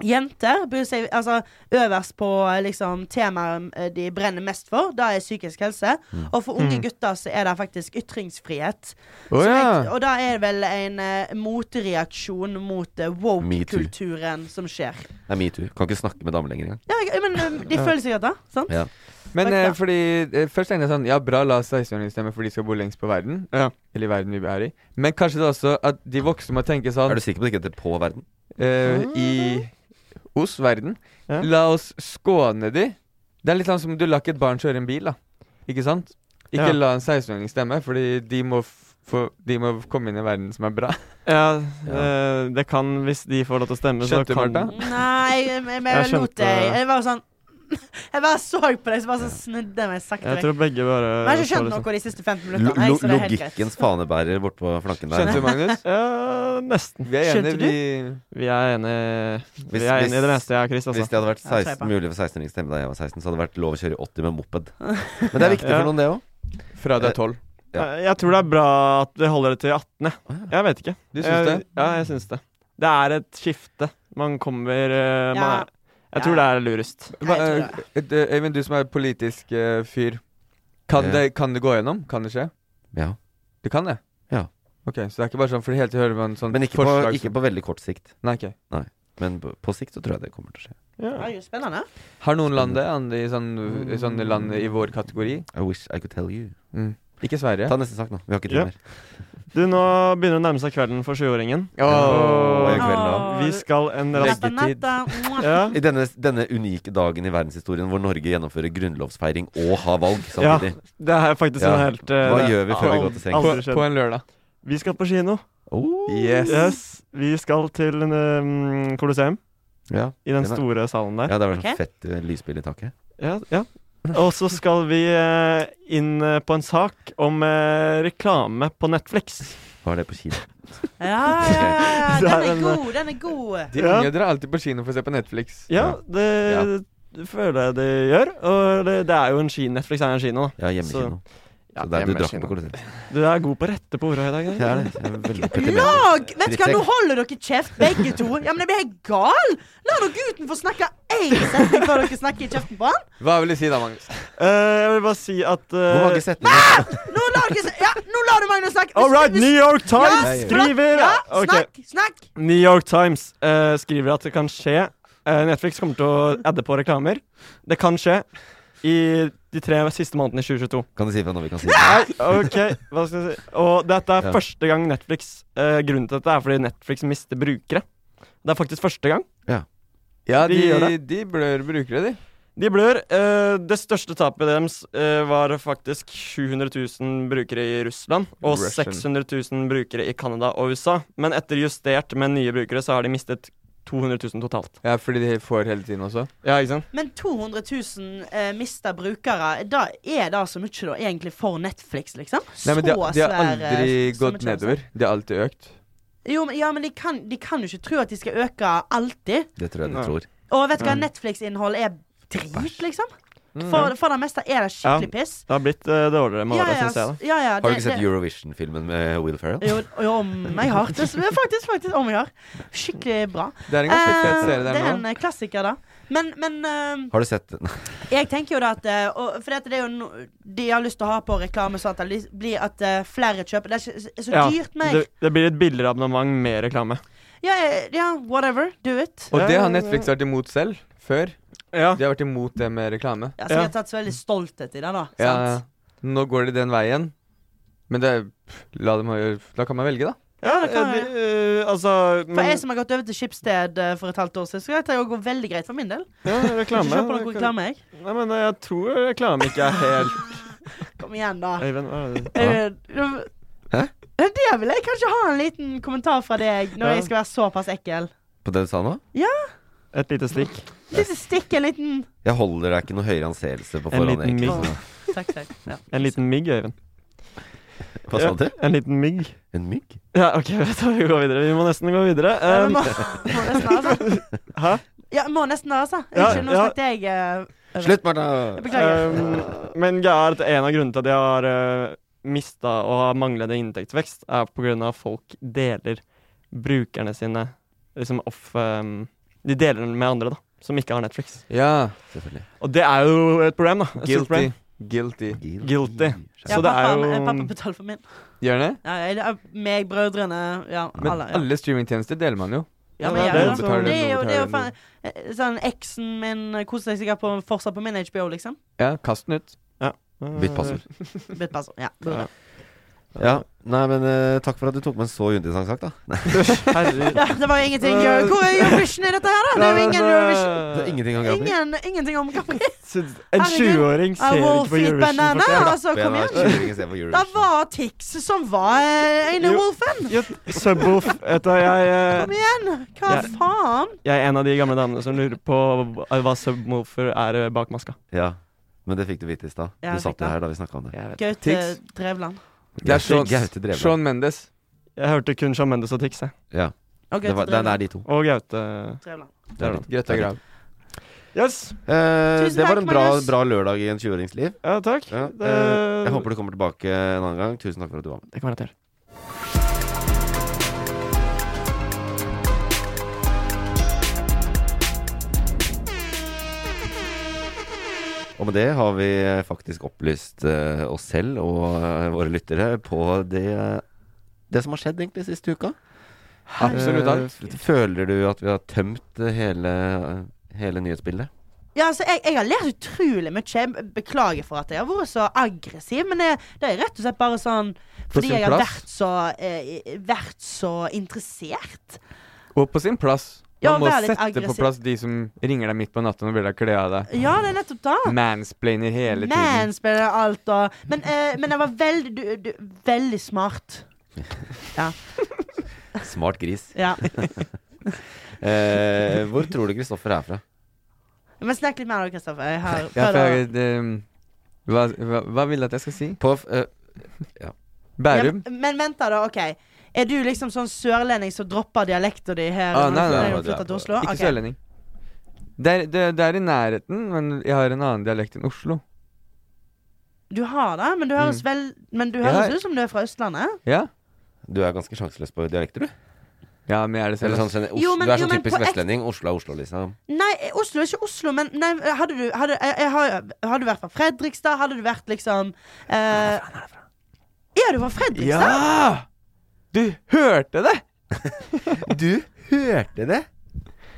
Speaker 4: Jenter bryr seg altså, øverst på eh, liksom, temaet eh, de brenner mest for. Da er psykisk helse. Og for unge gutter så er det faktisk ytringsfrihet.
Speaker 2: Å
Speaker 4: Som jeg,
Speaker 2: ja.
Speaker 4: og da er det vel en eh, motreaksjon mot eh, woke-kulturen som skjer.
Speaker 3: Det er metoo. Kan ikke snakke med damer lenger engang.
Speaker 4: Ja, jeg- men eh, de føler seg godt, da. Sant?
Speaker 3: Ja.
Speaker 2: Men
Speaker 4: Takk,
Speaker 2: eh,
Speaker 4: da.
Speaker 2: fordi eh, Først tenkte jeg sånn Ja, bra, la 16-åringene stemme, for de skal bo lengst på verden.
Speaker 8: Ja.
Speaker 2: Eller i verden vi er i. Men kanskje det er også at de voksne må tenke sånn
Speaker 3: Er du sikker på at det ikke heter På verden?
Speaker 2: eh, i oss, verden.
Speaker 8: Sånn, Ja.
Speaker 2: La oss skåne de. Det er litt sånn som du lar ikke et barn kjøre en bil, da. Ikke sant? Ikke
Speaker 8: Ja.
Speaker 2: la en 16-åring stemme, fordi de må, f få, de må komme inn i en verden som er bra.
Speaker 8: Ja,
Speaker 3: Ja.
Speaker 8: eh, det kan hvis de får lov til å stemme,
Speaker 2: Skjønte du,
Speaker 8: så kan
Speaker 2: Martha?
Speaker 4: Nei, jeg, jeg, jeg
Speaker 8: Jeg
Speaker 4: lot
Speaker 8: skjønte-
Speaker 4: deg. Jeg var sånn [LAUGHS] Jeg bare så på deg, så bare så snudde jeg meg sakte
Speaker 8: Jeg
Speaker 4: vekk.
Speaker 8: tror begge bare
Speaker 4: Men jeg har ikke
Speaker 8: så
Speaker 4: skjønt
Speaker 8: liksom-
Speaker 4: noe de siste 15
Speaker 3: Lo
Speaker 4: minuttene.
Speaker 3: lo
Speaker 4: jeg, så det er helt greit.
Speaker 3: logikkens fanebærer bortpå flanken der.
Speaker 2: Skjønte du, Magnus?
Speaker 8: [LAUGHS] Ja, nesten.
Speaker 2: Vi er enige,
Speaker 4: Skjønte du?
Speaker 2: vi
Speaker 8: Vi er enige Vi
Speaker 3: Hvis-
Speaker 8: er
Speaker 3: hvis-
Speaker 8: enige i det meste, ja, Chris.
Speaker 3: Hvis
Speaker 8: Altså.
Speaker 3: det hadde vært
Speaker 4: Ja,
Speaker 3: 16,
Speaker 4: jeg tror jeg på.
Speaker 3: mulig for 16-åringer å stemme da jeg var 16, så hadde det vært lov å kjøre i 80 med
Speaker 4: [LAUGHS]
Speaker 3: moped. Men det er viktig
Speaker 8: Ja.
Speaker 3: for noen, det òg.
Speaker 2: Fra du er tolv.
Speaker 3: ja.
Speaker 8: Eh, Jeg tror det er bra at vi holder det til 18, jeg. Jeg vet ikke.
Speaker 2: Du syns det?
Speaker 8: Jeg, ja, jeg syns det. Det er et skifte. Man kommer eh, man er,
Speaker 4: Ja.
Speaker 8: Jeg tror det
Speaker 4: Ja.
Speaker 8: er lurest.
Speaker 4: Nei, jeg
Speaker 2: Hva,
Speaker 4: tror
Speaker 2: eh, d- Øyvind, du som er politisk eh, fyr. Kan,
Speaker 3: Ja.
Speaker 2: det, kan det gå gjennom? Kan det skje?
Speaker 3: Eh. Ja.
Speaker 2: Det kan det?
Speaker 3: Ja.
Speaker 2: Ok, Så det er ikke bare sånn, for hele tiden hører man sånn
Speaker 3: Men ikke på,
Speaker 2: forslag
Speaker 3: ikke på veldig kort sikt.
Speaker 2: Nei, ok.
Speaker 3: Men på, på sikt så tror jeg det kommer til å skje.
Speaker 8: Ja.
Speaker 4: Det er jo spennende.
Speaker 2: Har noen land det? Andre i sånn, i sånn land i vår kategori?
Speaker 3: I wish I could tell you.
Speaker 2: Ikke Sverige.
Speaker 3: Ta neste sak nå. Vi har ikke tid
Speaker 8: Ja.
Speaker 3: mer.
Speaker 8: Du, nå begynner det å nærme seg kvelden for sjuåringen.
Speaker 3: Hva gjør
Speaker 8: Og
Speaker 3: kvelden da?
Speaker 4: Åh,
Speaker 8: vi
Speaker 4: du-
Speaker 8: skal en rask
Speaker 4: Natta,
Speaker 2: Leggetid.
Speaker 4: natta. Mwah.
Speaker 8: ja.
Speaker 3: I denne, denne unike dagen i verdenshistorien hvor Norge gjennomfører grunnlovsfeiring og har valg
Speaker 8: Ja.
Speaker 3: samtidig.
Speaker 8: Det er faktisk
Speaker 3: Ja.
Speaker 8: en helt eh,
Speaker 3: Hva
Speaker 8: det-
Speaker 3: gjør vi før vi går til sengs?
Speaker 2: På,
Speaker 8: Aldri
Speaker 2: på
Speaker 8: skjedd.
Speaker 2: en lørdag.
Speaker 8: Vi skal på kino.
Speaker 3: Oh.
Speaker 2: Yes.
Speaker 8: Yes. Vi skal til um, Colosseum.
Speaker 3: Ja.
Speaker 8: I den
Speaker 3: Den er-
Speaker 8: store salen der.
Speaker 3: ja, det er vel
Speaker 4: Ok.
Speaker 3: sånn fett eh, lysspill i taket.
Speaker 8: Ja, ja. Og så skal vi eh, inn eh, på en sak om eh, reklame på Netflix.
Speaker 3: Hva er det på kino?
Speaker 4: Ja, ja,
Speaker 8: [LAUGHS]
Speaker 4: ja,
Speaker 8: Det
Speaker 4: ja.
Speaker 8: er
Speaker 4: Den
Speaker 8: en, eh,
Speaker 4: er god, den er god.
Speaker 2: De
Speaker 8: Ja.
Speaker 2: unge drar alltid på kino for å se på Netflix.
Speaker 8: Ja, det føler jeg det gjør. Og det, det er jo en kino. Netflix er jo en kino. da.
Speaker 3: Ja, hjemmekino.
Speaker 8: Ja,
Speaker 3: Så det er, du drakk
Speaker 8: hjemmekino.
Speaker 3: på Colosseum.
Speaker 8: Du er god på å rette på orda i dag.
Speaker 3: Det
Speaker 8: Geir.
Speaker 3: er det. Jeg er veldig petimeter.
Speaker 4: Lag! Vet du hva, nå holder dere kjeft, begge to. Ja, men jeg blir helt gal! La dere gutten få snakke én setning før dere snakker i kjeften på han.
Speaker 2: Hva vil du si da, Magnus?
Speaker 8: Eh, jeg vil bare si at eh, Hvor
Speaker 3: mange setninger?
Speaker 4: Ah! Nå lar, dere, ja, nå lar du Magnus snakke. Hvis-
Speaker 8: All right,
Speaker 4: hvis-
Speaker 8: New York Times
Speaker 4: Ja,
Speaker 8: skriver
Speaker 4: Ja,
Speaker 8: Ok.
Speaker 4: snakk, snakk.
Speaker 8: New York Times eh, skriver at det kan skje. Eh, Netflix kommer til å adde på reklamer. Det kan skje i de tre siste månedene i 2022.
Speaker 3: Kan du si fra når vi kan si det?
Speaker 8: Nei, ok, hva skal jeg si Og dette er
Speaker 3: Ja.
Speaker 8: første gang Netflix eh, Grunnen til dette er fordi Netflix mister brukere. Det er faktisk første gang.
Speaker 3: Ja.
Speaker 2: Ja, de,
Speaker 8: gjør
Speaker 2: de,
Speaker 8: det.
Speaker 2: blør brukere, de.
Speaker 8: De blør. Eh, det største tapet deres eh, var faktisk 700 000 brukere i Russland og
Speaker 2: Russian.
Speaker 8: 600 000 brukere i Canada og USA. Men etter justert med nye brukere, så har de mistet 200 000 totalt.
Speaker 2: Ja, fordi de får hele tiden også.
Speaker 8: Ja, ikke sant?
Speaker 4: Men 200 000 eh, mister brukere. Da er det så mye da egentlig for Netflix, liksom?
Speaker 2: Nei, men de,
Speaker 4: Så
Speaker 2: de har
Speaker 4: svær, eh,
Speaker 2: aldri
Speaker 4: som
Speaker 2: gått
Speaker 4: et
Speaker 2: nedover. De har alltid økt.
Speaker 4: Jo, men, ja, men de kan, de kan jo ikke tro at de skal øke alltid.
Speaker 3: Det tror jeg de
Speaker 2: Nei.
Speaker 3: tror.
Speaker 4: Og vet du hva,
Speaker 8: Mm.
Speaker 4: Netflix-innhold er drit, liksom.
Speaker 2: Mm.
Speaker 4: For, for det meste er det
Speaker 8: Ja,
Speaker 4: skikkelig piss.
Speaker 8: Det har blitt eh, dårligere med
Speaker 4: Ja,
Speaker 8: åra,
Speaker 4: ja,
Speaker 8: syns jeg. da
Speaker 4: ja, ja,
Speaker 3: Har du
Speaker 4: det-
Speaker 3: ikke sett
Speaker 4: det-
Speaker 3: Eurovision-filmen med Will Ferrell?
Speaker 4: Jo, jo, om jeg har det. så- Faktisk, faktisk, om jeg har. Skikkelig bra.
Speaker 2: Det er en ganske fet
Speaker 4: Eh,
Speaker 2: serie,
Speaker 4: det
Speaker 2: der
Speaker 4: er
Speaker 2: nå.
Speaker 4: en eh, klassiker, da. Men, men eh,
Speaker 3: Har du sett den? [LAUGHS]
Speaker 4: Jeg tenker jo da at eh, og, For dette, det er jo no, de har lyst til å ha på reklame sånn at det li- blir at eh, flere kjøper. Det er ikke så så
Speaker 8: Ja,
Speaker 4: dyrt mer.
Speaker 8: det, det blir et billigere abonnement med reklame.
Speaker 4: Ja, eh, ja, whatever. Do it.
Speaker 2: Og det har Netflix vært imot selv, før.
Speaker 8: Ja.
Speaker 2: De har vært imot det med reklame.
Speaker 4: Ja, så de har tatt så veldig stolthet i det, da.
Speaker 2: Ja,
Speaker 4: Sant?
Speaker 2: Nå går de den veien. Men det er- pff, la dem, ha- da kan man velge, da.
Speaker 8: Ja,
Speaker 4: det kan
Speaker 8: eh, de, eh, altså
Speaker 4: For jeg som har gått over til Schibsted eh, for et halvt år siden, så dette går veldig greit for min del.
Speaker 8: ja, reklame.
Speaker 4: Ikke kjøp på noe reklame, jeg.
Speaker 8: Nei, men eh, jeg tror reklame ikke er helt
Speaker 4: Kom igjen, da.
Speaker 8: Øyvind, hva er det? du-
Speaker 4: Eh, eh, Det vil jeg kanskje ha en liten kommentar fra deg, når
Speaker 8: Ja.
Speaker 4: jeg skal være såpass ekkel.
Speaker 3: På det du sa nå?
Speaker 4: Ja.
Speaker 8: Et lite stikk.
Speaker 4: Et lite stikk, en liten
Speaker 3: Jeg holder deg ikke noe høyere anseelse på
Speaker 8: En
Speaker 3: forhånd,
Speaker 8: liten
Speaker 3: egentlig.
Speaker 8: mygg.
Speaker 3: så-
Speaker 4: Takk, takk. Ja.
Speaker 8: En liten mygg, Øyvind.
Speaker 3: Hva sa du?
Speaker 8: En liten mygg.
Speaker 3: En mygg?
Speaker 8: Ja, OK, [LAUGHS] vet du, hva, vi går videre. Vi må nesten gå videre.
Speaker 4: Ja,
Speaker 8: Um,
Speaker 4: vi
Speaker 8: [LAUGHS]
Speaker 4: må, må nesten ha det.
Speaker 8: Hæ?
Speaker 4: Ja, må nesten ha det, altså.
Speaker 8: Ja,
Speaker 4: Unnskyld, nå
Speaker 8: ja.
Speaker 4: snakket jeg eh, over.
Speaker 3: Slutt, Martha!
Speaker 4: Jeg beklager.
Speaker 8: Um, men greia er at en av grunnene til at de har uh, mista og har manglende inntektsvekst, er på grunn av at folk deler brukerne sine liksom off um, De deler den med andre, da, som ikke har Netflix.
Speaker 2: Ja.
Speaker 3: Selvfølgelig.
Speaker 8: Og det er jo et problem, da. Et stort
Speaker 2: Guilty.
Speaker 8: problem.
Speaker 2: Guilty.
Speaker 8: Guilty.
Speaker 4: Ja,
Speaker 8: Så det
Speaker 4: pappa,
Speaker 8: er jo
Speaker 4: eh, pappa betaler for min.
Speaker 2: Gjør den det?
Speaker 4: Ja, jeg, jeg- meg, brødrene, ja,
Speaker 2: Men
Speaker 4: alle. Ja.
Speaker 2: alle streamingtjenester deler man jo.
Speaker 4: Ja, men
Speaker 8: Ja,
Speaker 4: jeg,
Speaker 8: det er
Speaker 4: ja,
Speaker 8: jo
Speaker 4: det,
Speaker 8: sånn-
Speaker 4: er jo, det er jo
Speaker 2: Noen
Speaker 4: faen
Speaker 2: betaler
Speaker 4: eh, Sånn, eksen min eh, koser seg sikkert på, fortsatt på min HBO, liksom.
Speaker 2: Ja, kast den ut.
Speaker 3: Bytt passord.
Speaker 4: Bytt passord. Ja.
Speaker 8: Ja.
Speaker 3: Ja. Nei, men eh, takk for at du tok med en så uinteressant sak, da. Nei.
Speaker 8: Herregud.
Speaker 4: ja, [LAUGHS] det var jo ingenting eh, Hvor er Eurovision i dette her, da? [LAUGHS] Det er jo ingen Eurovision.
Speaker 3: Det er ingenting om Grand Prix.
Speaker 4: Ingen, ingenting om Grand Prix.
Speaker 8: En
Speaker 4: Herregud.
Speaker 8: 20-åring
Speaker 4: I
Speaker 8: ser
Speaker 4: will
Speaker 8: ikke på
Speaker 4: feed
Speaker 8: Eurovision.
Speaker 4: banana,
Speaker 8: fortell.
Speaker 4: altså. Kom igjen. Det
Speaker 3: igjen.
Speaker 4: var Tix som var eh, Eine
Speaker 8: Jo.
Speaker 4: Wolfen.
Speaker 8: Ja, Subwoof. Vet du, jeg, eh,
Speaker 4: Kom igjen! Hva
Speaker 8: Ja.
Speaker 4: faen?
Speaker 8: jeg er en av de gamle damene som lurer på hva subwoofer er eh, bak maska.
Speaker 3: Ja. Men det fikk du vite i stad. Du
Speaker 4: Ja, jeg fikk
Speaker 3: satt jo
Speaker 4: det.
Speaker 3: her da vi snakka om det.
Speaker 8: Jeg, vet.
Speaker 4: Gaute
Speaker 2: Tix.
Speaker 4: Drevland.
Speaker 2: Det er Sean,
Speaker 3: Gaute Drevland.
Speaker 2: Sean Mendes.
Speaker 8: jeg hørte kun Shawn Mendes og Tix, jeg.
Speaker 3: Ja.
Speaker 4: Og
Speaker 3: Det,
Speaker 4: Gaute
Speaker 3: var, det, det er de to.
Speaker 8: Og Gaute.
Speaker 4: Drevland.
Speaker 3: Det er de to.
Speaker 2: Greta Grav.
Speaker 8: Yes.
Speaker 3: Eh,
Speaker 4: Tusen
Speaker 3: det var
Speaker 4: takk,
Speaker 3: en bra,
Speaker 4: Magnus.
Speaker 3: bra lørdag i en 20-årings liv.
Speaker 8: Ja, takk.
Speaker 3: Ja,
Speaker 8: Det-
Speaker 3: eh, jeg håper du kommer tilbake en annen gang. Tusen takk for at du var med.
Speaker 8: Det kommer jeg til.
Speaker 3: Og med det har vi eh, faktisk opplyst eh, oss selv og eh, våre lyttere på det, eh, det som har skjedd egentlig siste uka.
Speaker 2: Absolutt alt.
Speaker 3: Eh, føler du at vi har tømt eh, hele, hele nyhetsbildet?
Speaker 4: Ja, altså, jeg, jeg har lært utrolig mye. Jeg beklager for at jeg har vært så aggressiv, men det, det er rett og slett bare sånn fordi
Speaker 2: sin
Speaker 4: jeg har
Speaker 2: plass.
Speaker 4: vært så, eh, vært så interessert.
Speaker 2: Og på sin plass.
Speaker 4: Ja,
Speaker 2: Man må
Speaker 4: vær litt
Speaker 2: sette på
Speaker 4: aggressiv.
Speaker 2: plass de som ringer deg midt på natten og vil ha kle av deg.
Speaker 4: Ja, det er nettopp det.
Speaker 2: Mansplainer hele tiden.
Speaker 4: Mansplainer alt og Men, eh, men jeg var veldig du, du, Veldig smart.
Speaker 3: Smart gris.
Speaker 4: Ja.
Speaker 3: Eh, hvor tror du Kristoffer er fra?
Speaker 4: Men snakk litt mer, da, Kristoffer. Jeg har
Speaker 2: Ja, for
Speaker 4: prøvd å
Speaker 2: jeg, det, hva, hva, hva vil du at jeg skal si?
Speaker 3: På f- eh,
Speaker 2: Bærum?
Speaker 4: Ja, men vent da, da. OK. Er du liksom sånn sørlending som dropper dialekta di her?
Speaker 2: Ah, nei,
Speaker 4: når du-
Speaker 2: nei,
Speaker 4: når
Speaker 3: nei,
Speaker 4: du flytter til Oslo?
Speaker 2: Ikke
Speaker 4: Ok.
Speaker 2: sørlending. Det er, det, det er i nærheten, men jeg har en annen dialekt enn Oslo.
Speaker 4: Du har det, men du høres,
Speaker 2: Mm.
Speaker 4: vel, men du
Speaker 2: Jeg
Speaker 4: høres
Speaker 2: har-
Speaker 4: ut som du er fra Østlandet.
Speaker 2: Ja?
Speaker 3: du er ganske sjanseløs på dialekter, du.
Speaker 2: Ja, men jeg er det selv.
Speaker 3: Eller sånn, gener- Os-
Speaker 4: Jo, men-
Speaker 3: du er
Speaker 4: jo,
Speaker 3: sånn
Speaker 4: men
Speaker 3: typisk
Speaker 4: på ek-
Speaker 3: vestlending. Oslo er Oslo, liksom.
Speaker 4: Nei, Oslo er ikke Oslo, men nei, hadde du Hadde, jeg, jeg, har- hadde du vært fra Fredrikstad? Hadde du vært liksom eh, Ja, du var fra Fredrikstad?
Speaker 2: Ja! Ah! Du hørte det! du hørte det?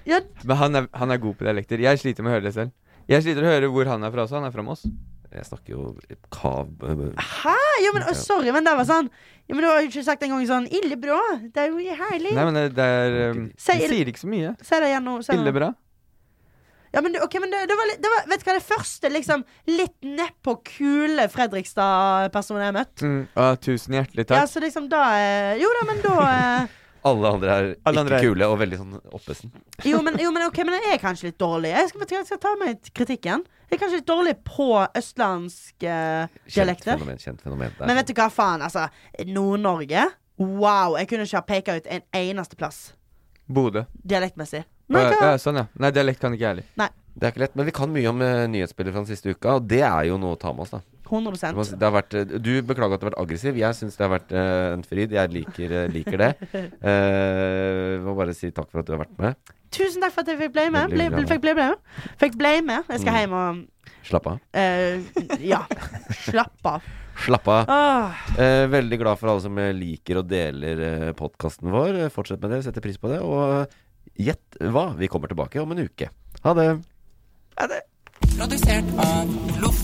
Speaker 4: Ja.
Speaker 2: Men han er, han er god på dialekter. Jeg sliter med å høre det selv. Jeg sliter å høre hvor han er fra også. Han er fra Moss.
Speaker 3: Jeg snakker jo kav...
Speaker 4: Hæ? Ja, men, å, sorry, men det var sånn ja, Men du har jo ikke sagt engang sånn Illebra. Det er jo herlig.
Speaker 2: Nei, men det, det er um,
Speaker 4: Si
Speaker 2: Det
Speaker 4: ill-
Speaker 2: sier ikke så mye.
Speaker 4: Si det igjen nå. si det nå.
Speaker 2: Ille bra.
Speaker 4: Ja, men, det- ok, men det, det, var, litt- det var Vet du hva, det første liksom litt nedpå kule Fredrikstad-personen jeg har møtt.
Speaker 2: Mm. Ah, tusen hjertelig
Speaker 4: Ja,
Speaker 2: takk.
Speaker 4: så liksom da eh, Jo da, men da eh,
Speaker 3: Alle andre er
Speaker 2: Alle andre
Speaker 3: ikke
Speaker 2: er-
Speaker 3: kule og veldig sånn oppesen.
Speaker 4: Jo, men, jo, men ok, men jeg er kanskje litt dårlig. Jeg skal, jeg skal ta med kritikken. Jeg er kanskje litt dårlig på østlandske
Speaker 3: Kjent
Speaker 4: dialekter.
Speaker 3: fenomen. Kjent fenomen Det er
Speaker 4: Men vet du hva faen, altså. Nord-Norge. Wow. Jeg kunne ikke ha peka ut en eneste plass
Speaker 2: Bodø. Å,
Speaker 4: dialektmessig. Men hva?
Speaker 2: ja, sånn, ja. Nei, dialekt kan ikke jeg heller.
Speaker 4: Nei.
Speaker 3: Det er ikke lett, men vi kan mye om eh, nyhetsbildet fra den siste uka, og det er jo noe å ta med oss, da.
Speaker 4: 100
Speaker 3: Det må- Det har vært, eh, du beklager at du har vært aggressiv. Jeg syns det har vært eh, en fryd. Jeg liker, eh, liker det. Eh, må bare si takk for at du har vært med.
Speaker 4: Tusen takk for at jeg fikk bli med.
Speaker 3: Veldig
Speaker 4: Ble,
Speaker 3: bra.
Speaker 4: ble, fikk bli med. Fikk bli med. Jeg skal
Speaker 3: Mm.
Speaker 4: hjem og
Speaker 3: Slapp av.
Speaker 4: eh, Ja.
Speaker 3: [LAUGHS]
Speaker 4: Slapp av.
Speaker 3: Slapp av.
Speaker 4: Åh.
Speaker 3: Eh, veldig glad for alle som eh, liker og deler eh, podkasten vår. Eh, Fortsett med det, setter pris på det. Og eh, gjett hva, vi kommer tilbake om en uke. Ha det.
Speaker 9: Produsert av Loff.